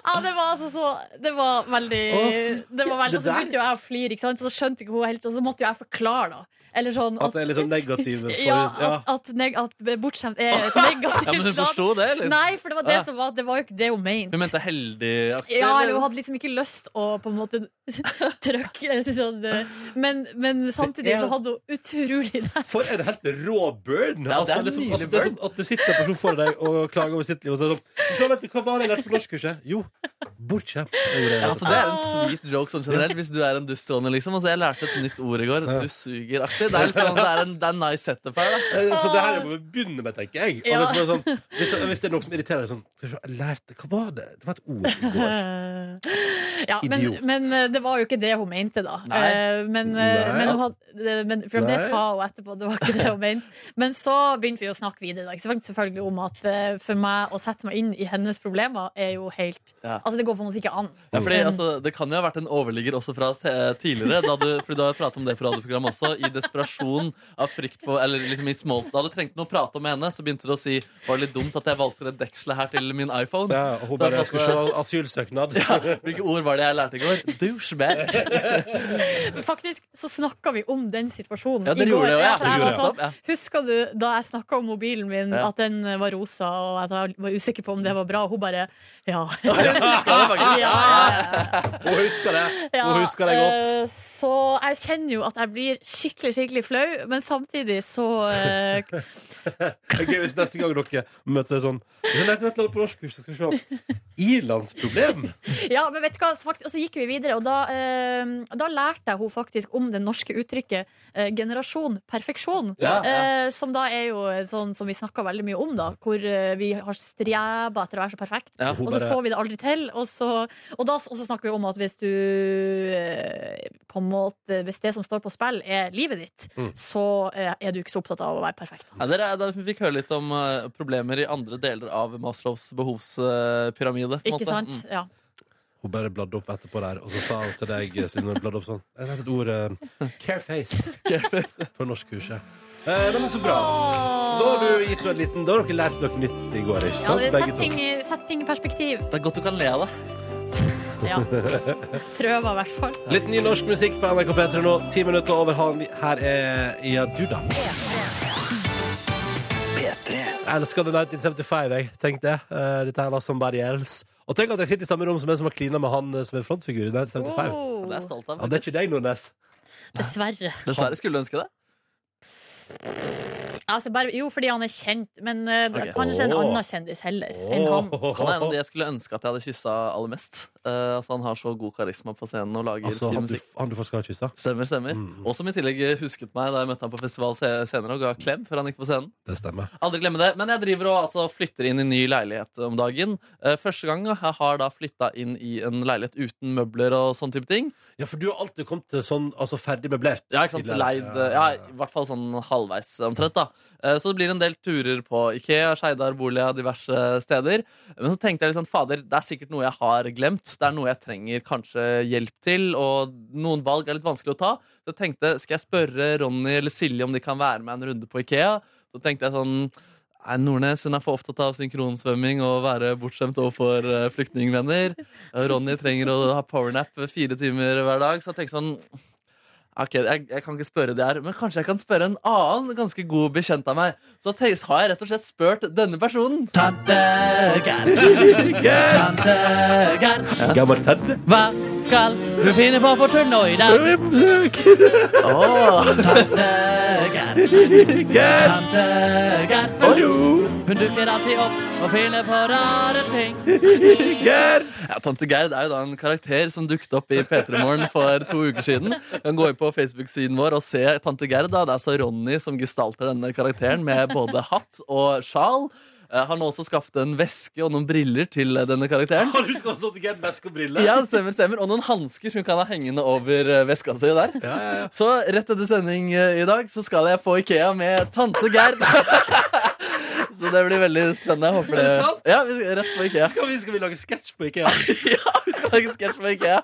[SPEAKER 2] Ja, det var altså så Det var veldig,
[SPEAKER 6] Å,
[SPEAKER 2] det var veldig Og så
[SPEAKER 6] der-
[SPEAKER 2] begynte jo jeg å flire, ikke sant? så skjønte ikke hun helt, og så måtte jo jeg forklare, da. Eller sånn
[SPEAKER 5] At det er litt sånn negativ forut.
[SPEAKER 2] ja,
[SPEAKER 5] Ja.
[SPEAKER 2] at, at, neg at bortskjemt er et negativt
[SPEAKER 6] Ja, men hun
[SPEAKER 2] lag.
[SPEAKER 6] forsto det,
[SPEAKER 5] liksom.
[SPEAKER 6] eller?
[SPEAKER 2] Nei, for det var det
[SPEAKER 6] Ja.
[SPEAKER 2] som var Det var jo ikke det hun mente.
[SPEAKER 6] Hun mente heldig.
[SPEAKER 2] Ja, eller hun hadde liksom ikke lyst å på en måte trykke eller sånn, eh, men, men samtidig så hadde hun utrolig rett.
[SPEAKER 5] For en helt rå burn!
[SPEAKER 6] Ja, det
[SPEAKER 5] altså,
[SPEAKER 6] er en
[SPEAKER 5] liksom,
[SPEAKER 6] nydelig
[SPEAKER 5] altså, det er sånn at det sitter en person foran deg og klager over sitt liv. Og så er det sånn, så vet du, hva var det jeg lærte på norskkurset? Jo, bortskjemt. Det gjorde jeg.
[SPEAKER 6] Ja, altså, det er en sweet joke sånn generelt, hvis du er en dust, Ronny. Liksom. Altså, jeg lærte et nytt ord i går. Du suger-aktig. Det er litt sånn, det er en, det er en nice setup her. Da.
[SPEAKER 5] Eh, Så det her må vi begynne med, tenker jeg. Og
[SPEAKER 2] Ja.
[SPEAKER 5] det som er sånn, hvis, hvis det er noen som irriterer deg sånn skal vi se, jeg lærte, Hva var det? Det var et ord i går.
[SPEAKER 2] Ja, men,
[SPEAKER 5] Idiot.
[SPEAKER 2] men eh, det var jo ikke det hun mente, da.
[SPEAKER 6] Nei.
[SPEAKER 2] Eh, Men, eh,
[SPEAKER 5] Nei.
[SPEAKER 2] men, hun hadde, men for det
[SPEAKER 5] Nei.
[SPEAKER 2] sa hun etterpå, det var ikke det hun mente. Men så begynte vi å snakke videre, da. ikke sant? selvfølgelig om at eh, for meg å sette meg inn i hennes problemer er jo helt
[SPEAKER 6] Ja.
[SPEAKER 2] Altså, det går på en måte ikke an.
[SPEAKER 6] Ja, fordi, altså, det kan jo ha vært en overligger også fra se- tidligere. Da du, fordi du har pratet om det på radioprogrammet også. I desperasjon av frykt for Eller liksom i small Da du trengte noe å prate om med henne, så begynte du å si Var det litt dumt at jeg valgte det dekselet her til min iPhone?
[SPEAKER 5] Ja, og hun bare skulle se asylsøknad.
[SPEAKER 6] Hvilke ord var det jeg lærte i går? Douchebag.
[SPEAKER 2] Faktisk så snakka vi om den situasjonen
[SPEAKER 6] Ja,
[SPEAKER 2] i
[SPEAKER 6] dere
[SPEAKER 2] går.
[SPEAKER 6] gjorde det, ja.
[SPEAKER 2] for jeg
[SPEAKER 6] Dere
[SPEAKER 2] var
[SPEAKER 6] gjorde
[SPEAKER 2] sånn,
[SPEAKER 6] det. Ja.
[SPEAKER 2] Husker du da jeg snakka om mobilen min,
[SPEAKER 6] Ja.
[SPEAKER 2] at den var rosa, og at jeg var usikker på om det var bra, og hun bare ja.
[SPEAKER 6] Skal det faktisk-
[SPEAKER 2] ja.
[SPEAKER 5] Hun husker det.
[SPEAKER 2] ja.
[SPEAKER 5] Hun husker det godt.
[SPEAKER 2] Eh, Så jeg kjenner jo at jeg blir skikkelig, skikkelig flau, men samtidig så eh,
[SPEAKER 5] Det er gøy hvis neste gang dere møter sånn Hun lærte et eller annet på norskkurset. Skal vi se. I-landsproblem.
[SPEAKER 2] Ja, men vet du hva, så, fakt- og så gikk vi videre, og da, eh, da lærte jeg hun faktisk om det norske uttrykket eh, 'generasjon perfeksjon',
[SPEAKER 6] Ja, ja.
[SPEAKER 2] Eh, som da er jo sånn som vi snakker veldig mye om, da, hvor eh, vi har streba etter å være så perfekt.
[SPEAKER 6] Ja,
[SPEAKER 5] hun
[SPEAKER 2] Og så
[SPEAKER 5] bare-
[SPEAKER 2] får vi det aldri til. Og så, og da, og så snakker vi om at hvis du eh, på en måte, Hvis det som står på spill, er livet ditt,
[SPEAKER 5] Mm.
[SPEAKER 2] så eh, er du ikke så opptatt av å være perfekt.
[SPEAKER 6] Ja, dere, da vi fikk høre litt om eh, problemer i andre deler av Maslows behovspyramide. på en måte.
[SPEAKER 2] Ikke sant?
[SPEAKER 6] Mm.
[SPEAKER 2] Ja.
[SPEAKER 5] Hun bare bladde opp etterpå der, og så sa hun til deg siden hun bladde opp sånn Jeg lærte et ord eh, Careface på norskkurset. Eh, nei, men så bra. Da har, du gitt henne en liten, da har dere lært noe nytt i går, ikke
[SPEAKER 2] Ja,
[SPEAKER 5] sant? Begge
[SPEAKER 2] sett,
[SPEAKER 5] to.
[SPEAKER 2] ting, i- sett ting i perspektiv.
[SPEAKER 6] Det er godt du kan le av det.
[SPEAKER 2] Ja. Prøver, i hvert fall.
[SPEAKER 5] Litt ny norsk musikk på NRK P3 nå. Ti minutter over halv ni. Her er Ja, du, da. Jeg elsker The 1975, jeg. Tenk det. Eh, dette her var Somebody Else. Og tenk at jeg sitter i samme rom som en som har klina med han eh, som er frontfigur i 1975.
[SPEAKER 2] Oh.
[SPEAKER 6] Det er jeg stolt av.
[SPEAKER 5] Ja, det er ikke deg, Nordnes.
[SPEAKER 2] Dessverre.
[SPEAKER 6] Dessverre skulle du ønske det.
[SPEAKER 2] Altså bare, jo, fordi han er kjent, men eh, det er
[SPEAKER 6] Ok.
[SPEAKER 2] kanskje en
[SPEAKER 5] Åh.
[SPEAKER 2] annen kjendis heller enn han.
[SPEAKER 6] Han er en av de jeg skulle ønske at jeg hadde kyssa aller mest. Eh, altså, han har så god karisma på scenen og lager
[SPEAKER 5] Altså,
[SPEAKER 6] fin
[SPEAKER 5] han du,
[SPEAKER 6] musikk.
[SPEAKER 5] han du faktisk har kyssa?
[SPEAKER 6] Stemmer, stemmer.
[SPEAKER 5] Mm.
[SPEAKER 6] Og som i tillegg husket meg da jeg møtte han på festival se- senere og ga klem før han gikk på scenen.
[SPEAKER 5] Det stemmer.
[SPEAKER 6] Aldri glemme det. Men jeg driver og altså, flytter inn i ny leilighet om dagen. Eh, første gang jeg har da flytta inn i en leilighet uten møbler og sånne type ting.
[SPEAKER 5] Ja, for du har alltid kommet til sånn altså ferdig møblert.
[SPEAKER 6] Ja, ikke sant?
[SPEAKER 5] tidligere.
[SPEAKER 6] Leid, eh, ja, i hvert fall sånn halvveis omtrent da. Eh, Så det blir en del turer på Ikea, Skeidar, Bolia, diverse steder. Men så tenkte jeg liksom, fader, det er sikkert noe jeg har glemt. Det er noe jeg trenger kanskje hjelp til, og noen valg er litt vanskelig å ta. Så jeg tenkte, skal jeg spørre Ronny eller Silje om de kan være med en runde på Ikea? Så tenkte jeg sånn, Nei, Nordnes hun er for opptatt av synkronsvømming og være bortskjemt overfor eh, flyktningvenner. Eh, Ronny trenger å ha powernap fire timer hver dag. Så jeg tenkte sånn Ok, jeg, jeg kan ikke spørre det her, men kanskje jeg kan spørre en annen ganske god bekjent av meg. Så te- så har jeg rett og slett spurt denne personen.
[SPEAKER 4] Tante Gerd. Tante Gerd.
[SPEAKER 5] Gammel tante.
[SPEAKER 4] Hva skal hun finne på for tull nå i dag? Tante Gerd. Tante Gerd. Hun dukker alltid opp og finner på rare ting.
[SPEAKER 6] Ja, Tante Gerd er jo da en karakter som dukket opp i P3 Morgen for to uker siden. Du kan gå inn på Facebook-siden vår og se Tante Gerd. da. Det er så Ronny som gestalter denne karakteren med både hatt og sjal. Eh, Han har også skaffet en veske og noen briller til eh, denne karakteren.
[SPEAKER 5] Har du skapt sånn til Gerd Besk og briller?
[SPEAKER 6] Ja, stemmer, stemmer. Og noen hansker hun kan ha hengende over eh, veska si der. Så rett etter sending eh, i dag så skal jeg på Ikea med tante Gerd. så det blir veldig spennende. Jeg håper det.
[SPEAKER 5] Er det sant?
[SPEAKER 6] Ja, vi skal rett på Ikea.
[SPEAKER 5] Skal vi, skal vi lage sketsj på Ikea? Har
[SPEAKER 6] ja, vi skal lage sketsj på Ikea.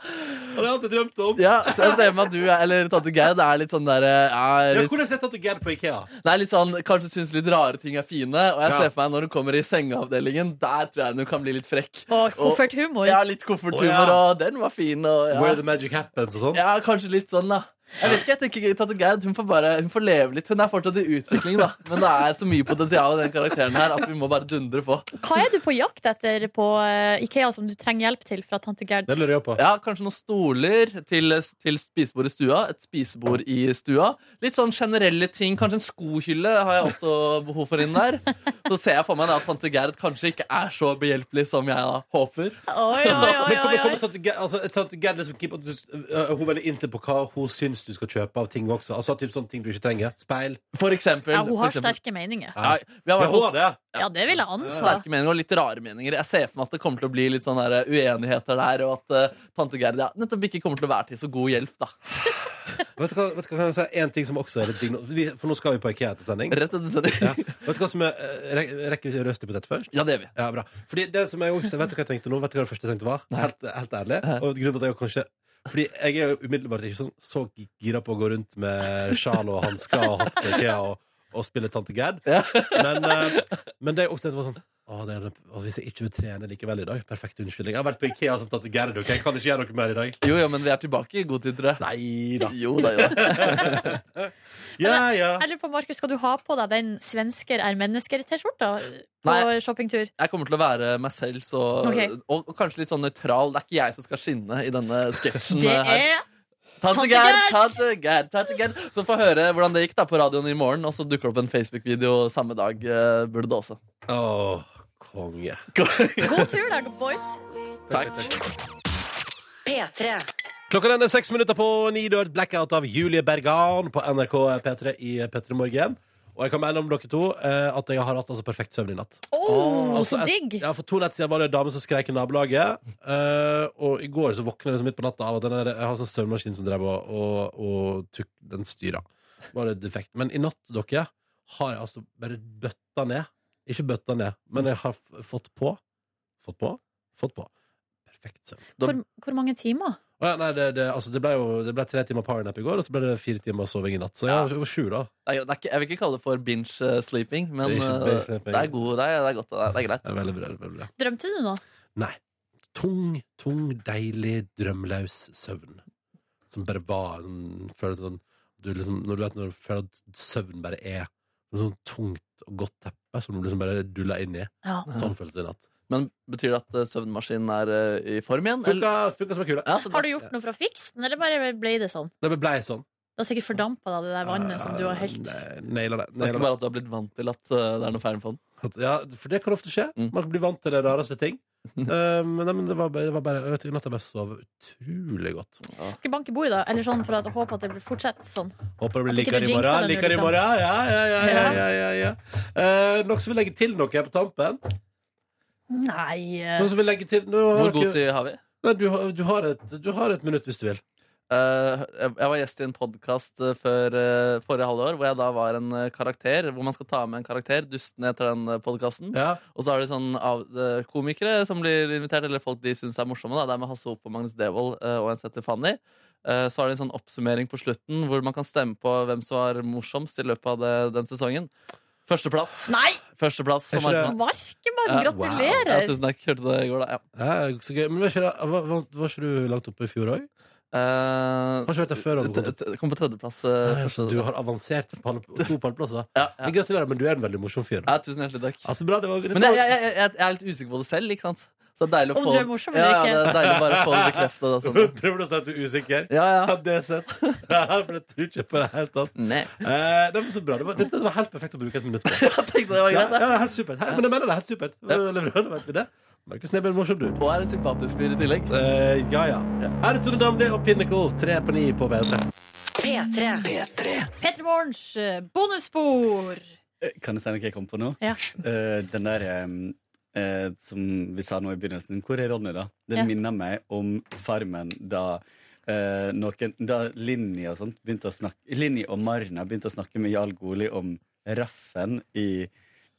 [SPEAKER 5] jeg alltid drømt om?
[SPEAKER 6] Ja, så jeg ser for meg at du er- eller tante Gerd er litt sånn der eh, ja,
[SPEAKER 5] Ja,
[SPEAKER 6] litt,
[SPEAKER 5] hvordan har jeg sett at Gerd på Ikea?
[SPEAKER 6] Nei, litt sånn kanskje syns litt rare ting er fine. Og jeg
[SPEAKER 5] Ja.
[SPEAKER 6] ser for meg når hun kommer i sengeavdelingen, der tror jeg hun kan bli litt frekk.
[SPEAKER 3] Og kofferthumor.
[SPEAKER 6] Ja, litt kofferthumor,
[SPEAKER 5] Å, ja.
[SPEAKER 6] og den var fin. Og, ja.
[SPEAKER 5] Where the magic happens og sånn?
[SPEAKER 6] Ja, kanskje litt sånn, da. Jeg vet ikke, jeg tenker Tante Gerd hun får, bare, hun får leve litt. Hun er fortsatt i utvikling, da. Men det er så mye potensial i den karakteren her at vi må bare dundre på.
[SPEAKER 3] Hva er du på jakt etter på eh, Ikea som du trenger hjelp til fra tante Gerd?
[SPEAKER 5] Det lurer jeg på.
[SPEAKER 6] Ja, Kanskje noen stoler til, til spisebord i stua. Et spisebord i stua. Litt sånn generelle ting. Kanskje en skohylle har jeg også behov for inn der. Så ser jeg for meg da at tante Gerd kanskje ikke er så behjelpelig som jeg da håper.
[SPEAKER 3] Oi, oi, oi,
[SPEAKER 5] Men kommer,
[SPEAKER 3] oi,
[SPEAKER 5] kommer
[SPEAKER 3] oi.
[SPEAKER 5] tante Gerd, altså, tante Gerd liksom, keep- at du, øh, hun er veldig innstilt på hva hun syns du skal kjøpe av ting også. Altså typ sånne ting du ikke trenger. Speil.
[SPEAKER 6] For eksempel.
[SPEAKER 3] Ja, hun
[SPEAKER 6] for
[SPEAKER 3] har
[SPEAKER 6] eksempel.
[SPEAKER 3] sterke meninger.
[SPEAKER 6] Ja, vi har i
[SPEAKER 5] Ja,
[SPEAKER 6] hvert fall
[SPEAKER 5] hun har det.
[SPEAKER 3] Ja, det vil jeg anta.
[SPEAKER 6] sterke meninger og litt rare meninger. Jeg ser for meg at det kommer til å bli litt sånn der eh, uenigheter der, og at eh, tante Gerd ja, nettopp ikke kommer til å være til så god hjelp. da.
[SPEAKER 5] Vet du hva, vet du hva kan jeg si? En ting som også er litt digg nå. Vi- For nå skal vi på Ikea etter sending.
[SPEAKER 6] Rett etter sending.
[SPEAKER 5] Ja. Vet du hva som er, øh, rek- rekker vi å røste potet først?
[SPEAKER 6] Ja, det gjør vi.
[SPEAKER 5] Ja, bra. Fordi det som jeg også, Vet du hva jeg tenkte nå? Vet du hva det første jeg tenkte var? Helt, helt ærlig.
[SPEAKER 6] Nei.
[SPEAKER 5] Og grunnen til at jeg kanskje Fordi jeg er jo umiddelbart ikke sånn så gira på å gå rundt med sjal og hansker og hatt på IKEA og, og spille Tante Gerd. Men, eh, men det jeg også tenkte var sånn å, det er, det- å, hvis jeg ikke vil trene likevel i dag, perfekt unnskyldning. Jeg har vært på Ikea som Tante Gerd. ok? Jeg kan ikke gjøre noe mer i dag.
[SPEAKER 6] Jo, jo, men vi er tilbake i god tid, tror jeg.
[SPEAKER 5] Nei da.
[SPEAKER 6] Jo da, jo da.
[SPEAKER 5] Ja, ja.
[SPEAKER 3] Jeg lurer på, Markus, Skal du ha på deg den 'svensker er mennesker'-T-skjorta på
[SPEAKER 6] Nei.
[SPEAKER 3] shoppingtur?
[SPEAKER 6] Jeg kommer til å være meg selv, så,
[SPEAKER 3] Ok.
[SPEAKER 6] og, og kanskje litt sånn nøytral. Det er ikke jeg som skal skinne i denne sketsjen.
[SPEAKER 3] Det
[SPEAKER 6] eh, her.
[SPEAKER 3] er
[SPEAKER 6] Tante Gerd, tante Gerd, tante Gerd. Så få høre hvordan det gikk da på radioen i morgen, og så dukker det opp en Facebook-video samme dag. eh, burde det også.
[SPEAKER 5] Å, konge.
[SPEAKER 3] God tur der, boys!
[SPEAKER 1] P3.
[SPEAKER 5] Klokka den er seks minutter på ni. Du har hørt Blackout av Julie Bergan på NRK P3 i P3 Morgen. Og jeg kan melde om dere to eh, at jeg har hatt altså perfekt søvn i natt.
[SPEAKER 3] Å, så
[SPEAKER 5] Altså, et-
[SPEAKER 3] digg!
[SPEAKER 5] Ja, For to netter siden var det en dame som skreik i nabolaget. eh, og i går så våkna jeg liksom midt på natta av at den der, jeg har sånn søvnmaskin som drev og, og, og tuk, den styra. Var det defekt. Men i natt, dere, har jeg altså bare bøtta ned. Ikke bøtta ned, men jeg har f- fått på. Fått på. Fått på. Perfekt søvn.
[SPEAKER 6] Da-
[SPEAKER 3] Hvor, hvor mange timer?
[SPEAKER 5] Å ja, nei, det, det, altså, det ble jo det ble tre timer powernap i går, og så ble det fire timer soving i natt. Så jeg
[SPEAKER 6] Ja.
[SPEAKER 5] var- jeg var sju, da.
[SPEAKER 6] Det er, det er ikke, jeg vil ikke kalle det for binge-sleeping, men det
[SPEAKER 5] Det er ikke
[SPEAKER 6] er,
[SPEAKER 5] binge-sleeping.
[SPEAKER 6] det er, god, det er, det er godt. Det er, det er greit.
[SPEAKER 5] Det er veldig bra. Veldig bra.
[SPEAKER 3] Drømte du nå?
[SPEAKER 5] Nei. Tung, tung, deilig, drømløs søvn. Som bare var sånn Føler sånn du liksom, Når du vet når du føler at søvn bare er noe sånn tungt og godt teppe som du liksom bare duller inn i.
[SPEAKER 3] Ja.
[SPEAKER 5] Sånn føltes det i natt.
[SPEAKER 6] Men betyr det at eh, søvnmaskinen er eh, i form igjen? eller?
[SPEAKER 5] Funka, funka som ei kule.
[SPEAKER 6] Ja, så bra.
[SPEAKER 3] Har du gjort noe for å fikse den, eller bare ble det sånn?
[SPEAKER 5] Det blei sånn.
[SPEAKER 3] Det har sikkert fordampa deg, det der vannet som du har helt
[SPEAKER 5] Nei, Naila det.
[SPEAKER 6] det er
[SPEAKER 5] naila
[SPEAKER 6] ikke bare at du har blitt vant til at eh, det er noe feil på den.
[SPEAKER 5] At- Ja, for det kan ofte skje.
[SPEAKER 6] Mm.
[SPEAKER 5] Man kan bli vant til det rareste ting. Eh, men, nei, men det var bare, det var bare Jeg vet ikke, i natt jeg bare sov utrolig godt.
[SPEAKER 3] Skal banke bordet, da? Eller sånn for å håpe at det blir fortsatt sånn.
[SPEAKER 5] Håper det blir
[SPEAKER 3] At ikke
[SPEAKER 5] likere
[SPEAKER 3] du
[SPEAKER 5] i
[SPEAKER 3] jinxer
[SPEAKER 5] morgen.
[SPEAKER 3] den,
[SPEAKER 5] Likere i
[SPEAKER 3] liksom.
[SPEAKER 5] morgen. Ja, ja, ja. ja, ja, ja, ja. Eh, noen som vil legge til noe her på tampen?
[SPEAKER 3] Nei eh,
[SPEAKER 5] Noen som vil legge til nå har
[SPEAKER 6] Hvor
[SPEAKER 5] dere-
[SPEAKER 6] god tid har vi?
[SPEAKER 5] Nei, du, har- du, har et, du har et minutt hvis du vil.
[SPEAKER 6] Eh, jeg jeg var gjest i en podkast før eh, forrige halvår, hvor jeg da var en eh, karakter. Hvor man skal ta med en karakter, dusten heter den eh, podkasten.
[SPEAKER 5] Ja.
[SPEAKER 6] Og så er det sånn av, eh, komikere som blir invitert, eller folk de syns er morsomme. Da. Det er med Hasse Hope og Magnus Devold eh, og en setter Fanny. Eh, så er det en sånn oppsummering på slutten hvor man kan stemme på hvem som var morsomst i løpet av det, den sesongen. Førsteplass.
[SPEAKER 3] Nei!
[SPEAKER 6] Førsteplass
[SPEAKER 5] Er
[SPEAKER 6] for
[SPEAKER 5] ikke det-
[SPEAKER 6] Markmann.
[SPEAKER 3] Markemann,
[SPEAKER 6] Ja, Ja,
[SPEAKER 3] gratulerer!
[SPEAKER 6] tusen takk. Hørte du det i går, da? Ja.
[SPEAKER 5] Ja, så gøy. Men var ikke, det- var, var, var ikke du langt oppe i fjor òg?
[SPEAKER 6] Eh,
[SPEAKER 5] Har ikke vært der før? Anne-Cath.
[SPEAKER 6] t- t- kom på tredjeplass. eh,
[SPEAKER 5] Nei,
[SPEAKER 6] første-
[SPEAKER 5] altså, du har avansert på alle- to pallplasser.
[SPEAKER 6] ja, ja.
[SPEAKER 5] Men Gratulerer, men du er en veldig morsom fyr.
[SPEAKER 6] ja, tusen hjertelig takk.
[SPEAKER 5] Altså, bra, det var,
[SPEAKER 6] Men jeg, jeg, jeg, jeg, jeg er litt usikker på det selv, ikke sant? Så det er deilig å
[SPEAKER 3] Om
[SPEAKER 6] få
[SPEAKER 3] du er morsom
[SPEAKER 6] ja,
[SPEAKER 3] eller
[SPEAKER 6] ja,
[SPEAKER 3] ikke.
[SPEAKER 6] det er deilig bare å få det bekreftet. da, Sånn.
[SPEAKER 5] Prøver du å si at du er usikker?
[SPEAKER 6] Ja,
[SPEAKER 5] Ja,
[SPEAKER 6] ja.
[SPEAKER 5] det er søtt. Ja, For jeg tror ikke på det helt tatt.
[SPEAKER 6] Nei.
[SPEAKER 5] Eh, nei, men så bra. Det var, dette var helt perfekt å bruke et minutt på.
[SPEAKER 6] Jeg tenkte det var
[SPEAKER 5] Ja,
[SPEAKER 6] greit, det.
[SPEAKER 5] ja, helt supert. Hei, Men jeg mener det, helt supert.
[SPEAKER 6] Ja.
[SPEAKER 5] Leverandør, vet vi det? Markus Neby er en morsom dude.
[SPEAKER 6] Og er en sympatisk fyr i tillegg.
[SPEAKER 5] Eh, ja, ja. Her er Tone Damli og Pinnacle, tre på ni på bedre.
[SPEAKER 1] P3.
[SPEAKER 2] Petter Morgens eh, bonusspor.
[SPEAKER 11] Eh, Kan jeg si noe jeg kom på nå?
[SPEAKER 2] Ja.
[SPEAKER 11] Eh, den der eh, eh, som vi sa nå i begynnelsen, hvor er Ronny, da? Den
[SPEAKER 2] Ja.
[SPEAKER 11] minner meg om Farmen da eh, noen Da Linni og sånt begynte å snakke Linni og Marna begynte å snakke med Jarl Goli om Raffen i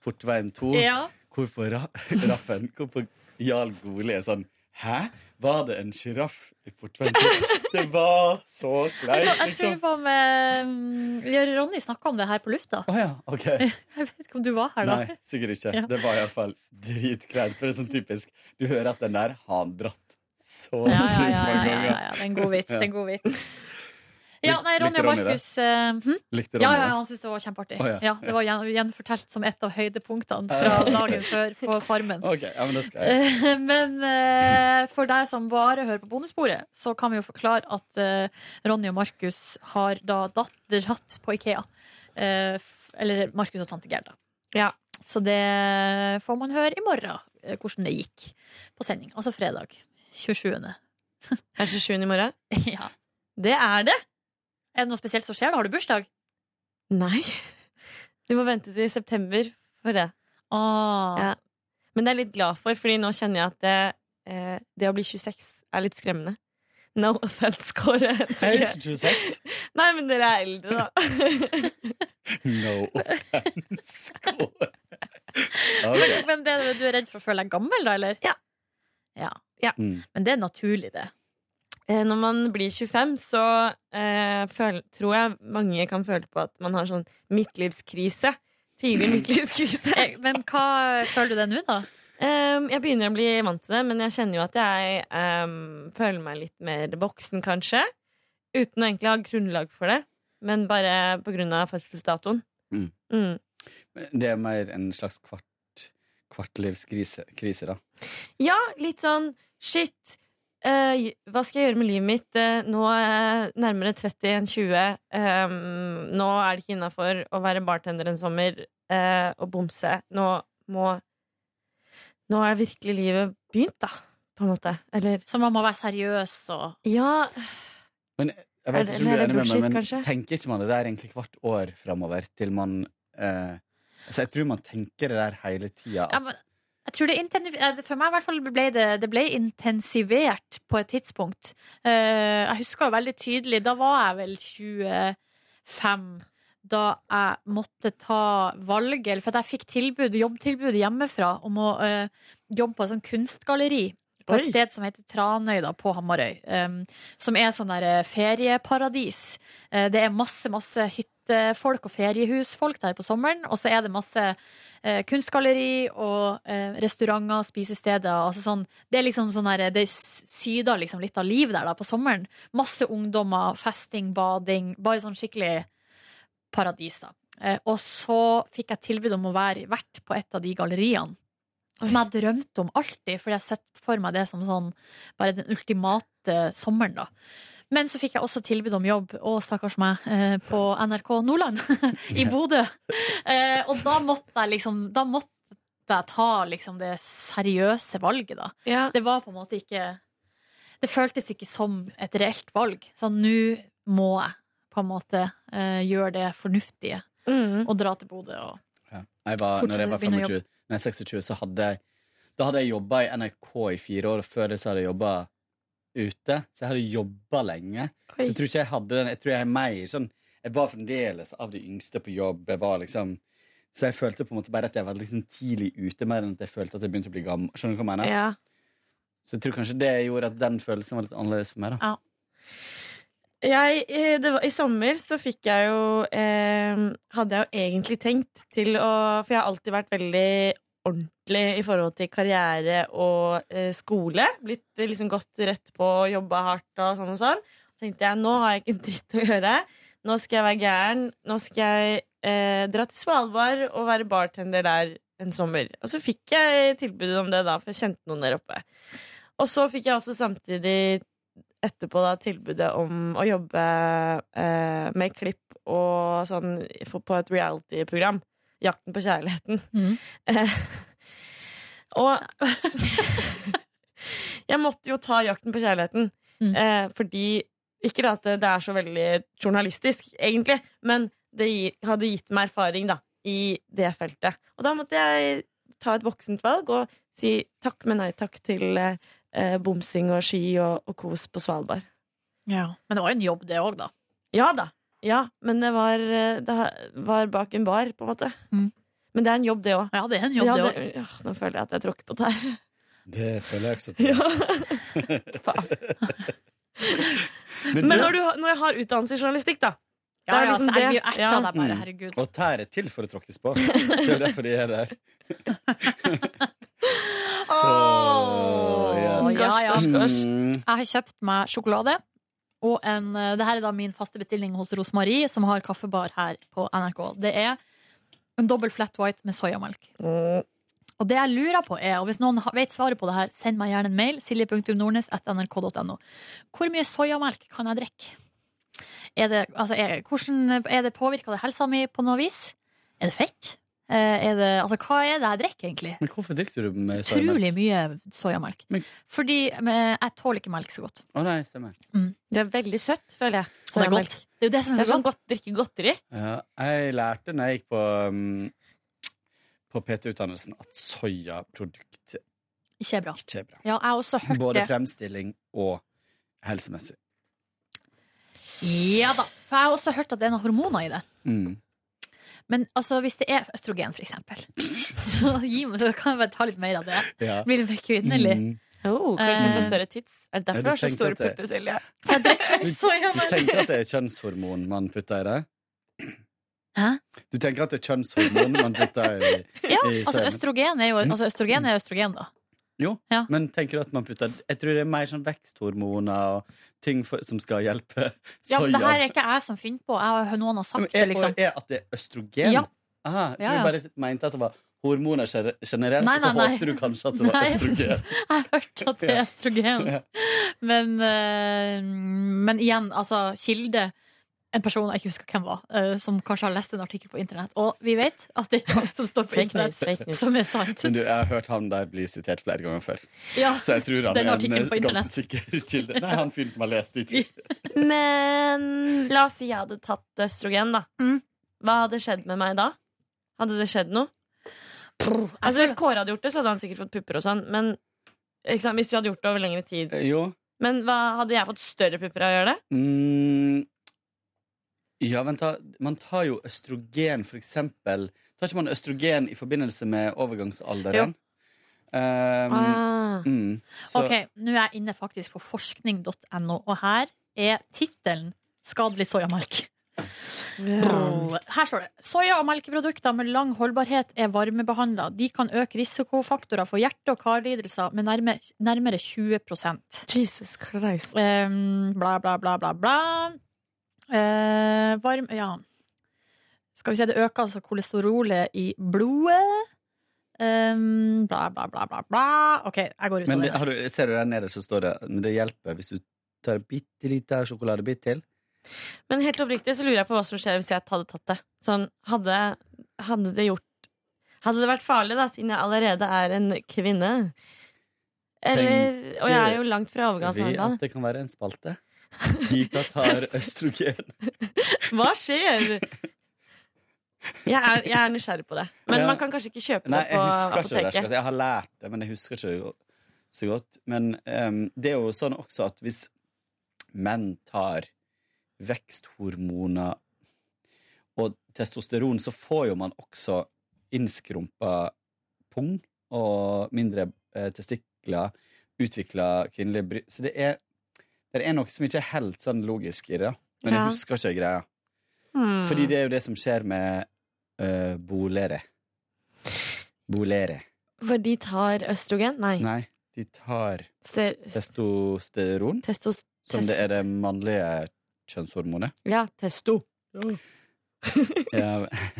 [SPEAKER 11] Portveien 2.
[SPEAKER 2] Ja.
[SPEAKER 11] Hvorfor ra Raffen? Hvorfor Jarl Goli er sånn Hæ? Var det en sjiraff i Portveien 2? Det var så
[SPEAKER 2] Jeg,
[SPEAKER 11] kleint,
[SPEAKER 2] jeg tror
[SPEAKER 11] liksom.
[SPEAKER 2] på om eh, ja, Ronny snakka om det her på lufta.
[SPEAKER 11] Å ja, OK.
[SPEAKER 2] Jeg vet ikke om du var her da.
[SPEAKER 11] Nei, sikkert ikke.
[SPEAKER 2] Ja.
[SPEAKER 11] Det var iallfall dritkleint. For det er sånn typisk. Du hører at den der har han dratt så
[SPEAKER 2] Ja, ja,
[SPEAKER 11] sykt
[SPEAKER 2] ja, ja,
[SPEAKER 11] mange
[SPEAKER 2] ja, ja,
[SPEAKER 11] ganger.
[SPEAKER 2] ja. Det er en god vits. Det er en god vits. Ja, nei, Ronny
[SPEAKER 11] Likte
[SPEAKER 2] og
[SPEAKER 11] Ronny det?
[SPEAKER 2] Markus eh, hm?
[SPEAKER 11] Likte
[SPEAKER 2] Ja,
[SPEAKER 11] Ronny
[SPEAKER 2] ja,
[SPEAKER 11] det?
[SPEAKER 2] han syntes det var kjempeartig.
[SPEAKER 11] Å, ja.
[SPEAKER 2] ja. Det var gjen- gjenfortalt som et av høydepunktene
[SPEAKER 11] Ja.
[SPEAKER 2] fra dagen før på Farmen.
[SPEAKER 11] OK, ja, men det skal jeg.
[SPEAKER 2] Eh, Men eh, for deg som bare hører på bonussporet, så kan vi jo forklare at eh, Ronny og Markus har da datterhatt på Ikea. Eh, f- Eller Markus og tante Gerda. Så det får man høre i morgen, eh, hvordan det gikk på sending. Altså fredag 27.
[SPEAKER 12] Er det 27. i morgen?
[SPEAKER 2] ja.
[SPEAKER 12] Det er det!
[SPEAKER 2] Er det noe spesielt som skjer da? Har du bursdag?
[SPEAKER 12] Nei. Du må vente til september for det.
[SPEAKER 2] Ah,
[SPEAKER 12] Ja. Men det er jeg litt glad for, fordi nå kjenner jeg at det, eh, det å bli 26 er litt skremmende. No offense, Kåre.
[SPEAKER 11] Jeg er ikke 26.
[SPEAKER 12] Nei, men dere er eldre, da.
[SPEAKER 11] No offense. Kåre.
[SPEAKER 2] Men,
[SPEAKER 11] Ok.
[SPEAKER 2] men det, du er redd for å føle deg gammel, da, eller?
[SPEAKER 12] Ja.
[SPEAKER 2] ja.
[SPEAKER 11] Mm.
[SPEAKER 2] Men det er naturlig, det.
[SPEAKER 12] Eh, Når man blir 25, så eh, føl, tror jeg mange kan føle på at man har sånn midtlivskrise. Tidlig midtlivskrise.
[SPEAKER 2] Eh, Men hva føler du det nå, da?
[SPEAKER 12] Ehm, jeg begynner å bli vant til det, men jeg kjenner jo at jeg ehm, føler meg litt mer voksen, kanskje. Uten å egentlig ha grunnlag for det, men bare på grunn av fødselsdatoen.
[SPEAKER 11] Mm.
[SPEAKER 12] Mm.
[SPEAKER 11] Det er mer en slags kvart, kvartlivskrise, krise, da.
[SPEAKER 12] Ja, litt sånn shit. eh, hva skal jeg gjøre med livet mitt? Eh, nå er jeg nærmere 30 enn 20. Ehm, nå er det ikke innafor å være bartender en sommer eh, og bomse. Nå må Nå er virkelig livet begynt, da, på en måte. Eller
[SPEAKER 2] Så man må være seriøs og
[SPEAKER 12] Ja,
[SPEAKER 11] Men jeg
[SPEAKER 12] Er
[SPEAKER 11] vet
[SPEAKER 12] det-
[SPEAKER 11] ikke om du
[SPEAKER 12] eller
[SPEAKER 11] er
[SPEAKER 12] er det
[SPEAKER 11] enig med meg,
[SPEAKER 12] bullshit,
[SPEAKER 11] men
[SPEAKER 12] kanskje?
[SPEAKER 11] tenker ikke man det der egentlig hvert år framover til man eh, Altså, jeg tror man tenker det der hele tida.
[SPEAKER 2] ja, men, jeg tror det intensiv- eh, For meg i hvert fall ble det, det ble intensivert på et tidspunkt. Eh, jeg husker jo veldig tydelig, da var jeg vel 25 da jeg måtte ta valget, eller for at jeg fikk tilbud, jobbtilbud hjemmefra om å eh, jobbe på et sånt kunstgalleri. På et
[SPEAKER 12] Oi.
[SPEAKER 2] sted som heter Tranøy da, på Hamarøy. eh, som er sånn der eh, ferieparadis. Eh, det er masse, masse hyttefolk og feriehusfolk der på sommeren. Og så er det masse eh, kunstgalleri og eh, restauranter, spisesteder. Altså sånn, det er liksom sånn her, det syder liksom litt av liv der da, på sommeren. Masse ungdommer, festing, bading. Bare sånn skikkelig paradis, da. Eh, og så fikk jeg tilbud om å være vert på et av de galleriene. Som jeg har drømt om alltid, fordi jeg har sett for meg det som sånn bare den ultimate sommeren, da. Men så fikk jeg også tilbud om jobb, å stakkars meg, eh, på NRK Nordland i Bodø. Eh, og da måtte jeg liksom Da måtte måtte jeg ta liksom det seriøse valget, da. Det var på en måte ikke Det føltes ikke som et reelt valg. Sånn, nå må jeg på en måte eh, gjøre det fornuftige
[SPEAKER 12] Mm.
[SPEAKER 2] og dra til Bodø og
[SPEAKER 11] Ja. Jeg var, når jeg
[SPEAKER 2] Fortsatt
[SPEAKER 11] var
[SPEAKER 2] begynne å
[SPEAKER 11] 25, nei, 26, så hadde jeg Da hadde jeg jobba i NRK i fire år, og før det så hadde jeg jobba ute. Så jeg hadde jobba lenge. Så jeg tror ikke jeg hadde den Jeg tror jeg er mer sånn Jeg var fremdeles av de yngste på jobb. Jeg var liksom Så jeg følte på en måte bare at jeg var liksom tidlig ute, mer enn at jeg følte at jeg begynte å bli gammel. Skjønner du hva jeg mener?
[SPEAKER 12] Ja.
[SPEAKER 11] Så jeg tror kanskje det gjorde at den følelsen var litt annerledes for meg, da.
[SPEAKER 12] jeg, eh, det var, I sommer så fikk jeg jo eh, Hadde jeg jo egentlig tenkt til å For jeg har alltid vært veldig ordentlig i forhold til karriere og eh, skole. Blitt eh, liksom gått rett på, jobba hardt og sånn og sånn. Så tenkte jeg nå har jeg ikke en dritt å gjøre. Nå skal jeg være gæren. Nå skal jeg eh, dra til Svalbard og være bartender der en sommer. Og så fikk jeg tilbudet om det da, for jeg kjente noen der oppe. Og så fikk jeg også samtidig etterpå da tilbudet om å jobbe eh, med klipp og sånn for, på et reality-program. 'Jakten på kjærligheten'. Eh, og jeg måtte jo ta 'Jakten på kjærligheten', eh, fordi Ikke at det er så veldig journalistisk, egentlig, men det gi, hadde gitt meg erfaring da, i det feltet. Og da måtte jeg ta et voksent valg og si takk, men nei takk til eh, eh, bomsing og ski og, og kos på Svalbard.
[SPEAKER 2] Ja. Men det var jo en jobb, det òg, da.
[SPEAKER 12] Ja da. Ja, men det var, eh, det var bak en bar, på en måte. Men det er en jobb, det òg.
[SPEAKER 2] Ja, det er en jobb, det også.
[SPEAKER 12] ja, nå føler jeg at jeg tråkker på tær.
[SPEAKER 11] Det føler jeg også.
[SPEAKER 12] Men, når, du, har- når jeg har utdannelse i journalistikk, da.
[SPEAKER 2] Ja,
[SPEAKER 12] det er
[SPEAKER 2] ja,
[SPEAKER 12] liksom
[SPEAKER 2] så jeg
[SPEAKER 12] det.
[SPEAKER 2] blir jo erta
[SPEAKER 12] Ja.
[SPEAKER 2] der bare, herregud.
[SPEAKER 11] Og tær er til for å tråkkes på. Det er jo derfor de er der. Så ja.
[SPEAKER 2] Å, ja, ja.
[SPEAKER 11] Mm.
[SPEAKER 2] Jeg har kjøpt meg sjokolade. Og en, eh, det her er da min faste bestilling hos Rosmarie, som har kaffebar her på NRK. Det er en dobbel flat white med soyamelk. Og det jeg lurer på er, og hvis noen ha- vet svaret på det her, send meg gjerne en mail. silje.nordnes.nrk.no. Hvor mye soyamelk kan jeg drikke? Er det, altså, er, hvordan, er det påvirka det helsa mi på noe vis? Er det fett? Eh, Er det, altså, hva er det jeg drikker, egentlig?
[SPEAKER 11] Men hvorfor drikker du med soyamelk?
[SPEAKER 2] Utrolig mye soyamelk. Fordi eh, jeg tåler ikke melk så godt.
[SPEAKER 11] Å nei, stemmer.
[SPEAKER 12] Det er veldig søtt, føler jeg.
[SPEAKER 2] Og det er godt. Det er jo det som er så
[SPEAKER 12] sånn godt drikke godteri.
[SPEAKER 11] Ja, jeg lærte når jeg gikk på, um, på PT-utdannelsen at soyaprodukt
[SPEAKER 2] Ikke er bra.
[SPEAKER 11] ikke er bra.
[SPEAKER 2] Ja, jeg har også hørt
[SPEAKER 11] Både
[SPEAKER 2] det.
[SPEAKER 11] fremstilling og helsemessig.
[SPEAKER 2] Ja da. For jeg har også hørt at det er noen hormoner i det.
[SPEAKER 11] Mm.
[SPEAKER 2] Men altså, hvis det er østrogen, for eksempel, så, gi meg, så kan jeg bare ta litt mer av det.
[SPEAKER 11] Ja.
[SPEAKER 2] Blir mer kvinnelig.
[SPEAKER 11] Mm.
[SPEAKER 12] Oh, kanskje du får
[SPEAKER 2] Eh.
[SPEAKER 12] større tits. Er det
[SPEAKER 11] Ja,
[SPEAKER 12] derfor
[SPEAKER 11] du
[SPEAKER 12] du har så
[SPEAKER 11] tenkte
[SPEAKER 12] store
[SPEAKER 11] at det-
[SPEAKER 12] pupper, Silje?
[SPEAKER 11] Du, du tenker at det er kjønnshormon man putter i det?
[SPEAKER 2] Hæ?
[SPEAKER 11] Du tenker at det er kjønnshormon man putter i,
[SPEAKER 2] Ja,
[SPEAKER 11] i
[SPEAKER 2] altså
[SPEAKER 11] soyamelk?
[SPEAKER 2] østrogen er jo altså, østrogen, er østrogen da.
[SPEAKER 11] Jo, men tenker du at man putter Jeg tror det er mer sånn veksthormoner og ting for, som skal hjelpe
[SPEAKER 2] Ja, men det her er
[SPEAKER 11] soya.
[SPEAKER 2] ikke jeg som finner på. Jeg, har- noen har sagt det,
[SPEAKER 11] Er,
[SPEAKER 2] liksom.
[SPEAKER 11] er at det er østrogen?
[SPEAKER 2] Ja.
[SPEAKER 11] Aha, jeg tror
[SPEAKER 2] Ja, ja.
[SPEAKER 11] du bare mente at det var hormoner gener- generelt,
[SPEAKER 2] Nei,
[SPEAKER 11] og
[SPEAKER 2] nei,
[SPEAKER 11] så
[SPEAKER 2] nei.
[SPEAKER 11] håpte du kanskje at det var
[SPEAKER 2] Nei.
[SPEAKER 11] østrogen.
[SPEAKER 2] Jeg har hørt at det er østrogen. Men, eh, men igjen, altså, kilde en person jeg ikke husker hvem var, eh, som kanskje har lest en artikkel på internett. Og vi vet at det er alt som står på
[SPEAKER 11] Fake news, fake
[SPEAKER 2] internett,
[SPEAKER 11] news.
[SPEAKER 2] som er sant.
[SPEAKER 11] Men du, jeg har hørt han der bli sitert flere ganger før.
[SPEAKER 2] Ja,
[SPEAKER 11] så jeg tror han
[SPEAKER 2] den
[SPEAKER 11] er en
[SPEAKER 2] artikkelen på
[SPEAKER 11] eh, ganske
[SPEAKER 2] internett.
[SPEAKER 11] sikker kilde. Nei, han fyren som har lest det, ikke.
[SPEAKER 12] Men la oss si jeg hadde tatt østrogen, da. Hva hadde skjedd med meg da? Hadde det skjedd noe? Altså, hvis Kåre hadde gjort det, så hadde han sikkert fått pupper og sånn. Men ikke sant? hvis du hadde gjort det over lengre tid
[SPEAKER 11] Jo.
[SPEAKER 12] Men hva, hadde jeg fått større pupper av å gjøre det?
[SPEAKER 11] Mm. Ja, vent da. Man tar jo østrogen, for eksempel. Tar ikke man østrogen i forbindelse med overgangsalderen? Um,
[SPEAKER 2] Ah.
[SPEAKER 11] mm, så-
[SPEAKER 2] Ok, nå er jeg inne faktisk på forskning.no, og her er tittelen 'Skadelig soyamelk'.
[SPEAKER 12] Ah.
[SPEAKER 2] Brr. Her står det Soya- og melkeprodukter med lang holdbarhet er varmebehandla. De kan øke risikofaktorer for hjerte- og karlidelser med nærme, nærmere 20
[SPEAKER 12] Jesus Christ.
[SPEAKER 2] bla, bla, bla, bla, bla. Eh, varm, ja. Skal vi se, det øker altså kolesterolet i blodet. Em, bla, bla, bla, bla, bla. OK, jeg går ut
[SPEAKER 11] Men
[SPEAKER 2] av
[SPEAKER 11] det,
[SPEAKER 2] det.
[SPEAKER 11] har du, ser du der nede, så står det men det hjelper hvis du tar en bitte liten sjokoladebit til.
[SPEAKER 12] Men helt oppriktig så lurer jeg på hva som skjer hvis jeg hadde tatt det. Sånn, hadde, hadde det gjort Hadde det vært farlig, da, siden jeg allerede er en kvinne? Eller,
[SPEAKER 11] Tenker
[SPEAKER 12] og jeg er jo langt fra
[SPEAKER 11] vi at
[SPEAKER 12] overgangsalderen.
[SPEAKER 11] det kan være en spalte? Gita tar østrogen.
[SPEAKER 12] Hva skjer? Jeg er, jeg er nysgjerrig på det. Men
[SPEAKER 11] Ja.
[SPEAKER 12] man kan kanskje ikke kjøpe
[SPEAKER 11] Nei,
[SPEAKER 12] det på
[SPEAKER 11] jeg husker ikke det. der,
[SPEAKER 12] apoteket.
[SPEAKER 11] skal Jeg si. jeg har lært det, men jeg husker ikke det så godt. Men ehm, det er jo sånn også at hvis menn tar veksthormoner og testosteron, så får jo man også innskrumpa pung og mindre eh, testikler, utvikla kvinnelige bry... Så det er, det er noe som ikke er helt sånn logisk i det, da. men
[SPEAKER 12] Ja.
[SPEAKER 11] jeg husker ikke greia.
[SPEAKER 12] Hmm.
[SPEAKER 11] Fordi det er jo det som skjer med uh, bolere. Bolere.
[SPEAKER 12] For de tar østrogen? Nei.
[SPEAKER 11] Nei, de tar
[SPEAKER 12] Ster-
[SPEAKER 11] testosteron,
[SPEAKER 12] testos-
[SPEAKER 11] som det er det mannlige kjønnshormonet.
[SPEAKER 12] Ja, testo.
[SPEAKER 11] Ja,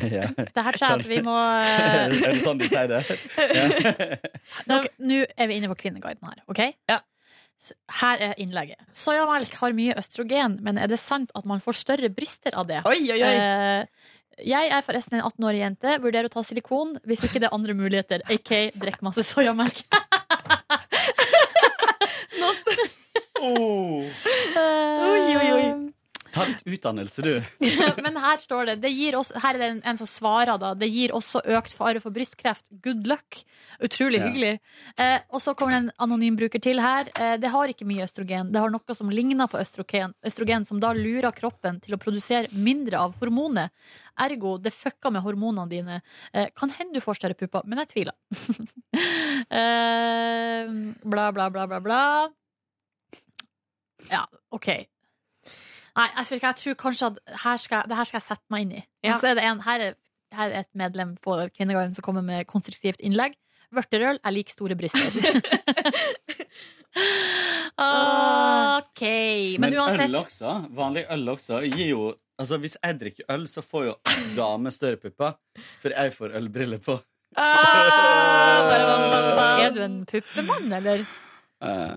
[SPEAKER 11] ja.
[SPEAKER 2] Det her tror jeg at vi må eh,
[SPEAKER 11] Er det sånn de sier det?
[SPEAKER 2] Dere, Nå er vi inne på Kvinneguiden her, OK? Så Her er innlegget. Soyamelk har mye østrogen, men er det sant at man får større bryster av det?
[SPEAKER 12] Oi, oi, oi.
[SPEAKER 2] Eh, jeg er forresten en 18-årig jente, vurderer å ta silikon hvis ikke det er andre muligheter, aka drikk masse soyamelk. Eh,
[SPEAKER 11] Oi, oi, oi. Ta litt utdannelse, du.
[SPEAKER 2] Men her står det, det gir også, Her er det en, en som svarer da Det gir også økt fare for brystkreft Good luck, utrolig
[SPEAKER 11] Ja.
[SPEAKER 2] hyggelig eh, Og så kommer det en anonym bruker til her eh, Det har ikke mye østrogen Det har noe som ligner på østrogen, østrogen Som da lurer kroppen til å produsere mindre av hormonet Ergo, det fucker med hormonene dine eh, Kan hende du får større pupper Men jeg tviler eh, Bla bla bla bla bla Ja, ok Nei, jeg, tror ikke- jeg tror kanskje at her skal, det her skal jeg sette meg inn i. Og
[SPEAKER 12] Ja.
[SPEAKER 2] så er det en, her, er, her er et medlem på Kvinneguiden som kommer med konstruktivt innlegg. Vørterøl er lik store bryster. OK. Men,
[SPEAKER 11] Men
[SPEAKER 2] uansett
[SPEAKER 11] øl også, vanlig øl også, gir jo Altså, hvis jeg drikker øl, så får jo damer større pupper, for jeg får ølbriller på.
[SPEAKER 2] Ah, Er du en puppemann, eller?
[SPEAKER 11] Eh,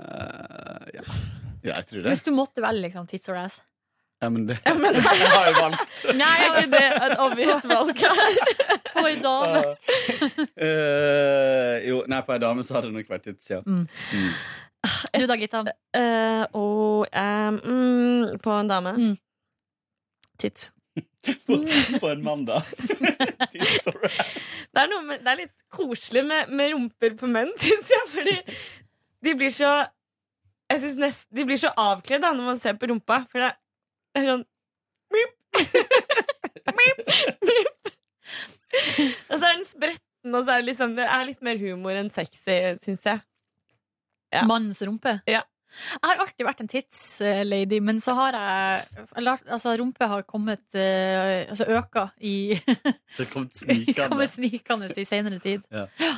[SPEAKER 11] ja. ja, jeg tror det.
[SPEAKER 2] Hvis du måtte velge, liksom, tits or ass.
[SPEAKER 11] Ja, men det Jeg har jo valgt.
[SPEAKER 2] Nei,
[SPEAKER 12] Er ikke det et obvious valg her?
[SPEAKER 2] på ei dame.
[SPEAKER 11] Eh, jo, nei, på ei dame så har det nok vært tids, ja.
[SPEAKER 2] Mm. Ah,
[SPEAKER 11] Mm.
[SPEAKER 2] Du da, Gita.
[SPEAKER 12] Eh, og eh, mm, på en dame.
[SPEAKER 2] Mm.
[SPEAKER 12] Tits.
[SPEAKER 11] På, på en mandag. Tids, all right.
[SPEAKER 12] Det er, noe med, det er litt koselig med, med rumper på menn, syns jeg. Fordi de blir så Jeg synes nest, De blir så avkledd da, når man ser på rumpa. For det er, det er sånn Mip. Mip. Mip. Og så er den spretten, og så er det liksom Det er litt mer humor enn sexy, syns jeg. Ja.
[SPEAKER 2] Mannens rumpe.
[SPEAKER 12] Ja.
[SPEAKER 2] Jeg har alltid vært en tits-lady, men så har jeg eller, Altså, rumpe har kommet eh, Altså øka i
[SPEAKER 11] Det kom
[SPEAKER 2] Kommer
[SPEAKER 11] snikende.
[SPEAKER 2] snikende i senere tid.
[SPEAKER 11] Ja.
[SPEAKER 2] Ja.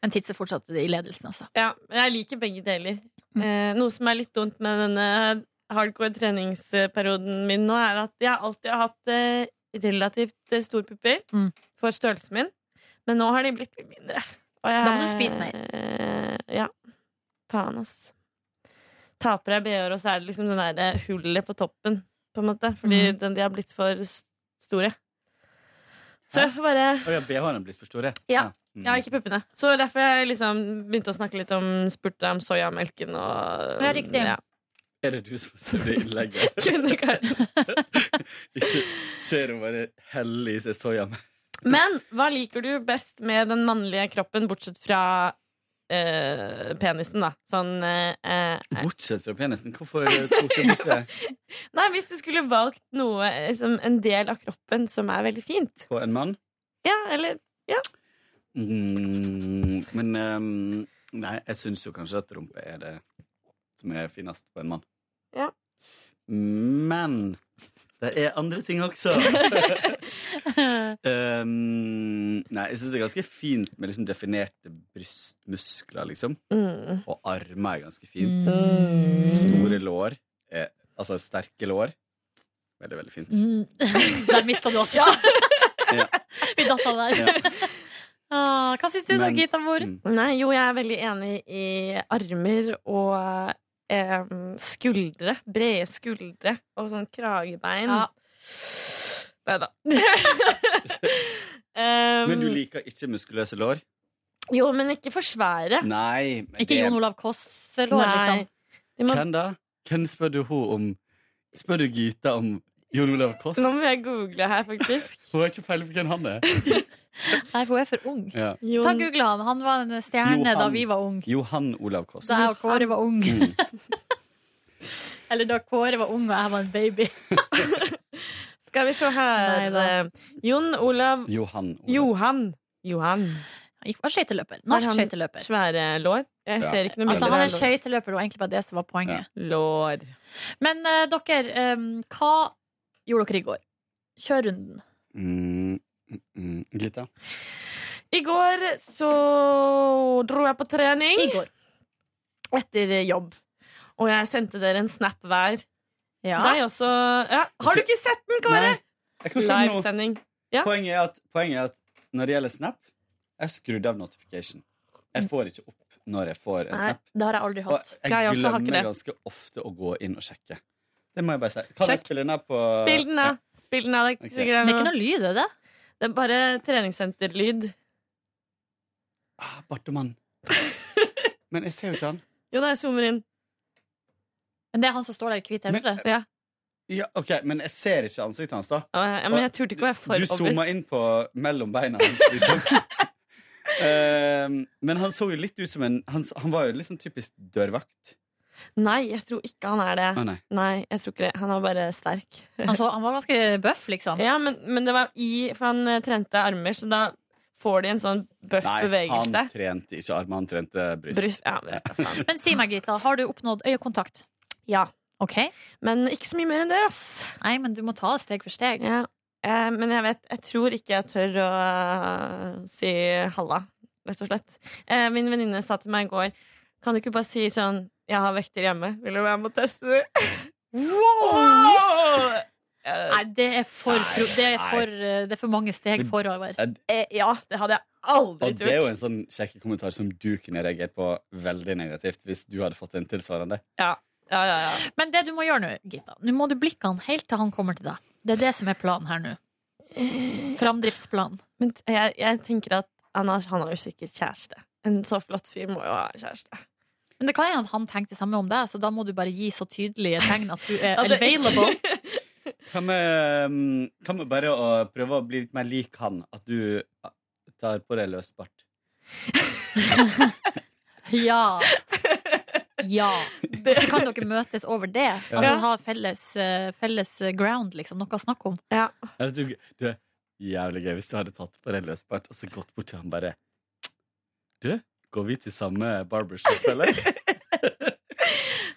[SPEAKER 2] Men tids er fortsatt i ledelsen, altså. Mm.
[SPEAKER 12] Ja, men jeg liker begge deler. Eh, noe som er litt dumt med denne hardcore treningsperioden min nå, er at jeg alltid har hatt eh, relativt eh, store pupper
[SPEAKER 2] Mm.
[SPEAKER 12] for størrelsen min, men nå har de blitt litt mindre. Og jeg-
[SPEAKER 2] Da må du spise mer.
[SPEAKER 12] Eh, ja. Faen, ass. Taper jeg BH-er, og så er det liksom den der eh, hullet på toppen, på en måte, fordi
[SPEAKER 2] Mm.
[SPEAKER 12] den, de har blitt for s- store. Så jeg får bare
[SPEAKER 11] Å ja, BH-en er blitt for stor, jeg.
[SPEAKER 12] Ja.
[SPEAKER 11] Mm.
[SPEAKER 12] ja, ikke puppene. Så derfor jeg liksom begynte å snakke litt om spurte om soyamelken og
[SPEAKER 2] Ja, riktig.
[SPEAKER 11] Er det du som ser det innlegget?
[SPEAKER 12] Kvinneguiden.
[SPEAKER 11] Ikke ser hun bare hellig i seg soyamelk?
[SPEAKER 12] Men hva liker du best med den mannlige kroppen, bortsett fra eh, penisen, da? Sånn eh, eh,
[SPEAKER 11] Bortsett fra penisen. Hvorfor tok du bort det
[SPEAKER 12] Nei, hvis du skulle valgt noe eh, som en del av kroppen som er veldig fint.
[SPEAKER 11] på en mann?
[SPEAKER 12] Ja, eller
[SPEAKER 11] Mm, men ehm, Nei, jeg syns jo kanskje at rumpe er det som er finest på en mann.
[SPEAKER 12] Ja.
[SPEAKER 11] Men det er andre ting også. Ehm, nei, jeg syns det er ganske fint med liksom definerte brystmuskler, liksom.
[SPEAKER 12] mm.
[SPEAKER 11] Og armer er ganske fint.
[SPEAKER 2] Mm.
[SPEAKER 11] Store lår. Er, altså sterke lår. Veldig, veldig fint.
[SPEAKER 2] Mm. Der mista du oss.
[SPEAKER 11] Ja.
[SPEAKER 2] Vi datt av der.
[SPEAKER 11] Ja.
[SPEAKER 2] Ah, hva syns du da,
[SPEAKER 11] Men-
[SPEAKER 2] Gita Mor?
[SPEAKER 11] Mm.
[SPEAKER 12] Nei, jo, jeg er veldig enig i armer og eh, skuldre. Brede skuldre og sånn kragebein.
[SPEAKER 2] Ja.
[SPEAKER 12] Nei da.
[SPEAKER 11] Men du liker ikke muskuløse lår?
[SPEAKER 12] Jo, men ikke for svære.
[SPEAKER 11] Nei. men
[SPEAKER 2] Ikke
[SPEAKER 11] det-
[SPEAKER 2] Jon Olav Koss-lår, liksom.
[SPEAKER 12] De må-
[SPEAKER 11] Hvem da? Hvem spør du hun om? Spør du Gita om Jon Olav Koss?
[SPEAKER 12] Nå må jeg google her, faktisk.
[SPEAKER 11] Hun har ikke peiling på hvem han er.
[SPEAKER 2] Nei, for hun er for ung.
[SPEAKER 11] Ja.
[SPEAKER 2] Ta Google han. Han var en stjerne da
[SPEAKER 11] Mm. Johan.
[SPEAKER 2] vi var ung.
[SPEAKER 11] Johan Olav Koss.
[SPEAKER 2] Da jeg og Kåre var ung. Eller da Kåre var ung og jeg var en baby.
[SPEAKER 12] Skal vi se her eh, Jon Olav
[SPEAKER 11] Johan.
[SPEAKER 12] Johan. Johan.
[SPEAKER 2] Gikk på skøyteløper. Norsk
[SPEAKER 12] Har han
[SPEAKER 2] skøyteløper.
[SPEAKER 12] Svære lår. Jeg
[SPEAKER 2] Ja.
[SPEAKER 12] ser ikke noe
[SPEAKER 2] Altså,
[SPEAKER 12] bilder
[SPEAKER 2] han er
[SPEAKER 12] av lår.
[SPEAKER 2] skøyteløper, det var egentlig bare det som var poenget.
[SPEAKER 12] Lår.
[SPEAKER 2] Men eh, dere, eh, hva gjorde dere i går? Kjør runden.
[SPEAKER 11] Mm, mm, mm. Gita?
[SPEAKER 12] I går så dro jeg på trening. I går. Etter jobb. Og jeg sendte dere en snap hver.
[SPEAKER 2] Ja.
[SPEAKER 12] Deg også. Ja. Har du ikke sett den, Kåre?
[SPEAKER 11] Jeg kan skjønne noe.
[SPEAKER 12] Livesending. Ja.
[SPEAKER 11] Poenget, er at, poenget er at når det gjelder Snap, jeg har skrudd av notification. Jeg får ikke opp når jeg får en
[SPEAKER 2] Nei,
[SPEAKER 11] Snap.
[SPEAKER 2] det har jeg aldri
[SPEAKER 11] Og
[SPEAKER 2] hatt.
[SPEAKER 11] jeg glemmer ganske ofte å gå inn og sjekke. Det må jeg bare si. Kan jeg
[SPEAKER 12] Sjekk.
[SPEAKER 11] spille den her på
[SPEAKER 12] Spill den, da. Spill den, da. Det er,
[SPEAKER 11] Ok.
[SPEAKER 12] ikke sikkert
[SPEAKER 11] Det er ikke
[SPEAKER 2] noe lyd, er det?
[SPEAKER 12] Det er bare treningssenterlyd.
[SPEAKER 11] Ja, Ah, Bartemann. Men jeg ser jo ikke han.
[SPEAKER 12] Jo da, jeg zoomer inn.
[SPEAKER 2] Men det er han som står der i hvit
[SPEAKER 11] hemmelighet.
[SPEAKER 12] Ja.
[SPEAKER 11] Ja, ok, Men jeg ser ikke ansiktet hans, da.
[SPEAKER 12] ja, men jeg turte ikke å være for
[SPEAKER 11] Du zooma
[SPEAKER 12] obvious.
[SPEAKER 11] inn på mellom beina hans, liksom. Ehm, men han så jo litt ut som en Han, han var jo liksom typisk dørvakt.
[SPEAKER 12] Nei, jeg tror ikke han er det.
[SPEAKER 11] Å, nei.
[SPEAKER 12] jeg tror ikke det. Han er bare sterk.
[SPEAKER 2] Han, så, han var ganske bøff, liksom.
[SPEAKER 12] Ja, men, men det var i For han eh, trente armer, så da får de en sånn bøff
[SPEAKER 11] Nei, han
[SPEAKER 12] bevegelse.
[SPEAKER 11] trente ikke armen, han trente bryst.
[SPEAKER 12] Bryst, ja, men vet du
[SPEAKER 2] Men si meg, Gita, har du oppnådd øyekontakt?
[SPEAKER 12] Ja.
[SPEAKER 2] Ok.
[SPEAKER 12] Men ikke så mye mer enn det, ass.
[SPEAKER 2] Nei, men du må ta det steg for steg.
[SPEAKER 12] Ja. Eh, men jeg vet Jeg tror ikke jeg tør å eh, si halla, rett og slett. Eh, min venninne sa til meg i går Kan du ikke bare si sånn 'Jeg har vekter hjemme. Vil du være med og teste det?' Wow!
[SPEAKER 2] Nei, det er for, pro det er
[SPEAKER 11] Nei.
[SPEAKER 2] for, eh, det er for mange steg forover.
[SPEAKER 12] Eh, ja, det hadde jeg aldri
[SPEAKER 11] Og det er jo en sånn kjekk kommentar som du kunne reagert på veldig negativt hvis du hadde fått en tilsvarende.
[SPEAKER 12] Ja. Ja, ja, ja.
[SPEAKER 2] Men det du må gjøre nå, Gita Nå må du blikke han helt til han kommer til deg. Det er det som er planen her nå.
[SPEAKER 11] Eh.
[SPEAKER 2] Framdriftsplanen.
[SPEAKER 12] Men t- jeg, jeg tenker at han har, han har jo sikkert kjæreste. En så flott fyr må jo ha kjæreste.
[SPEAKER 2] Men det kan hende at han tenker det samme om deg, så da må du bare gi så tydelige tegn at du er
[SPEAKER 12] At det-
[SPEAKER 2] available.
[SPEAKER 11] Kan vi, mm, kan vi bare å prøve å bli litt mer lik han? At du ah, tar på deg løs bart?
[SPEAKER 2] Ja. Ja. Og så kan dere møtes over det.
[SPEAKER 11] Ja.
[SPEAKER 2] Altså ha felles, eh, felles ground, liksom. Noe å snakke om.
[SPEAKER 12] Ja.
[SPEAKER 11] Er det du- du er jævlig gøy hvis du hadde tatt på deg løs bart og så gått bort til han bare Du, går vi til samme barbershop, eller?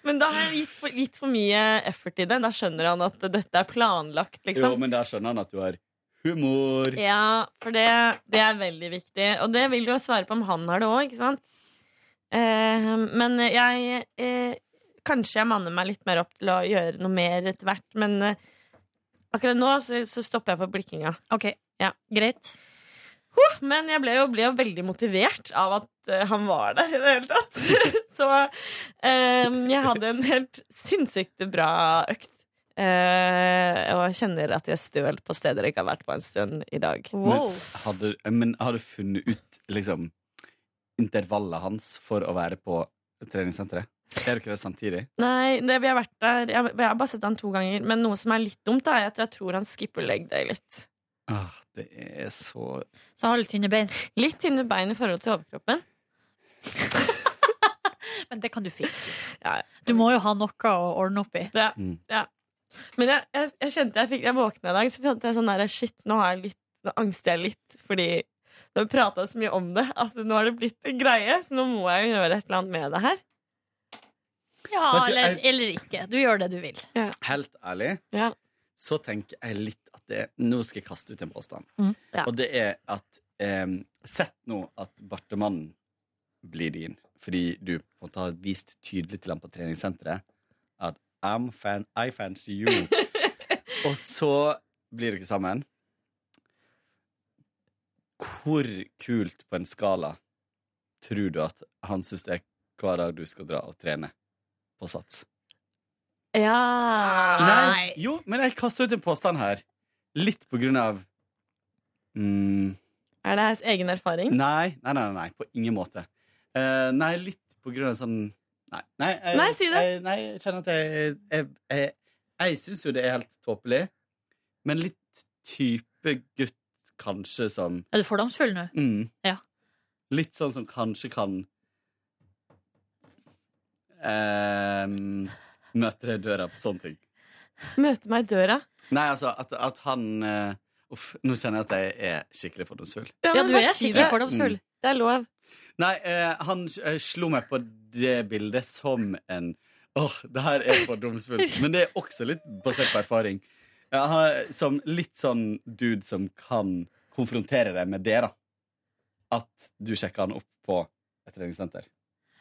[SPEAKER 12] Men da har jeg gitt for, gitt for mye effort i det. Da skjønner han at dette er planlagt,
[SPEAKER 11] Jo,
[SPEAKER 12] liksom.
[SPEAKER 11] men da skjønner han at du har humor.
[SPEAKER 12] Ja, for det, det er veldig viktig. Og det vil jo svare på om han har det òg, ikke sant? Eh, men jeg eh, Kanskje jeg manner meg litt mer opp til å gjøre noe mer etter hvert, men eh, akkurat nå så, så stopper jeg på blikkinga.
[SPEAKER 2] Ok, greit
[SPEAKER 12] huh, Men jeg ble jo, ble jo veldig motivert av at eh, han var der i det hele tatt. så eh, jeg hadde en helt sinnssykt bra økt. Eh, og jeg kjenner at jeg er støl på steder jeg ikke har vært på en stund i dag.
[SPEAKER 11] Men, hadde, men har du funnet ut liksom intervallet hans for å være på treningssenteret? Er dere det samtidig?
[SPEAKER 12] Nei, det, vi har vært der jeg, jeg har bare sett han to ganger. Men noe som er litt dumt, da, er at jeg tror han skipper leg day litt.
[SPEAKER 11] Ah, det er så
[SPEAKER 2] Så har du litt tynne bein.
[SPEAKER 12] Litt tynne bein i forhold til overkroppen.
[SPEAKER 2] Men det kan du fikse.
[SPEAKER 12] Ja,
[SPEAKER 2] Du må jo ha noe å ordne opp i.
[SPEAKER 12] Ja, ja. Men jeg, jeg, jeg kjente jeg fikk Jeg våkna i dag, så kjente jeg sånn der Shit, nå, har jeg litt, nå angster jeg litt, fordi nå har vi prata så mye om det. Altså, nå har det blitt en greie, så nå må jeg jo gjøre et eller annet med det her.
[SPEAKER 2] Ja,
[SPEAKER 11] Vet du,
[SPEAKER 2] eller,
[SPEAKER 11] jeg-
[SPEAKER 2] eller ikke. Du gjør det du vil.
[SPEAKER 11] Helt ærlig,
[SPEAKER 12] Ja.
[SPEAKER 11] så tenker jeg litt at det Nå skal jeg kaste ut en påstand.
[SPEAKER 2] Mm, ja.
[SPEAKER 11] Og det er at eh, Sett nå at bartemannen blir din, fordi du på en måte har vist tydelig til ham på treningssenteret at I'm fan, I fancy you. Og så blir dere sammen. Hvor kult på en skala tror du at han syns det er hver dag du skal dra og trene på sats?
[SPEAKER 12] Ja
[SPEAKER 11] Jo, men jeg kaster ut en påstand her. Litt på grunn av mm,
[SPEAKER 12] Er det hans egen erfaring?
[SPEAKER 11] Nei, nei, nei, nei, på ingen måte. Eh, nei, litt på grunn av sånn Nei, nei, jeg,
[SPEAKER 12] Nei, si det.
[SPEAKER 11] Jeg, nei, jeg kjenner at jeg Jeg, jeg, jeg syns jo det er helt tåpelig, men litt type gutt kanskje som
[SPEAKER 2] Er du fordomsfull nå?
[SPEAKER 11] mm,
[SPEAKER 2] Ja.
[SPEAKER 11] Litt sånn som kanskje kan ehm, Møte deg i døra på sånne ting.
[SPEAKER 12] Møte meg i døra.
[SPEAKER 11] Nei, altså, at, at han eh, Uff, nå kjenner jeg at jeg er skikkelig fordomsfull.
[SPEAKER 12] men
[SPEAKER 2] du
[SPEAKER 12] bare
[SPEAKER 2] er
[SPEAKER 12] si
[SPEAKER 2] skikkelig
[SPEAKER 12] det.
[SPEAKER 2] fordomsfull.
[SPEAKER 11] Mm.
[SPEAKER 12] Det er lov.
[SPEAKER 11] Nei, eh, han eh, slo meg på det bildet som en Åh, det her er fordomsfullt. Men det er også litt basert på erfaring. Jeg har, som litt sånn dude som kan konfrontere deg med det, da. At du sjekker han opp på et treningssenter.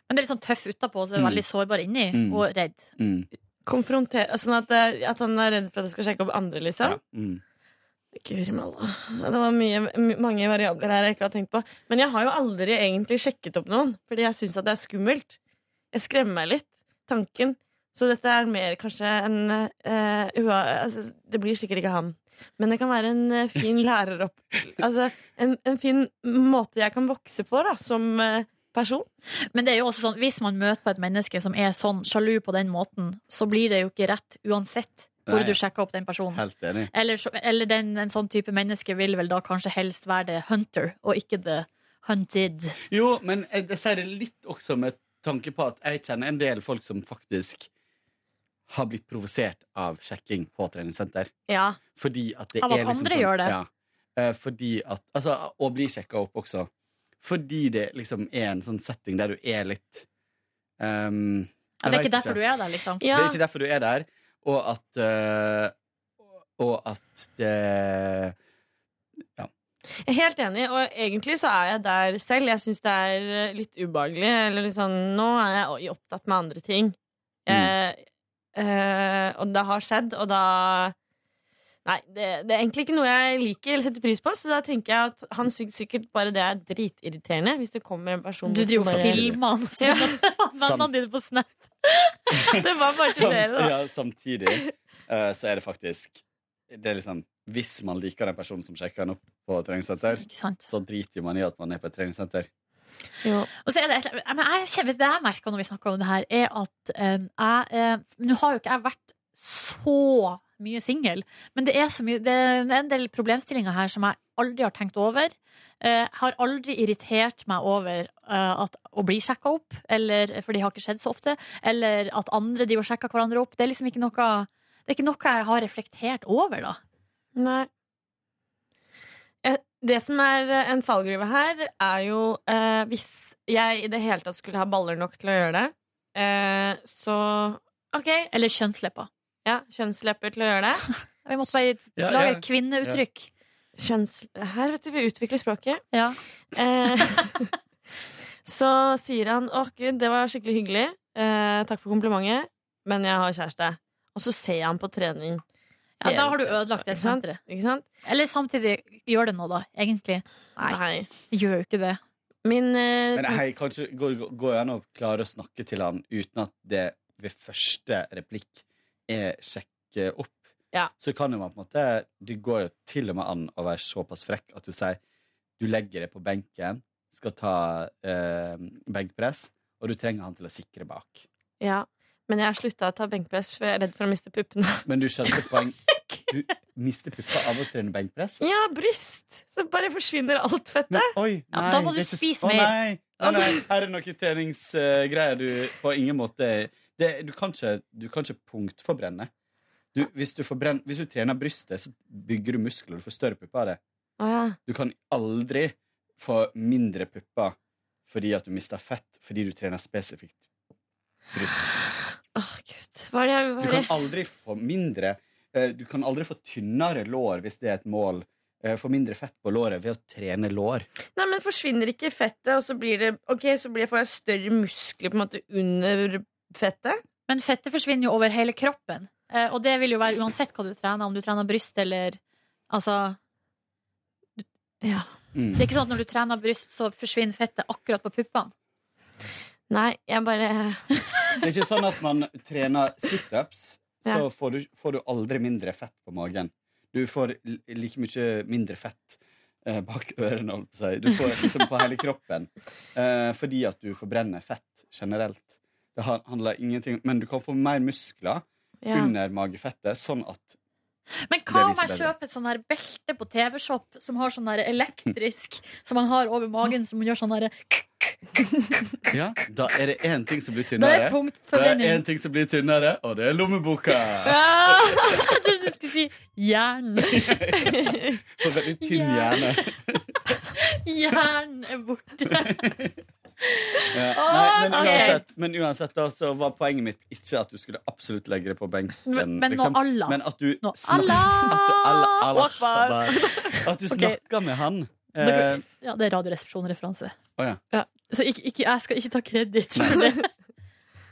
[SPEAKER 2] Men det er litt sånn tøff utapå, så det er
[SPEAKER 11] Mm.
[SPEAKER 2] veldig sårbar inni,
[SPEAKER 11] Mm.
[SPEAKER 2] og redd.
[SPEAKER 11] Mm,
[SPEAKER 12] Konfrontere Sånn at, eh, at han er redd for at jeg skal sjekke opp andre, liksom.
[SPEAKER 11] mm.
[SPEAKER 12] Guri malla. Det var mye, my- mange variabler her jeg ikke har tenkt på. Men jeg har jo aldri egentlig sjekket opp noen, fordi jeg syns at det er skummelt. Jeg skremmer meg litt. Tanken. Så dette er mer kanskje en eh, ua, altså, Det blir sikkert ikke han. Men det kan være en eh, fin lærer opp Altså en, en fin måte jeg kan vokse på, da, som eh, person.
[SPEAKER 2] Men det er jo også sånn, hvis man møter på et menneske som er sånn sjalu på den måten, så blir det jo ikke rett uansett hvor
[SPEAKER 11] Nei.
[SPEAKER 2] du sjekker opp den personen.
[SPEAKER 11] Helt enig.
[SPEAKER 2] Eller, så- eller den, en sånn type menneske vil vel da kanskje helst være det hunter, og ikke the hunted.
[SPEAKER 11] Jo, men jeg, jeg sier det litt også med tanke på at jeg kjenner en del folk som faktisk har blitt provosert av sjekking på treningssenter.
[SPEAKER 12] Ja.
[SPEAKER 11] Fordi at det
[SPEAKER 2] Av at
[SPEAKER 11] er liksom
[SPEAKER 2] andre gjør det.
[SPEAKER 11] Ja. Eh, Fordi at Altså, og bli sjekka opp også. Fordi det liksom er en sånn setting der du er litt ehm,
[SPEAKER 2] Ja, det er
[SPEAKER 11] jeg
[SPEAKER 2] ikke
[SPEAKER 11] vet
[SPEAKER 2] derfor du er der, liksom.
[SPEAKER 12] ja.
[SPEAKER 11] Det er ikke derfor du er der, og at eh, Og at det
[SPEAKER 12] Jeg er Helt enig, og egentlig så er jeg der selv. Jeg syns det er eh, litt ubehagelig. Eller litt sånn, nå er jeg i- opptatt med andre ting. Eh, eh, og det har skjedd, og da Nei, det, det er egentlig ikke noe jeg liker eller setter pris på, så da tenker jeg at han syns sikkert bare det er dritirriterende hvis det kommer en person
[SPEAKER 2] Du
[SPEAKER 12] bort
[SPEAKER 2] driver og
[SPEAKER 12] og bare-
[SPEAKER 2] filmer han og sender vennene
[SPEAKER 11] Sam-
[SPEAKER 2] dine på Snap.
[SPEAKER 12] Det var bare til dere, da.
[SPEAKER 11] ja, samtidig eh, så er det faktisk Det er liksom Hvis man liker den personen som sjekker en opp på treningssenter,
[SPEAKER 2] Ikke sant?
[SPEAKER 11] så driter jo man i at man er på et treningssenter.
[SPEAKER 12] Jo.
[SPEAKER 2] Og så er det, et- men jeg kjenner, det jeg merker når vi snakker om det her, er at eh, jeg eh, Nå har jo ikke jeg vært så mye singel, men det er, så mye, det er en del problemstillinger her som jeg aldri har tenkt over. Eh, har aldri irritert meg over eh, at, å bli sjekka opp, eller, for det har ikke skjedd så ofte. Eller at andre driver og sjekker hverandre opp. Det er liksom ikke noe, det er ikke noe jeg har reflektert over, da.
[SPEAKER 12] Nei. Eh, Det som er eh, en fallgruve her, er jo eh, hvis jeg i det hele tatt skulle ha baller nok til å gjøre det, eh, så OK.
[SPEAKER 2] Eller kjønnslepper.
[SPEAKER 12] Ja, kjønnslepper til å gjøre det.
[SPEAKER 2] Vi måtte bare
[SPEAKER 11] Ja,
[SPEAKER 2] lage
[SPEAKER 11] ja.
[SPEAKER 2] et kvinneuttrykk.
[SPEAKER 12] Kjønns... Her, vet du, vi utvikler språket.
[SPEAKER 2] Ja.
[SPEAKER 12] Eh, så sier han 'Å, gud, det var skikkelig hyggelig. Eh, takk for komplimentet, men jeg har kjæreste'. Og så ser jeg han på trening.
[SPEAKER 2] Ja, da har du ødelagt det
[SPEAKER 12] Ikke sant?
[SPEAKER 2] senteret.
[SPEAKER 12] Ikke sant?
[SPEAKER 2] Eller samtidig, gjør det nå, da, egentlig. Nei. Gjør jo ikke det.
[SPEAKER 12] Min eh,
[SPEAKER 11] Men hei, kanskje går går det an å klare å snakke til han uten at det ved første replikk er sjekke opp?
[SPEAKER 12] Ja.
[SPEAKER 11] Så kan jo man på en måte Det går jo til og med an å være såpass frekk at du sier du legger deg på benken, skal ta eh, benkpress, og du trenger han til å sikre bak.
[SPEAKER 12] Ja, men jeg har slutta å ta benkpress, for jeg er redd for å miste puppene.
[SPEAKER 11] Men du skjønte poeng Du mister puppa av å trene benkpress?
[SPEAKER 12] Ja, bryst! Så bare forsvinner alt fettet.
[SPEAKER 11] Men, oi, nei,
[SPEAKER 2] Ja, da må du
[SPEAKER 11] det er ikke s-
[SPEAKER 2] spise
[SPEAKER 11] Å,
[SPEAKER 2] mer.
[SPEAKER 11] nei, Å, nei. Her er det noen treningsgreier du på ingen måte det, du, kan ikke, du kan ikke punktforbrenne. Du, hvis, du forbrenn- hvis du trener brystet, så bygger du muskler. Du får større pupper av det.
[SPEAKER 12] Å ja.
[SPEAKER 11] Du kan aldri få mindre pupper fordi at du mister fett fordi du trener spesifikt bryst.
[SPEAKER 12] Åh, gud. Hva er det jeg
[SPEAKER 11] Du
[SPEAKER 12] hva er
[SPEAKER 11] kan
[SPEAKER 12] det-
[SPEAKER 11] aldri få mindre eh, Du kan aldri få tynnere lår hvis det er et mål. Eh, Få mindre fett på låret ved å trene lår.
[SPEAKER 12] Nei, men forsvinner ikke fettet, og så blir det Ok, så blir, får jeg større muskler på en måte under fettet?
[SPEAKER 2] Men fettet forsvinner jo over hele kroppen. Eh, og det vil jo være uansett hva du trener, om du trener bryst eller Altså,
[SPEAKER 12] Ja.
[SPEAKER 11] Mm.
[SPEAKER 2] det er ikke sånn at når du trener bryst, så forsvinner fettet akkurat på puppene.
[SPEAKER 12] Nei, jeg bare
[SPEAKER 11] Det er ikke sånn at man trener situps, så
[SPEAKER 12] Ja.
[SPEAKER 11] får, du, får du aldri mindre fett på magen. Du får li- like mye mindre fett eh, bak ørene, holdt på å si. Du får liksom på hele kroppen. Eh, fordi at du forbrenner fett generelt. Det har- handler ingenting om Men du kan få mer muskler
[SPEAKER 2] Ja.
[SPEAKER 11] under magefettet, sånn at
[SPEAKER 2] Men hva
[SPEAKER 11] Det liksom
[SPEAKER 2] om jeg
[SPEAKER 11] viser bedre.
[SPEAKER 2] kjøper et sånn her belte på TV-shop som har sånn her elektrisk som man har over magen, som gjør sånn her
[SPEAKER 11] Ja, da er det én ting som blir
[SPEAKER 2] Da
[SPEAKER 11] tynnere.
[SPEAKER 2] er punkt
[SPEAKER 11] Det er
[SPEAKER 2] forbrenning.
[SPEAKER 11] én ting som blir tynnere, og det er lommeboka.
[SPEAKER 2] Ah! Jeg trodde du skulle si jern.
[SPEAKER 11] For veldig tynn hjerne.
[SPEAKER 2] Jern er borte.
[SPEAKER 11] Ja.
[SPEAKER 2] Ah,
[SPEAKER 11] Nei, men,
[SPEAKER 2] ok.
[SPEAKER 11] uansett, men uansett da, så var poenget mitt ikke at du skulle absolutt legge det på benken. liksom,
[SPEAKER 2] Men- men nå Allah.
[SPEAKER 11] Men at du
[SPEAKER 2] Nå
[SPEAKER 11] snak-
[SPEAKER 2] Allah.
[SPEAKER 11] At du, Allah, Allah,
[SPEAKER 2] Akbar.
[SPEAKER 11] Allah. At du snakker med han. Eh,
[SPEAKER 2] Dere- Ja, det er Radioresepsjon-referanse.
[SPEAKER 11] å ja.
[SPEAKER 2] Ja. Så ikke, ikke, jeg skal ikke ta kreditt for det.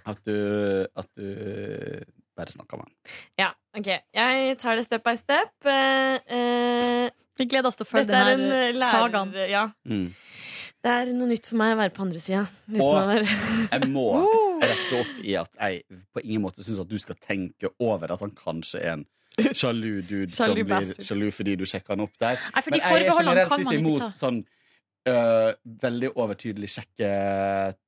[SPEAKER 11] At du, at du bare snakker med han.
[SPEAKER 12] Ja, ok. Jeg tar det step by step. Eh,
[SPEAKER 2] Vi gleder oss til å følge den her sagaen.
[SPEAKER 12] Ja.
[SPEAKER 11] Mm.
[SPEAKER 12] Det er noe nytt for meg å være på andre sida.
[SPEAKER 11] Og jeg må
[SPEAKER 2] Uh.
[SPEAKER 11] rette opp i at jeg på ingen måte syns at du skal tenke over at han kanskje er en sjalu dude som
[SPEAKER 2] Sjalu
[SPEAKER 11] blir
[SPEAKER 2] bastard.
[SPEAKER 11] sjalu fordi du sjekker han opp der.
[SPEAKER 2] Nei, for de
[SPEAKER 11] Men jeg er
[SPEAKER 2] forbeholdene
[SPEAKER 11] generelt
[SPEAKER 2] kan
[SPEAKER 11] litt
[SPEAKER 2] man ikke
[SPEAKER 11] imot
[SPEAKER 2] ta.
[SPEAKER 11] sånn øh, veldig overtydelig sjekke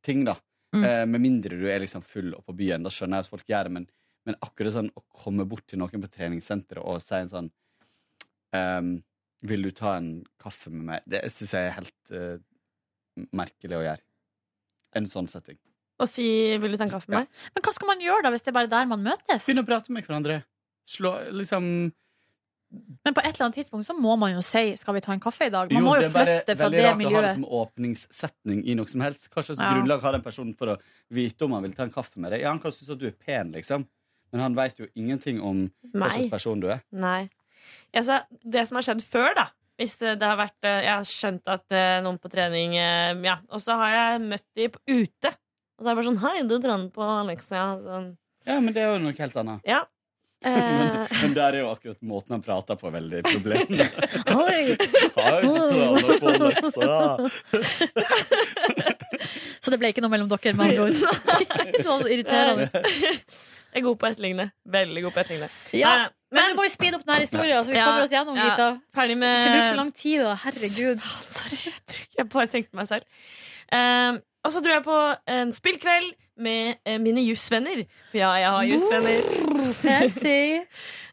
[SPEAKER 11] ting, da.
[SPEAKER 2] Mm.
[SPEAKER 11] Eh, med mindre du er liksom full og på byen. Da skjønner jeg at folk gjør det, men, men akkurat sånn å komme bort til noen på treningssenteret og si en sånn ehm, Vil du ta en kaffe med meg? Det syns jeg er helt eh, merkelig å gjøre. En sånn setting.
[SPEAKER 12] Og si 'vil du ta en kaffe med meg'?
[SPEAKER 2] Men hva skal man gjøre da, hvis det er bare der man møtes?
[SPEAKER 11] Begynn å prate med hverandre. Slå liksom
[SPEAKER 2] Men på et eller annet tidspunkt så må man jo si 'skal vi ta en kaffe i dag'? Man
[SPEAKER 11] Jo,
[SPEAKER 2] må
[SPEAKER 11] det
[SPEAKER 2] jo
[SPEAKER 11] er bare
[SPEAKER 2] flytte fra
[SPEAKER 11] veldig
[SPEAKER 2] det
[SPEAKER 11] rart å ha det
[SPEAKER 2] miljøet.
[SPEAKER 11] som åpningssetning i noe som helst. Hva slags
[SPEAKER 2] Ja.
[SPEAKER 11] grunnlag har den personen for å vite om han vil ta en kaffe med deg? Ja, han kan synes at du er pen, liksom, men han veit jo ingenting om hva
[SPEAKER 12] Nei.
[SPEAKER 11] slags person du er.
[SPEAKER 12] Nei. Altså, det som har skjedd før, da hvis eh, det har vært, eh, Jeg har skjønt at eh, noen på trening eh, Ja, Og så har jeg møtt de på- ute. Og så er det bare sånn 'Hei, du trener på Alexia.' Sånn.
[SPEAKER 11] Ja, men det er jo noe helt annet.
[SPEAKER 12] Ja.
[SPEAKER 11] men,
[SPEAKER 12] Eh,
[SPEAKER 11] men der er jo akkurat måten han prater på, veldig problem.
[SPEAKER 2] Oi!
[SPEAKER 11] Har jo ikke tråd på liksom. Alexa.
[SPEAKER 2] Så det ble ikke noe mellom dere, med andre ord. Det var så irriterende.
[SPEAKER 12] jeg er god på å etterligne. Veldig god på Eh, å etterligne.
[SPEAKER 2] Ja,
[SPEAKER 12] Nei, nei.
[SPEAKER 2] Men du må jo speede opp denne historien, så vi
[SPEAKER 12] Ja,
[SPEAKER 2] kommer oss gjennom,
[SPEAKER 12] ja.
[SPEAKER 2] Gita.
[SPEAKER 12] Ferdig
[SPEAKER 2] Ikke bruk så
[SPEAKER 12] med Ah,
[SPEAKER 2] lang tid, da. Herregud.
[SPEAKER 12] Sorry, jeg, bruk- jeg bare tenkte meg selv. Ehm, og så dro jeg på en spillkveld med eh, mine jusvenner. For ja, jeg har jusvenner.
[SPEAKER 2] Fancy.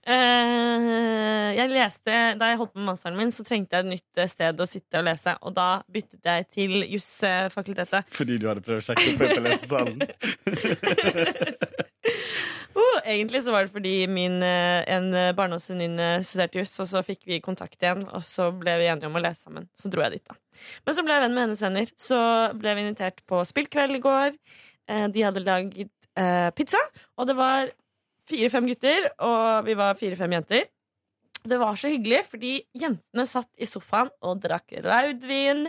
[SPEAKER 12] Eh, jeg leste, da jeg holdt på med masteren min, så trengte jeg et nytt eh, sted å sitte og lese. Og da byttet jeg til jusfakultetet.
[SPEAKER 11] Fordi du hadde prøvd å sjekke opp på lesesalen.
[SPEAKER 12] Oh, egentlig så var det fordi min, eh, en eh, barndomsvenninne studerte juss, og så fikk vi kontakt igjen, og så ble vi enige om å lese sammen. Så dro jeg dit, da. Men så ble jeg venn med hennes venner. Så ble vi invitert på spillkveld i går. Eh, De hadde lagd eh, pizza, og det var fire-fem gutter, og vi var fire-fem jenter. Det var så hyggelig, fordi jentene satt i sofaen og drakk raudvin,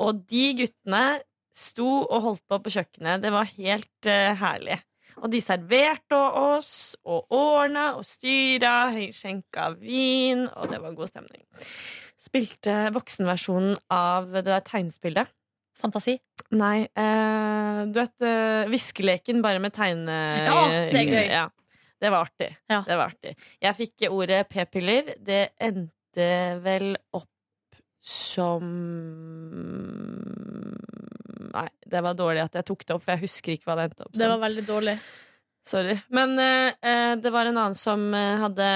[SPEAKER 12] og de guttene sto og holdt på på kjøkkenet. Det var helt eh, herlig. Og de serverte oss og ordna og styra, høy- skjenka vin, og det var god stemning. Spilte voksenversjonen av det der tegnespillet.
[SPEAKER 2] Fantasi.
[SPEAKER 12] Nei, eh, du vet eh, Viskeleken bare med tegne...
[SPEAKER 2] Ja, det er gøy.
[SPEAKER 12] Ja, det var artig.
[SPEAKER 2] Ja.
[SPEAKER 12] Det var artig. Jeg fikk ordet p-piller. Det endte vel opp som Nei, det var dårlig at jeg tok det opp, for jeg husker ikke hva det endte opp som.
[SPEAKER 2] Det var veldig dårlig.
[SPEAKER 12] Sorry. Men eh, eh, det var en annen som eh, hadde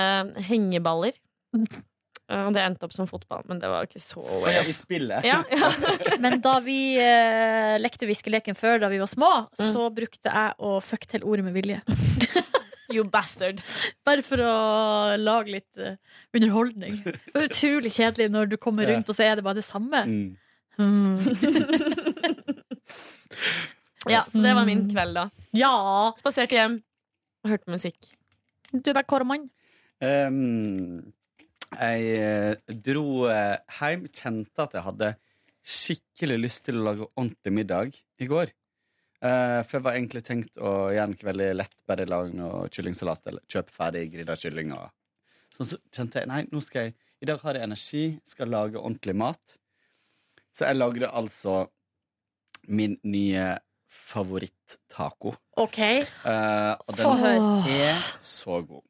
[SPEAKER 12] hengeballer. Eh, Og det endte opp som fotball, men det var ikke så
[SPEAKER 11] Og jeg I spillet.
[SPEAKER 12] ja, ja.
[SPEAKER 2] Men da vi eh, lekte viskeleken før, da vi var små, så brukte jeg å fuck til ordet med vilje.
[SPEAKER 12] You bastard.
[SPEAKER 2] Bare for å lage litt eh, underholdning. Det er utrolig kjedelig når du kommer
[SPEAKER 11] Ja.
[SPEAKER 2] rundt, og så er det bare det samme.
[SPEAKER 11] Mm.
[SPEAKER 12] Ja, så det var min kveld, da.
[SPEAKER 2] Ja!
[SPEAKER 12] Spaserte hjem og hørte musikk.
[SPEAKER 2] Du er bare kåremann.
[SPEAKER 11] Ehm, jeg eh, dro eh, hjem, kjente at jeg hadde skikkelig lyst til å lage ordentlig middag i går. Eh, for jeg var egentlig tenkt å gjøre noe veldig lett, bare lage noe kyllingsalat eller kjøpe ferdig grilla kylling. Og... Sånn, så kjente jeg nei, nå skal jeg, i dag har jeg energi, skal lage ordentlig mat. Så jeg lagde altså min nye favoritt-taco.
[SPEAKER 2] OK.
[SPEAKER 11] Eh, og
[SPEAKER 2] Få
[SPEAKER 11] den
[SPEAKER 2] høre.
[SPEAKER 11] er så god.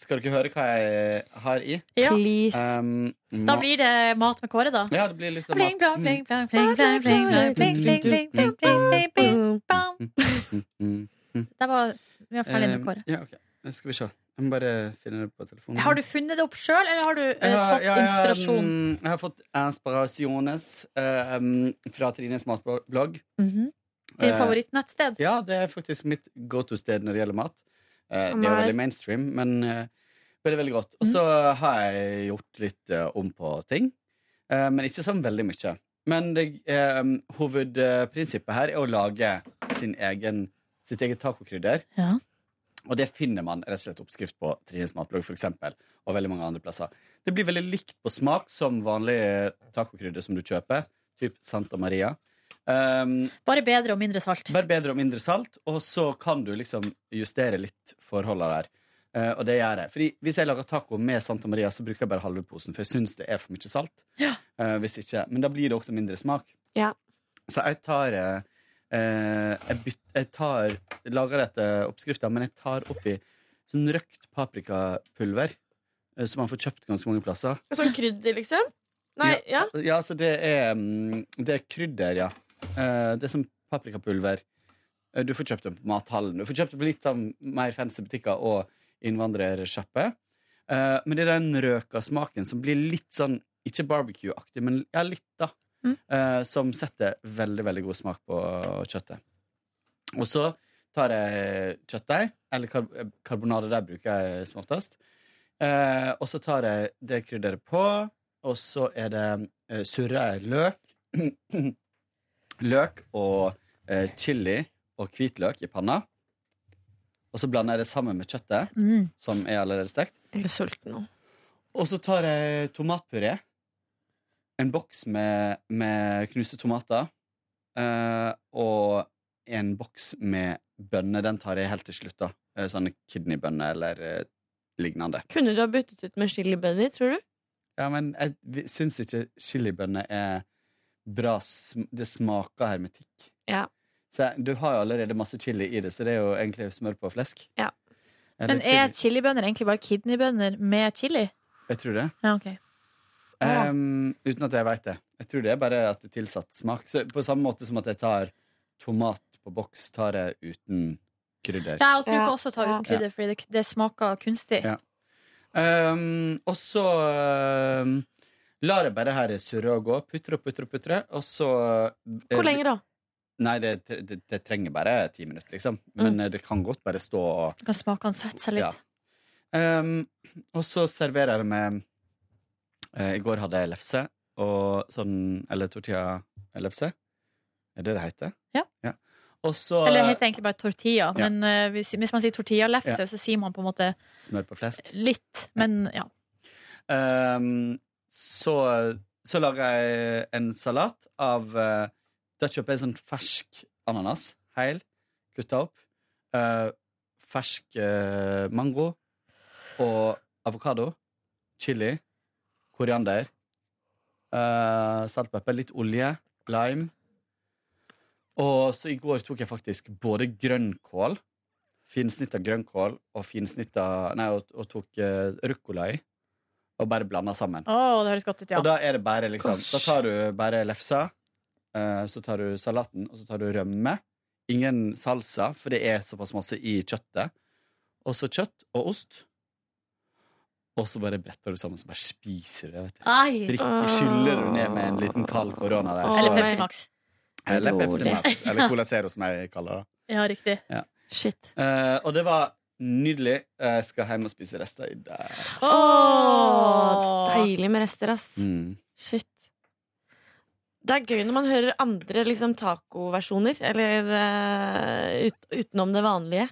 [SPEAKER 11] Skal dere høre hva jeg har i?
[SPEAKER 2] Ja.
[SPEAKER 12] Please.
[SPEAKER 6] Eh.
[SPEAKER 11] Um,
[SPEAKER 2] Da blir det mat med Kåre, da.
[SPEAKER 11] Ja, det blir litt sånn
[SPEAKER 2] Bling,
[SPEAKER 11] mat.
[SPEAKER 2] blang, bling, blang, bling, blang, bling, blang, bling, bling, bling, bling, bling, bling,
[SPEAKER 12] Mm.
[SPEAKER 2] bling, bang. Det var Vi var ferdig med
[SPEAKER 11] Um,
[SPEAKER 2] Kåre.
[SPEAKER 11] Mm. Ja, ok. Skal vi se. Jeg må bare finne det på telefonen.
[SPEAKER 2] Har du funnet det opp sjøl, eller har du eh,
[SPEAKER 11] Jeg har-
[SPEAKER 2] fått
[SPEAKER 11] mm. ja, jeg har,
[SPEAKER 2] inspirasjon?
[SPEAKER 11] mm, Jeg har fått inspirasjones eh, um, fra Trines matblogg.
[SPEAKER 2] Mhm. Din
[SPEAKER 11] Eh,
[SPEAKER 2] favorittnettsted?
[SPEAKER 11] Ja, det er faktisk mitt go to-sted når det gjelder mat. Eh,
[SPEAKER 2] Som
[SPEAKER 11] det er jo
[SPEAKER 2] er- Mm.
[SPEAKER 11] veldig mainstream, men eh, veldig, veldig godt. Og så har jeg gjort litt eh, om på ting, eh, men ikke sånn veldig mye. Men det, eh, hovedprinsippet her er å lage sin egen, sitt eget tacokrydder.
[SPEAKER 2] Ja.
[SPEAKER 11] Og det finner man rett og slett oppskrift på Trines matblogg for eksempel, og veldig mange andre plasser. Det blir veldig likt på smak som vanlig eh, tacokrydder som du kjøper, typ Santa Maria. Um,
[SPEAKER 2] bare bedre og mindre salt.
[SPEAKER 11] Bare bedre og mindre salt, og så kan du liksom justere litt forholdene der. Eh, og det gjør jeg. Fordi hvis jeg lager taco med Santa Maria, så bruker jeg bare halve posen, for jeg syns det er for mye salt.
[SPEAKER 2] Ja.
[SPEAKER 11] Eh, hvis ikke, men da blir det også mindre smak.
[SPEAKER 12] Ja.
[SPEAKER 11] Så jeg tar eh, eh, jeg, byt, jeg tar, lager etter oppskrifta, men jeg tar oppi sånn røkt paprikapulver. eh, Som man får kjøpt ganske mange plasser.
[SPEAKER 12] Sånn krydder, liksom? Nei, ja.
[SPEAKER 11] Ja, så det er, mm, det er krydder, ja. Eh, Det er som paprikapulver. Eh, Du får kjøpt det på mathallen. Du får kjøpt det på litt sånn mer fancy butikker og innvandrersjappe. Eh, Men det er den røka smaken som blir litt sånn ikke barbecue-aktig, men ja, litt, da.
[SPEAKER 2] Mm.
[SPEAKER 11] Eh, Som setter veldig, veldig god smak på kjøttet. Og så tar jeg kjøttdeig, eller kar eh, karbonade, der bruker jeg som oftest. Eh, og så tar jeg det krydderet på, og så er det eh, surrer jeg løk Løk og eh, chili og hvitløk i panna. Og så blander jeg det sammen med kjøttet,
[SPEAKER 12] Mm.
[SPEAKER 11] som er allerede stekt.
[SPEAKER 12] Jeg er sulten nå.
[SPEAKER 11] Og så tar jeg tomatpuré. En boks med, med knuste tomater. eh, og en boks med bønner. Den tar jeg helt til slutt, da. Eh, Sånne kidneybønner eller eh, lignende.
[SPEAKER 12] Kunne du ha byttet ut med chili buddy, tror du?
[SPEAKER 11] Ja, men jeg vi- syns ikke chilibønner er bra sm Det smaker hermetikk.
[SPEAKER 12] Ja.
[SPEAKER 11] Så jeg, du har jo allerede masse chili i det, så det er jo egentlig smør på flesk.
[SPEAKER 12] Ja.
[SPEAKER 11] Eller
[SPEAKER 2] Men er
[SPEAKER 11] chili.
[SPEAKER 2] chilibønner egentlig bare kidneybønner med chili?
[SPEAKER 11] Jeg tror det.
[SPEAKER 2] Ja, ok. Ah.
[SPEAKER 11] Ehm, uten at jeg veit det. Jeg tror det er bare at det er tilsatt smak. Så på samme måte som at jeg tar tomat på boks, tar jeg uten krydder.
[SPEAKER 2] Ja, Jeg bruker også å ta uten krydder,
[SPEAKER 11] Ja.
[SPEAKER 2] fordi det, det smaker kunstig.
[SPEAKER 11] Ja. Ehm, og så ehm, lar jeg bare her surre og gå. Putre og putre og putre. Og så eh,
[SPEAKER 12] Hvor lenge da?
[SPEAKER 11] Nei, det, det, det trenger bare ti minutter, liksom. Men eh, det kan godt bare stå og
[SPEAKER 2] Kan smakene sette seg Mm. litt.
[SPEAKER 11] Ja. Ehm, og så serverer jeg det med eh, I går hadde jeg lefse og sånn Eller tortilla-lefse. Er det det heter?
[SPEAKER 2] Ja.
[SPEAKER 11] Og så
[SPEAKER 2] Eller det heter egentlig bare tortilla.
[SPEAKER 11] Ja.
[SPEAKER 2] Men eh, hvis, hvis man sier tortillalefse,
[SPEAKER 11] Ja.
[SPEAKER 2] så sier man på en måte
[SPEAKER 11] smør på flesk.
[SPEAKER 2] litt. Men ja.
[SPEAKER 11] Ehm, så, så lager jeg en salat av eh, Da kjøper jeg sånn fersk ananas. Heil. Kutta opp. eh, fersk eh, mango. Og avokado. Chili. Koriander. eh, saltpepper. Litt olje. Lime. Og så i går tok jeg faktisk både grønnkål Finsnitt av grønnkål og finsnitt av Nei, og, og tok eh, ruccola i. Og bare blanda sammen.
[SPEAKER 2] Å, det høres godt ut, ja.
[SPEAKER 11] Og da er det bare liksom Da tar du bare lefsa, eh, så tar du salaten, og så tar du rømme. Ingen salsa, for det er såpass masse i kjøttet. Og så kjøtt og ost. Og så bare bretter du sammen, så bare spiser du det. vet du.
[SPEAKER 2] Ai.
[SPEAKER 11] Drikker, skyller du ned med en liten kald korona der.
[SPEAKER 2] Ah. Eller
[SPEAKER 11] så-
[SPEAKER 2] Pepsi Max.
[SPEAKER 11] Eller Pepsi Max. Eller Cola Zero, som jeg kaller det.
[SPEAKER 2] Ja, riktig.
[SPEAKER 11] Ja.
[SPEAKER 12] Shit.
[SPEAKER 11] Eh, og det var nydelig. Jeg skal hjem og spise rester i dag.
[SPEAKER 12] Åh, deilig med rester, ass.
[SPEAKER 11] Mm.
[SPEAKER 12] Shit. Det er gøy når man hører andre liksom, tacoversjoner, eller eh, ut, utenom det vanlige.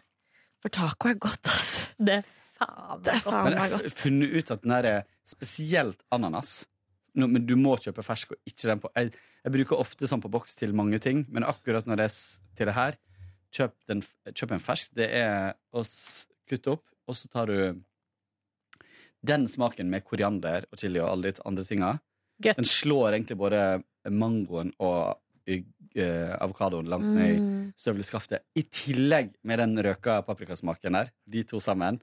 [SPEAKER 12] For taco er godt, altså. ass.
[SPEAKER 2] Det er faen
[SPEAKER 12] meg godt.
[SPEAKER 11] Men jeg har funnet ut at den der er spesielt ananas. Nå, men du må kjøpe fersk og ikke den på jeg, jeg bruker ofte sånn på boks til mange ting, men akkurat når det er s- til det her, kjøp, den, f- kjøp en fersk. Det er å s- kutte opp, og så tar du den smaken med koriander og chili og alle de andre tinga.
[SPEAKER 2] Godt.
[SPEAKER 11] Den slår egentlig både mangoen og eh, avokadoen langt ned i
[SPEAKER 12] Mm.
[SPEAKER 11] støvelskaftet. I tillegg med den røka paprikasmaken der. De to sammen.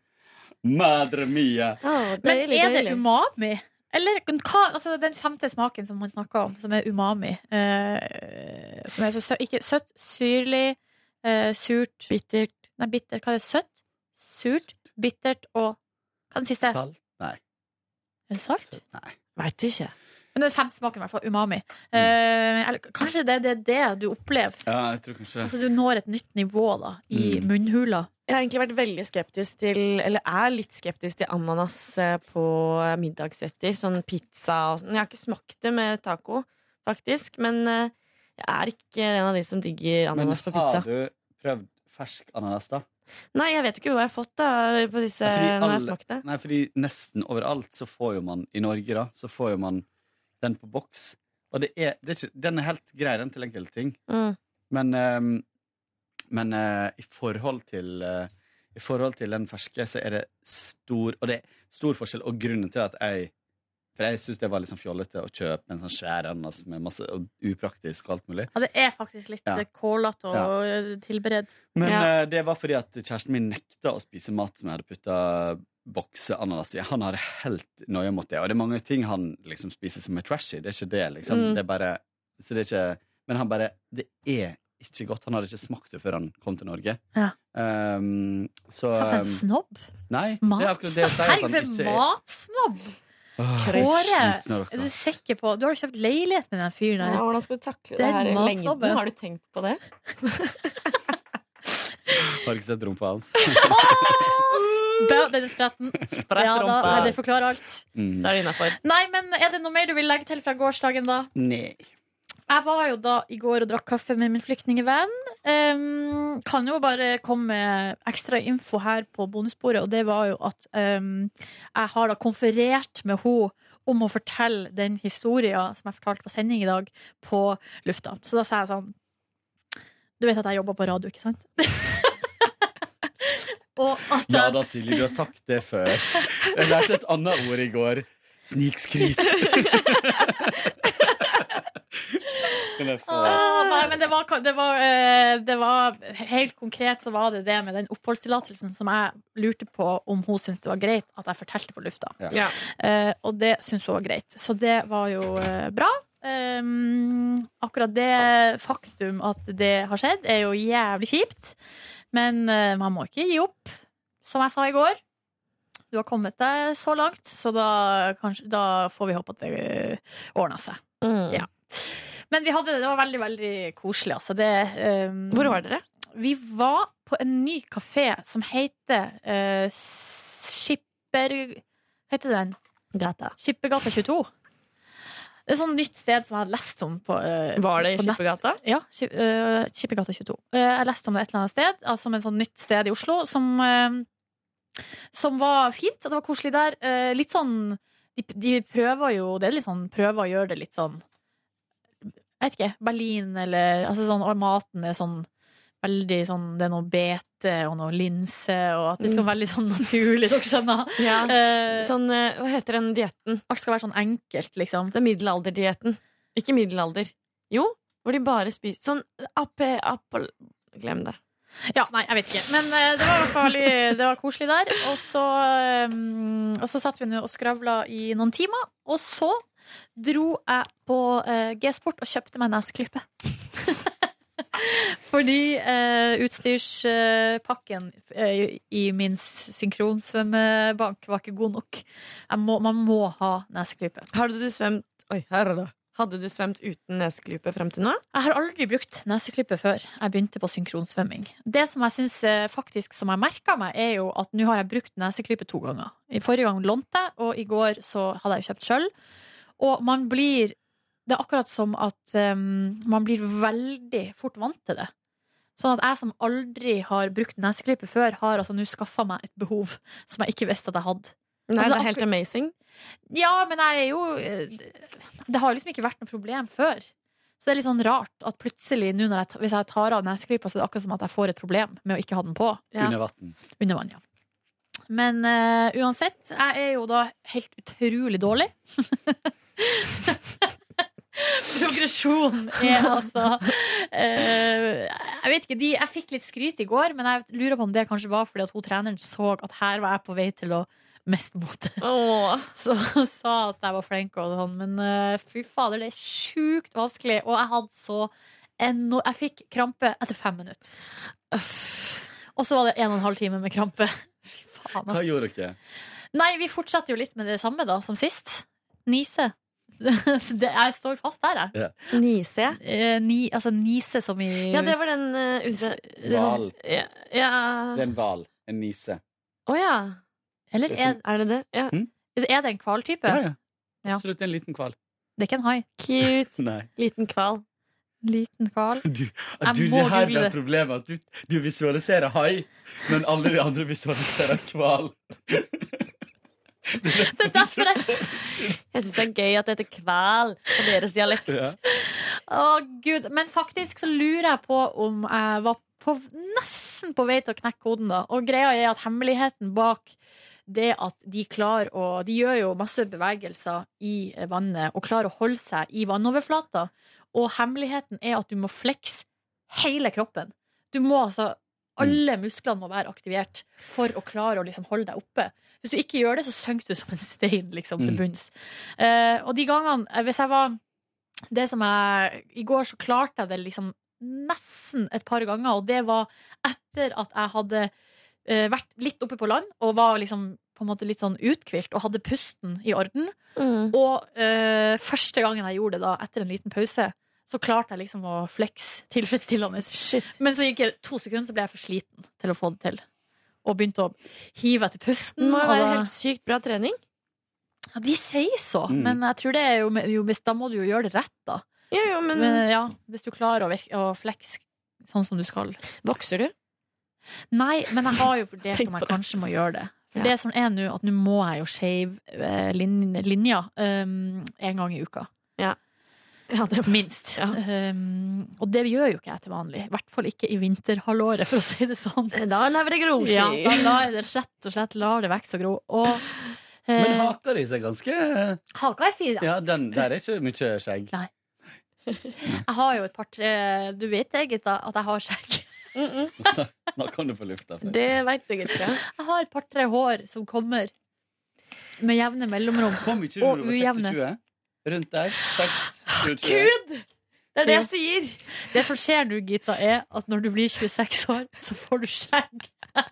[SPEAKER 11] Madre mia.
[SPEAKER 2] Men er det umami? Eller hva, altså den femte smaken som man snakker om, som er umami. Eh, som er så sø ikke søtt, syrlig, eh, surt
[SPEAKER 12] Bittert.
[SPEAKER 2] Nei, bitter. Hva er det? Søtt, surt, bittert og Hva er den siste?
[SPEAKER 11] Salt? Nei.
[SPEAKER 2] Er det salt?
[SPEAKER 11] Nei.
[SPEAKER 12] Veit ikke.
[SPEAKER 2] Men den femte smaken, i hvert fall. Umami. Eh, eller, kanskje det det er det du opplever?
[SPEAKER 11] Ja, jeg tror kanskje
[SPEAKER 2] Altså du når et nytt nivå da, i
[SPEAKER 11] Mm.
[SPEAKER 2] munnhula.
[SPEAKER 12] Jeg har egentlig vært veldig skeptisk til Eller er litt skeptisk til ananas eh, på eh, middagsretter. Sånn pizza og sånn. Jeg har ikke smakt det med taco, faktisk. Men eh, jeg er ikke en av de som digger
[SPEAKER 11] Men
[SPEAKER 12] ananas på pizza.
[SPEAKER 11] har du prøvd fersk ananas, da?
[SPEAKER 12] Nei, jeg vet jo ikke hva jeg har fått da på disse,
[SPEAKER 11] Fordi
[SPEAKER 12] når jeg
[SPEAKER 11] alle-
[SPEAKER 12] smakte.
[SPEAKER 11] Nei, fordi nesten overalt så får jo man I Norge, da, så får jo man den på boks. Og det er, det er ikke, den er helt grei, den til enkelte ting.
[SPEAKER 12] Mm.
[SPEAKER 11] Men, ehm, men eh, i, forhold til, eh, i forhold til den ferske, så er det stor Og det er stor forskjell, og grunnen til at jeg For jeg syns det var litt sånn fjollete å kjøpe en sånn svær ananas med masse og upraktisk og alt mulig.
[SPEAKER 2] Ja, det er faktisk litt
[SPEAKER 11] Ja.
[SPEAKER 2] ja. kålete og tilberedt.
[SPEAKER 11] Men
[SPEAKER 2] ja.
[SPEAKER 11] eh, det var fordi at kjæresten min nekta å spise mat som jeg hadde putta bokseananas i. Han har helt nøye mot det. Og det er mange ting han liksom spiser som er trashy. Det er ikke det, liksom.
[SPEAKER 12] Mm.
[SPEAKER 11] Det er bare, så det er ikke, men han bare Det er ikke godt. Han hadde ikke smakt det før han kom til Norge.
[SPEAKER 2] Ja.
[SPEAKER 11] Um, så
[SPEAKER 2] Hva for en
[SPEAKER 11] um,
[SPEAKER 2] snobb?
[SPEAKER 11] Nei, det er
[SPEAKER 2] Mat?
[SPEAKER 11] akkurat det jeg sier. at
[SPEAKER 2] Herregud,
[SPEAKER 11] han
[SPEAKER 2] for
[SPEAKER 11] ikke
[SPEAKER 2] en
[SPEAKER 11] er-
[SPEAKER 2] matsnobb!
[SPEAKER 11] Åh,
[SPEAKER 2] Kåre,
[SPEAKER 11] sliten av
[SPEAKER 2] er
[SPEAKER 11] dere.
[SPEAKER 2] du sikker på Du har jo kjøpt leilighet med den fyren der.
[SPEAKER 12] Ja, hvordan skal du
[SPEAKER 2] Det
[SPEAKER 12] takle det
[SPEAKER 2] er
[SPEAKER 12] her i
[SPEAKER 2] mat,
[SPEAKER 12] lengden?
[SPEAKER 2] Nobbe.
[SPEAKER 12] Har du tenkt på det?
[SPEAKER 11] Har ikke sett rumpa hans.
[SPEAKER 2] Bø, Den er spretten.
[SPEAKER 12] Spredt
[SPEAKER 2] ja, da,
[SPEAKER 12] rumpe.
[SPEAKER 2] nei, det forklarer alt.
[SPEAKER 11] Mm.
[SPEAKER 12] Da er det innafor.
[SPEAKER 2] Nei, men er det noe mer du vil legge til fra gårsdagen, da?
[SPEAKER 11] Nei.
[SPEAKER 2] Jeg var jo da i går og drakk kaffe med min flyktningevenn. Um, kan jo bare komme med ekstra info her på bonussporet, og det var jo at um, jeg har da konferert med henne om å fortelle den historien som jeg fortalte på sending i dag, på lufta. Så da sa jeg sånn Du vet at jeg jobber på radio, ikke sant? og at
[SPEAKER 11] Ja
[SPEAKER 2] jeg-
[SPEAKER 11] da, Silje, du har sagt det før. Jeg lærte et annet ord i går. Snikskryt. Men jeg sa-
[SPEAKER 2] Åh, nei, men det var, det, var, eh, det var Helt konkret så var det det med den oppholdstillatelsen som jeg lurte på om hun syntes det var greit at jeg fortalte på lufta.
[SPEAKER 11] Ja.
[SPEAKER 12] Ja.
[SPEAKER 2] Eh, og det syntes hun var greit. Så det var jo eh, bra. Ehm, akkurat det faktum at det har skjedd, er jo jævlig kjipt. Men eh, man må ikke gi opp, som jeg sa i går. Du har kommet deg så langt, så da, kanskje, da får vi håpe at det eh, ordner seg.
[SPEAKER 12] Mm.
[SPEAKER 2] Ja. Men vi hadde det, det var veldig, veldig koselig. Altså. Det, ehm,
[SPEAKER 12] Hvor var dere?
[SPEAKER 2] Vi var på en ny kafé som heter eh, Skipper... Hva heter den?
[SPEAKER 12] Gata.
[SPEAKER 2] Skippergata 22. Det er et sånt nytt sted som jeg hadde lest om på eh,
[SPEAKER 12] Var det i
[SPEAKER 2] på nett.
[SPEAKER 12] Skippergata?
[SPEAKER 2] Ja, Skip- øh, Skippergata 22. Eh, jeg leste om det et eller annet sted, altså som et sånt nytt sted i Oslo, som, eh, som var fint, og det var koselig der. Eh, litt sånn de, de prøver jo Det er litt sånn prøver å gjøre det litt sånn Jeg vet ikke. Berlin eller altså sånn, Og maten er sånn veldig sånn Det er noe bete og noe linse, og at det er så
[SPEAKER 12] Mm.
[SPEAKER 2] veldig sånn naturlig, dere skjønner.
[SPEAKER 12] Ja.
[SPEAKER 2] Eh,
[SPEAKER 12] Sånn, eh, hva heter den dietten?
[SPEAKER 2] alt skal være sånn enkelt, liksom.
[SPEAKER 12] Det er middelalderdietten. Ikke middelalder. Jo, hvor de bare spiser sånn ape, apel Glem det.
[SPEAKER 2] Ja, nei, jeg vet ikke. Men eh, det var i hvert fall veldig- det var koselig der. Og så, eh, og så satt vi nå og skravla i noen timer. Og så dro jeg på eh, G-sport og kjøpte meg nesklippe. Fordi eh, utstyrspakken eh, i min synkronsvømmebank var ikke god nok. Jeg må, man må ha nesklippe.
[SPEAKER 12] Hadde du svømt Oi, her er det. Hadde du svømt uten nesklype frem til nå?
[SPEAKER 2] Jeg har aldri brukt neseklippet før jeg begynte på synkronsvømming. Det som jeg synes eh, faktisk som jeg merket meg, er jo at nå har jeg brukt neseklippet to ganger. I forrige gang lånte jeg, og i går så hadde jeg jo kjøpt sjøl. Og man blir Det er akkurat som at eh, man blir veldig fort vant til det. Sånn at jeg som aldri har brukt neseklippet før, har altså nå skaffa meg et behov som jeg ikke visste at jeg hadde.
[SPEAKER 12] Nei,
[SPEAKER 2] Altså,
[SPEAKER 12] det er helt amazing.
[SPEAKER 2] Ja, men jeg er jo eh, Det har liksom ikke vært noe problem før. Så det er litt sånn rart at plutselig, nå når jeg, ta- hvis jeg tar av neseklypa, så er det akkurat som at jeg får et problem med å ikke ha den på
[SPEAKER 12] Ja.
[SPEAKER 11] Under vann.
[SPEAKER 2] under vann. ja Men eh, uansett, jeg er jo da helt utrolig dårlig. Progresjon er altså eh, Jeg vet ikke, de, jeg fikk litt skryt i går, men jeg lurer på om det kanskje var fordi at hun treneren så at her var jeg på vei til å mest mote. Så hun sa at jeg var flink og sånn, men eh, fy fader, det er sjukt vanskelig. Og jeg hadde så ennå Jeg fikk krampe etter fem minutter. Og så var det en og en halv time med krampe. Fy faen, altså.
[SPEAKER 11] Hva gjorde dere?
[SPEAKER 2] Nei, vi fortsetter jo litt med det samme da, som sist. Nise. Så det, jeg står fast der, jeg.
[SPEAKER 11] Ja.
[SPEAKER 12] Nise?
[SPEAKER 2] ni, altså nise som i
[SPEAKER 12] Ja, det var den eh, ute det er sånn-
[SPEAKER 11] Hval.
[SPEAKER 12] Ja. ja.
[SPEAKER 11] Det er en hval. En nise.
[SPEAKER 12] Å ja.
[SPEAKER 2] Eller er,
[SPEAKER 12] er sånn- det det? Ja.
[SPEAKER 11] Mm.
[SPEAKER 2] er det en hvaltype?
[SPEAKER 11] Ja, ja.
[SPEAKER 2] Ja.
[SPEAKER 11] Absolutt en liten hval.
[SPEAKER 2] Det er ikke en hai.
[SPEAKER 12] Cute.
[SPEAKER 11] Nei.
[SPEAKER 12] Liten hval.
[SPEAKER 2] Liten hval.
[SPEAKER 11] Du,
[SPEAKER 2] Jeg
[SPEAKER 11] du
[SPEAKER 2] må
[SPEAKER 11] det her
[SPEAKER 2] google
[SPEAKER 11] er
[SPEAKER 2] det.
[SPEAKER 11] problemet. At du, du visualiserer hai, men alle de andre visualiserer hval.
[SPEAKER 12] Det er derfor jeg Jeg syns det er gøy at det heter kval på deres dialekt.
[SPEAKER 11] Ja.
[SPEAKER 2] Å, gud. Men faktisk så lurer jeg på om jeg var på, nesten på vei til å knekke koden, da. Og greia er at hemmeligheten bak det at de klarer å De gjør jo masse bevegelser i vannet og klarer å holde seg i vannoverflata. Og hemmeligheten er at du må flekse hele kroppen. Du må altså Alle musklene må være aktivert for å klare å liksom holde deg oppe. Hvis du ikke gjør det, så synker du som en stein liksom, til
[SPEAKER 11] Mm.
[SPEAKER 2] bunns. Eh, og de gangene eh, Hvis jeg var det som jeg I går så klarte jeg det liksom nesten et par ganger, og det var etter at jeg hadde eh, vært litt oppe på land og var liksom på en måte litt sånn uthvilt og hadde pusten i orden. Og eh, første gangen jeg gjorde det, da, etter en liten pause, så klarte jeg liksom å flex tilfredsstillende. Men så gikk det to sekunder, så ble jeg for sliten til å få det til. Og begynte å hive etter
[SPEAKER 12] Det
[SPEAKER 2] pusten.
[SPEAKER 12] må jo
[SPEAKER 2] og
[SPEAKER 12] være
[SPEAKER 2] da-
[SPEAKER 12] helt sykt bra trening.
[SPEAKER 2] ja, de sier så,
[SPEAKER 11] Mm.
[SPEAKER 2] men jeg tror det er jo, jo hvis- Da må du jo gjøre det rett, da.
[SPEAKER 12] Jo, jo, men,
[SPEAKER 2] Men eh, ja, hvis du klarer å, virke, å flex sånn som du skal.
[SPEAKER 12] vokser du?
[SPEAKER 2] Nei, men jeg har jo vurdert
[SPEAKER 12] Tenk
[SPEAKER 2] om
[SPEAKER 12] på
[SPEAKER 2] jeg
[SPEAKER 12] det.
[SPEAKER 2] kanskje må gjøre det. For
[SPEAKER 12] Ja.
[SPEAKER 2] det som er nå, at nå må jeg jo shave eh, lin linja um, en gang i uka.
[SPEAKER 12] Ja, det
[SPEAKER 2] Minst.
[SPEAKER 12] Ja.
[SPEAKER 2] Um, og det gjør jo ikke jeg til vanlig. I hvert fall ikke i vinterhalvåret, for å si det sånn.
[SPEAKER 12] Da lever det grosje.
[SPEAKER 2] Ja, da lar jeg det rett og slett lar det vokse og gro. Og
[SPEAKER 11] Men
[SPEAKER 2] eh,
[SPEAKER 11] haka de seg ganske
[SPEAKER 2] haka er fin. da.
[SPEAKER 11] Ja, den der er ikke mye skjegg.
[SPEAKER 2] Jeg har jo et par-tre Du vet det, Gitta, at jeg har skjegg.
[SPEAKER 11] Snakk om det på lufta. Fred.
[SPEAKER 12] Det veit du, gutta.
[SPEAKER 2] Jeg har et par-tre hår som kommer med jevne mellomrom.
[SPEAKER 11] Kom ikke du
[SPEAKER 2] Og
[SPEAKER 11] når du var
[SPEAKER 2] ujevne.
[SPEAKER 11] 26? Rundt der? 26?
[SPEAKER 12] Gud! Det er det jeg sier.
[SPEAKER 2] Det som skjer nå, Gita, er at når du blir 26 år, så får du skjegg.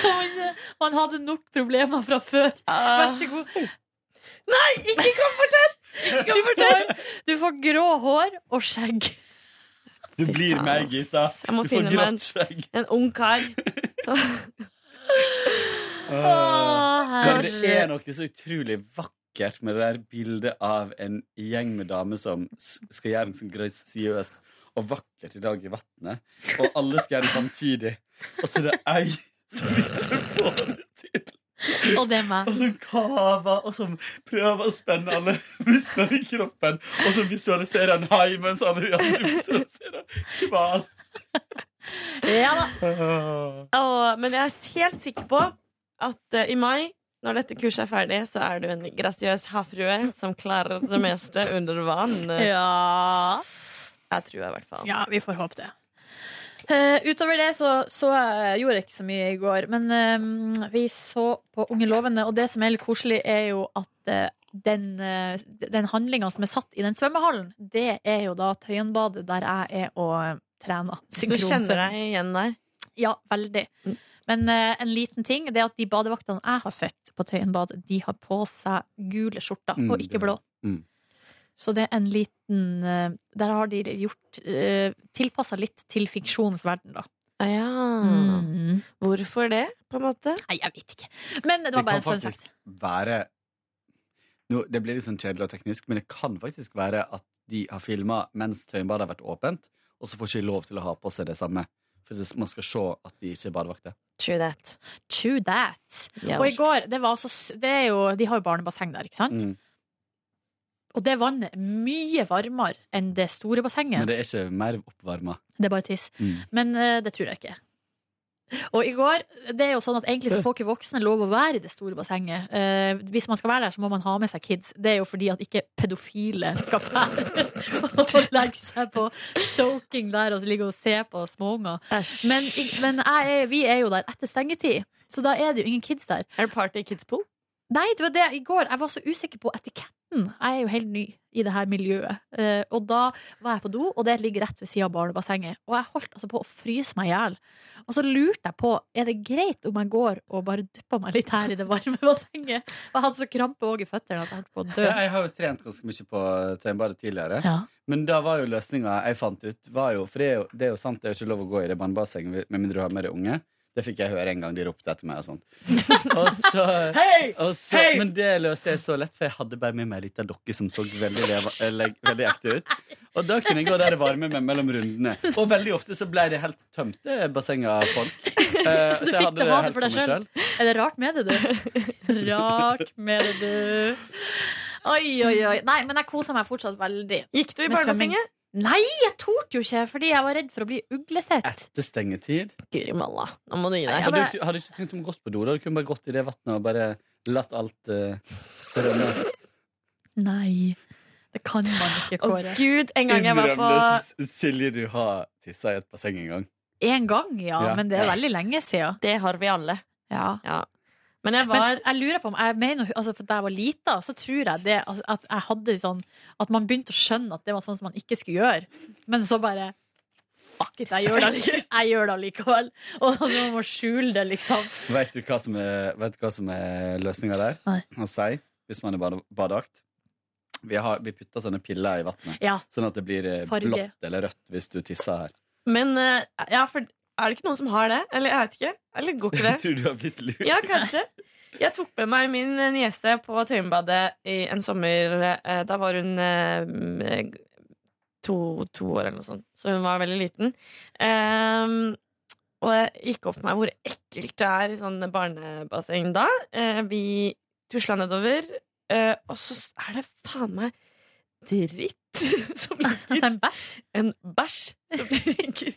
[SPEAKER 2] Som ikke man hadde nok problemer fra før. Vær så god.
[SPEAKER 12] Nei, ikke kom for tett!
[SPEAKER 2] Du får, du får grå hår og skjegg.
[SPEAKER 11] Du blir meg, Gita.
[SPEAKER 12] Jeg må
[SPEAKER 11] Du får
[SPEAKER 12] finne meg en,
[SPEAKER 11] grått skjegg.
[SPEAKER 12] en ung kar.
[SPEAKER 11] Men det er noe så utrolig vakkert med det der bildet av en gjeng med damer som s- skal gjøre noe sånn grasiøst og vakkert i dag i vannet. Og alle skal gjøre det samtidig. Og så er det ei som ikke får det til.
[SPEAKER 2] Og det er meg.
[SPEAKER 11] Og som kaver, og som prøver å spenne alle musklene i kroppen. Og som visualiserer en hai mens alle de andre visualiserer hval.
[SPEAKER 2] Ja da.
[SPEAKER 12] Åh, men jeg er helt sikker på at eh, i mai, når dette kurset er ferdig, så er du en grasiøs havfrue som klarer det meste under vann.
[SPEAKER 2] Ja.
[SPEAKER 12] Jeg tror jeg, i hvert fall.
[SPEAKER 2] Ja, vi får håpe det. Eh, utover det så, så eh, gjorde jeg ikke så mye i går, men eh, vi så på Unge lovende, og det som er litt koselig, er jo at eh, den, uh, den handlinga som er satt i den svømmehallen, det er jo da Tøyenbadet, der jeg er og eh, trener.
[SPEAKER 12] Så du kjenner deg igjen der.
[SPEAKER 2] Ja, veldig. Men eh, en liten ting det er at de badevaktene jeg har sett på Tøyenbadet, de har på seg gule skjorter,
[SPEAKER 11] Mm,
[SPEAKER 2] og ikke
[SPEAKER 11] det-
[SPEAKER 2] blå.
[SPEAKER 11] mm.
[SPEAKER 2] Så det er en liten eh, Der har de gjort uh, tilpassa litt til fiksjonens verden, da.
[SPEAKER 12] Ah, ja.
[SPEAKER 2] Mm.
[SPEAKER 12] Hvorfor det, på en måte?
[SPEAKER 2] Nei, jeg vet ikke. Men det var bare en fun fact.
[SPEAKER 11] være Nå, Det blir litt sånn kjedelig og teknisk, men det kan faktisk være at de har filma mens Tøyenbadet har vært åpent, og så får ikke de lov til å ha på seg det samme. For det- man skal se at de ikke er badevakter.
[SPEAKER 12] True that.
[SPEAKER 2] True that.
[SPEAKER 12] Ja.
[SPEAKER 2] Og i går, det var altså s- det er jo, De har jo barnebasseng der, ikke sant?
[SPEAKER 11] Mm.
[SPEAKER 2] Og det vannet er mye varmere enn det store bassenget.
[SPEAKER 11] Men det er ikke mer oppvarma.
[SPEAKER 2] Det er bare tiss.
[SPEAKER 11] Mm.
[SPEAKER 2] Men eh, det tror jeg ikke. Og i går, det er jo sånn at egentlig så får ikke voksne lov å være i det store bassenget. Eh, hvis man skal være der, så må man ha med seg kids. Det er jo fordi at ikke pedofile skal være og legge seg på soaking der og ligge og se på småunger. Men, i- men jeg, er- vi er jo der etter stengetid, så da er det jo ingen kids der.
[SPEAKER 12] Er det party i kids pool?
[SPEAKER 2] Nei, det var det i går. Jeg var så usikker på etiketten. Jeg er jo helt ny i det her miljøet. Eh, og da var jeg på do, og det ligger rett ved siden av barnebassenget. Og jeg holdt altså på å fryse meg i hjel. Og så lurte jeg på er det greit om jeg går og bare dupper meg litt her i det varme bassenget. Og jeg hadde så krampe òg i føttene at jeg holdt på å dø.
[SPEAKER 11] Ja, jeg har jo trent ganske mye på tøybadet tidligere.
[SPEAKER 2] Ja.
[SPEAKER 11] Men da var jo løsninga jeg fant ut var jo, For det er jo, det er jo sant, det er jo ikke lov å gå i det vannbassenget med mindre du har med deg unge. Det fikk jeg høre en gang de ropte etter meg og sånt. Og så, og så,
[SPEAKER 4] Hei!
[SPEAKER 11] Men det løste jeg så lett, for jeg hadde bare med meg ei lita dokke som så veldig, leva- eller, veldig ekte ut. Og da kunne jeg gå der og varme meg mellom rundene. Og veldig ofte så ble det helt tømt, det bassenget av folk. Eh,
[SPEAKER 2] Så du fikk det ha det
[SPEAKER 11] helt
[SPEAKER 2] for deg
[SPEAKER 11] meg
[SPEAKER 2] sjøl? Er det rart med det, du? Rart med det, du. Oi, oi, oi. Nei, men jeg koser meg fortsatt veldig.
[SPEAKER 12] Gikk du i
[SPEAKER 2] Med svømming.
[SPEAKER 12] barnebassenget?
[SPEAKER 2] Nei, jeg torde jo ikke, fordi jeg var redd for å bli uglesett.
[SPEAKER 11] Etter stengetid.
[SPEAKER 12] Guri malla, nå må du gi
[SPEAKER 11] Hadde du ikke- hadde du ikke tenkt om å gått på do? Da hadde du kunne bare gått i det vannet og bare latt alt eh, strømme.
[SPEAKER 2] Nei, det kan man ikke,
[SPEAKER 12] Å
[SPEAKER 2] Kåre.
[SPEAKER 12] gud, en gang jeg var på
[SPEAKER 11] S- Silje, du har tissa i et basseng en gang.
[SPEAKER 2] Én gang, ja,
[SPEAKER 11] Ja.
[SPEAKER 2] men det er veldig lenge siden.
[SPEAKER 12] Det har vi alle.
[SPEAKER 2] Ja.
[SPEAKER 12] Ja. Men jeg var
[SPEAKER 2] Men jeg lurer på om jeg mener, altså For da jeg var lita, så tror jeg det altså, at jeg hadde sånn At man begynte å skjønne at det var sånn som man ikke skulle gjøre. Men så bare Fuck it, jeg gjør det allikevel. Jeg gjør det allikevel. Og så må man skjule det, liksom.
[SPEAKER 11] Vet du hva som er, vet du hva som er løsninga der?
[SPEAKER 2] Nei.
[SPEAKER 11] Å si, hvis man er bade, badeakt vi, har, vi putter sånne piller i vannet,
[SPEAKER 2] Ja.
[SPEAKER 11] sånn at det blir eh,
[SPEAKER 2] Farge.
[SPEAKER 11] blått eller rødt hvis du tisser her.
[SPEAKER 12] Men eh, ja, for er det ikke noen som har det? Eller jeg vet ikke. Eller går ikke det?
[SPEAKER 11] Tror du har blitt lurt?
[SPEAKER 12] Ja, kanskje. Jeg tok med meg min eh, niese på Tøyenbadet i en sommer. eh, Da var hun eh, to, to år eller noe sånt, så hun var veldig liten. Ehm, og det gikk opp for meg hvor ekkelt det er i sånn barnebasseng da. Eh, vi tusla nedover, eh, og så er det faen meg dritt som
[SPEAKER 2] Altså
[SPEAKER 12] ligger
[SPEAKER 2] en bæsj.
[SPEAKER 12] en bæsj som ligger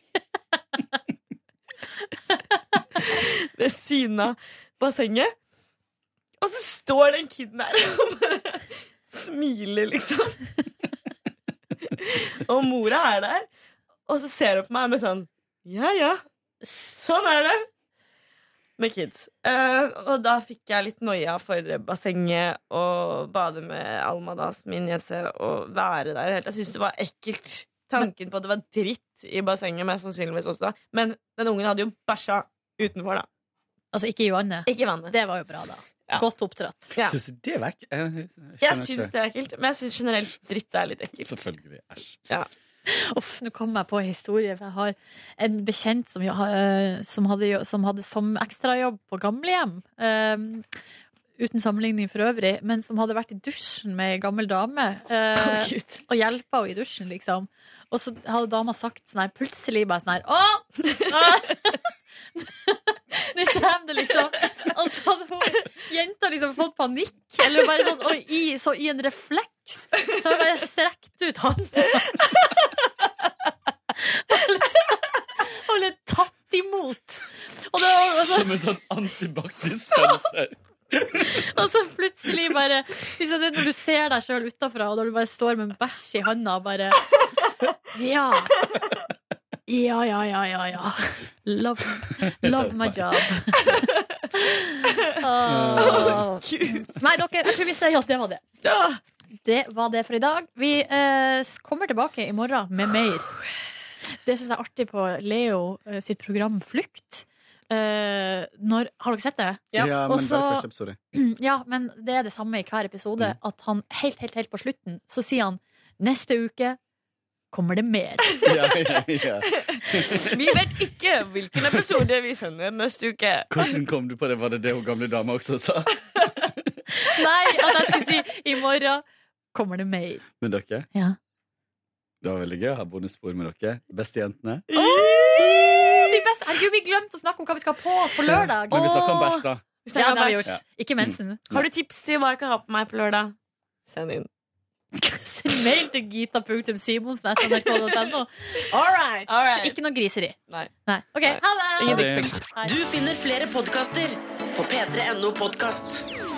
[SPEAKER 12] ved siden av bassenget. Og så står den kiden der og bare smiler, liksom. Og mora er der, og så ser hun på meg med sånn Ja, ja, sånn er det. Med kids. Eh, og da fikk jeg litt noia for bassenget og bade med Alma, da, min niese, og være der helt. Jeg syntes det var ekkelt. Tanken på at det var dritt i bassenget, mest sannsynligvis også. Men den ungen hadde jo bæsja utenfor, da.
[SPEAKER 2] Altså ikke i vannet.
[SPEAKER 12] Ikke i vannet.
[SPEAKER 2] Det var jo bra, da.
[SPEAKER 12] Ja.
[SPEAKER 2] Godt oppdratt.
[SPEAKER 12] Ja.
[SPEAKER 11] Syns du det er vekk? Jeg,
[SPEAKER 12] Jeg syns det er ekkelt, men jeg syns generelt dritt er litt ekkelt.
[SPEAKER 11] Selvfølgelig. Æsj.
[SPEAKER 2] Uff, nå kom jeg på en historie. For jeg har en bekjent som, jo- eh, som, hadde, jo- som hadde som ekstrajobb på gamlehjem. eh, uten sammenligning for øvrig, men som hadde vært i dusjen med ei gammel dame. eh,
[SPEAKER 12] Å, Gud.
[SPEAKER 2] og hjelpa henne i dusjen, liksom. Og så hadde dama sagt sånn her, plutselig bare sånn her Å! Å! Nå kommer det, liksom. Og så hadde hun, jenta liksom fått panikk, eller bare sånn, og i, så i en refleks så hadde hun bare strekt ut hånda. Og liksom- Og ble tatt imot. Og, det var, og, så,
[SPEAKER 11] Som en sånn antibac-dispenser.
[SPEAKER 2] og så plutselig bare liksom, du vet, Når du ser deg sjøl utafra, og når du bare står med en bæsj i handa og bare Ja. Ja, ja, ja, ja, ja. Love, love my job. Åh. Nei, dere, jeg tror vi sier at det var det. Det var det for i dag. Vi eh, s- kommer tilbake i morgen med mer. Det syns jeg er artig på Leo eh, sitt program Flukt. Eh, når, har dere sett det?
[SPEAKER 12] Ja,
[SPEAKER 11] men
[SPEAKER 2] også-
[SPEAKER 11] bare første episode.
[SPEAKER 2] Ja, men det er det samme i hver episode.
[SPEAKER 11] Mm.
[SPEAKER 2] At han helt, helt, helt på slutten så sier han neste uke kommer det mer.
[SPEAKER 11] Ja, ja, ja.
[SPEAKER 12] Vi vet ikke hvilken episode vi sender neste uke.
[SPEAKER 11] Hvordan kom du på det? Var det det hun gamle dama også sa?
[SPEAKER 2] Nei, at jeg skulle si i morgen kommer det mer.
[SPEAKER 11] Men dere,
[SPEAKER 2] Ja.
[SPEAKER 11] det var veldig gøy å ha bonusspor med dere. Bestejentene.
[SPEAKER 2] De beste, herregud, vi glemte å snakke om hva vi skal ha på oss på lørdag.
[SPEAKER 11] Men vi
[SPEAKER 2] Åh.
[SPEAKER 11] snakker om bæsj, da. Mm.
[SPEAKER 12] Vi
[SPEAKER 2] Ja,
[SPEAKER 12] snakker
[SPEAKER 2] det har vi
[SPEAKER 12] bæsj.
[SPEAKER 2] gjort. Ikke mensen.
[SPEAKER 12] Har du tips til hva jeg kan ha på meg på lørdag? Send inn.
[SPEAKER 2] Send mail til gita.simonsen.nrk.no. All right. Ikke noe griseri.
[SPEAKER 12] Nei.
[SPEAKER 2] OK, ha det!
[SPEAKER 1] Du finner flere podkaster på p3.no podkast.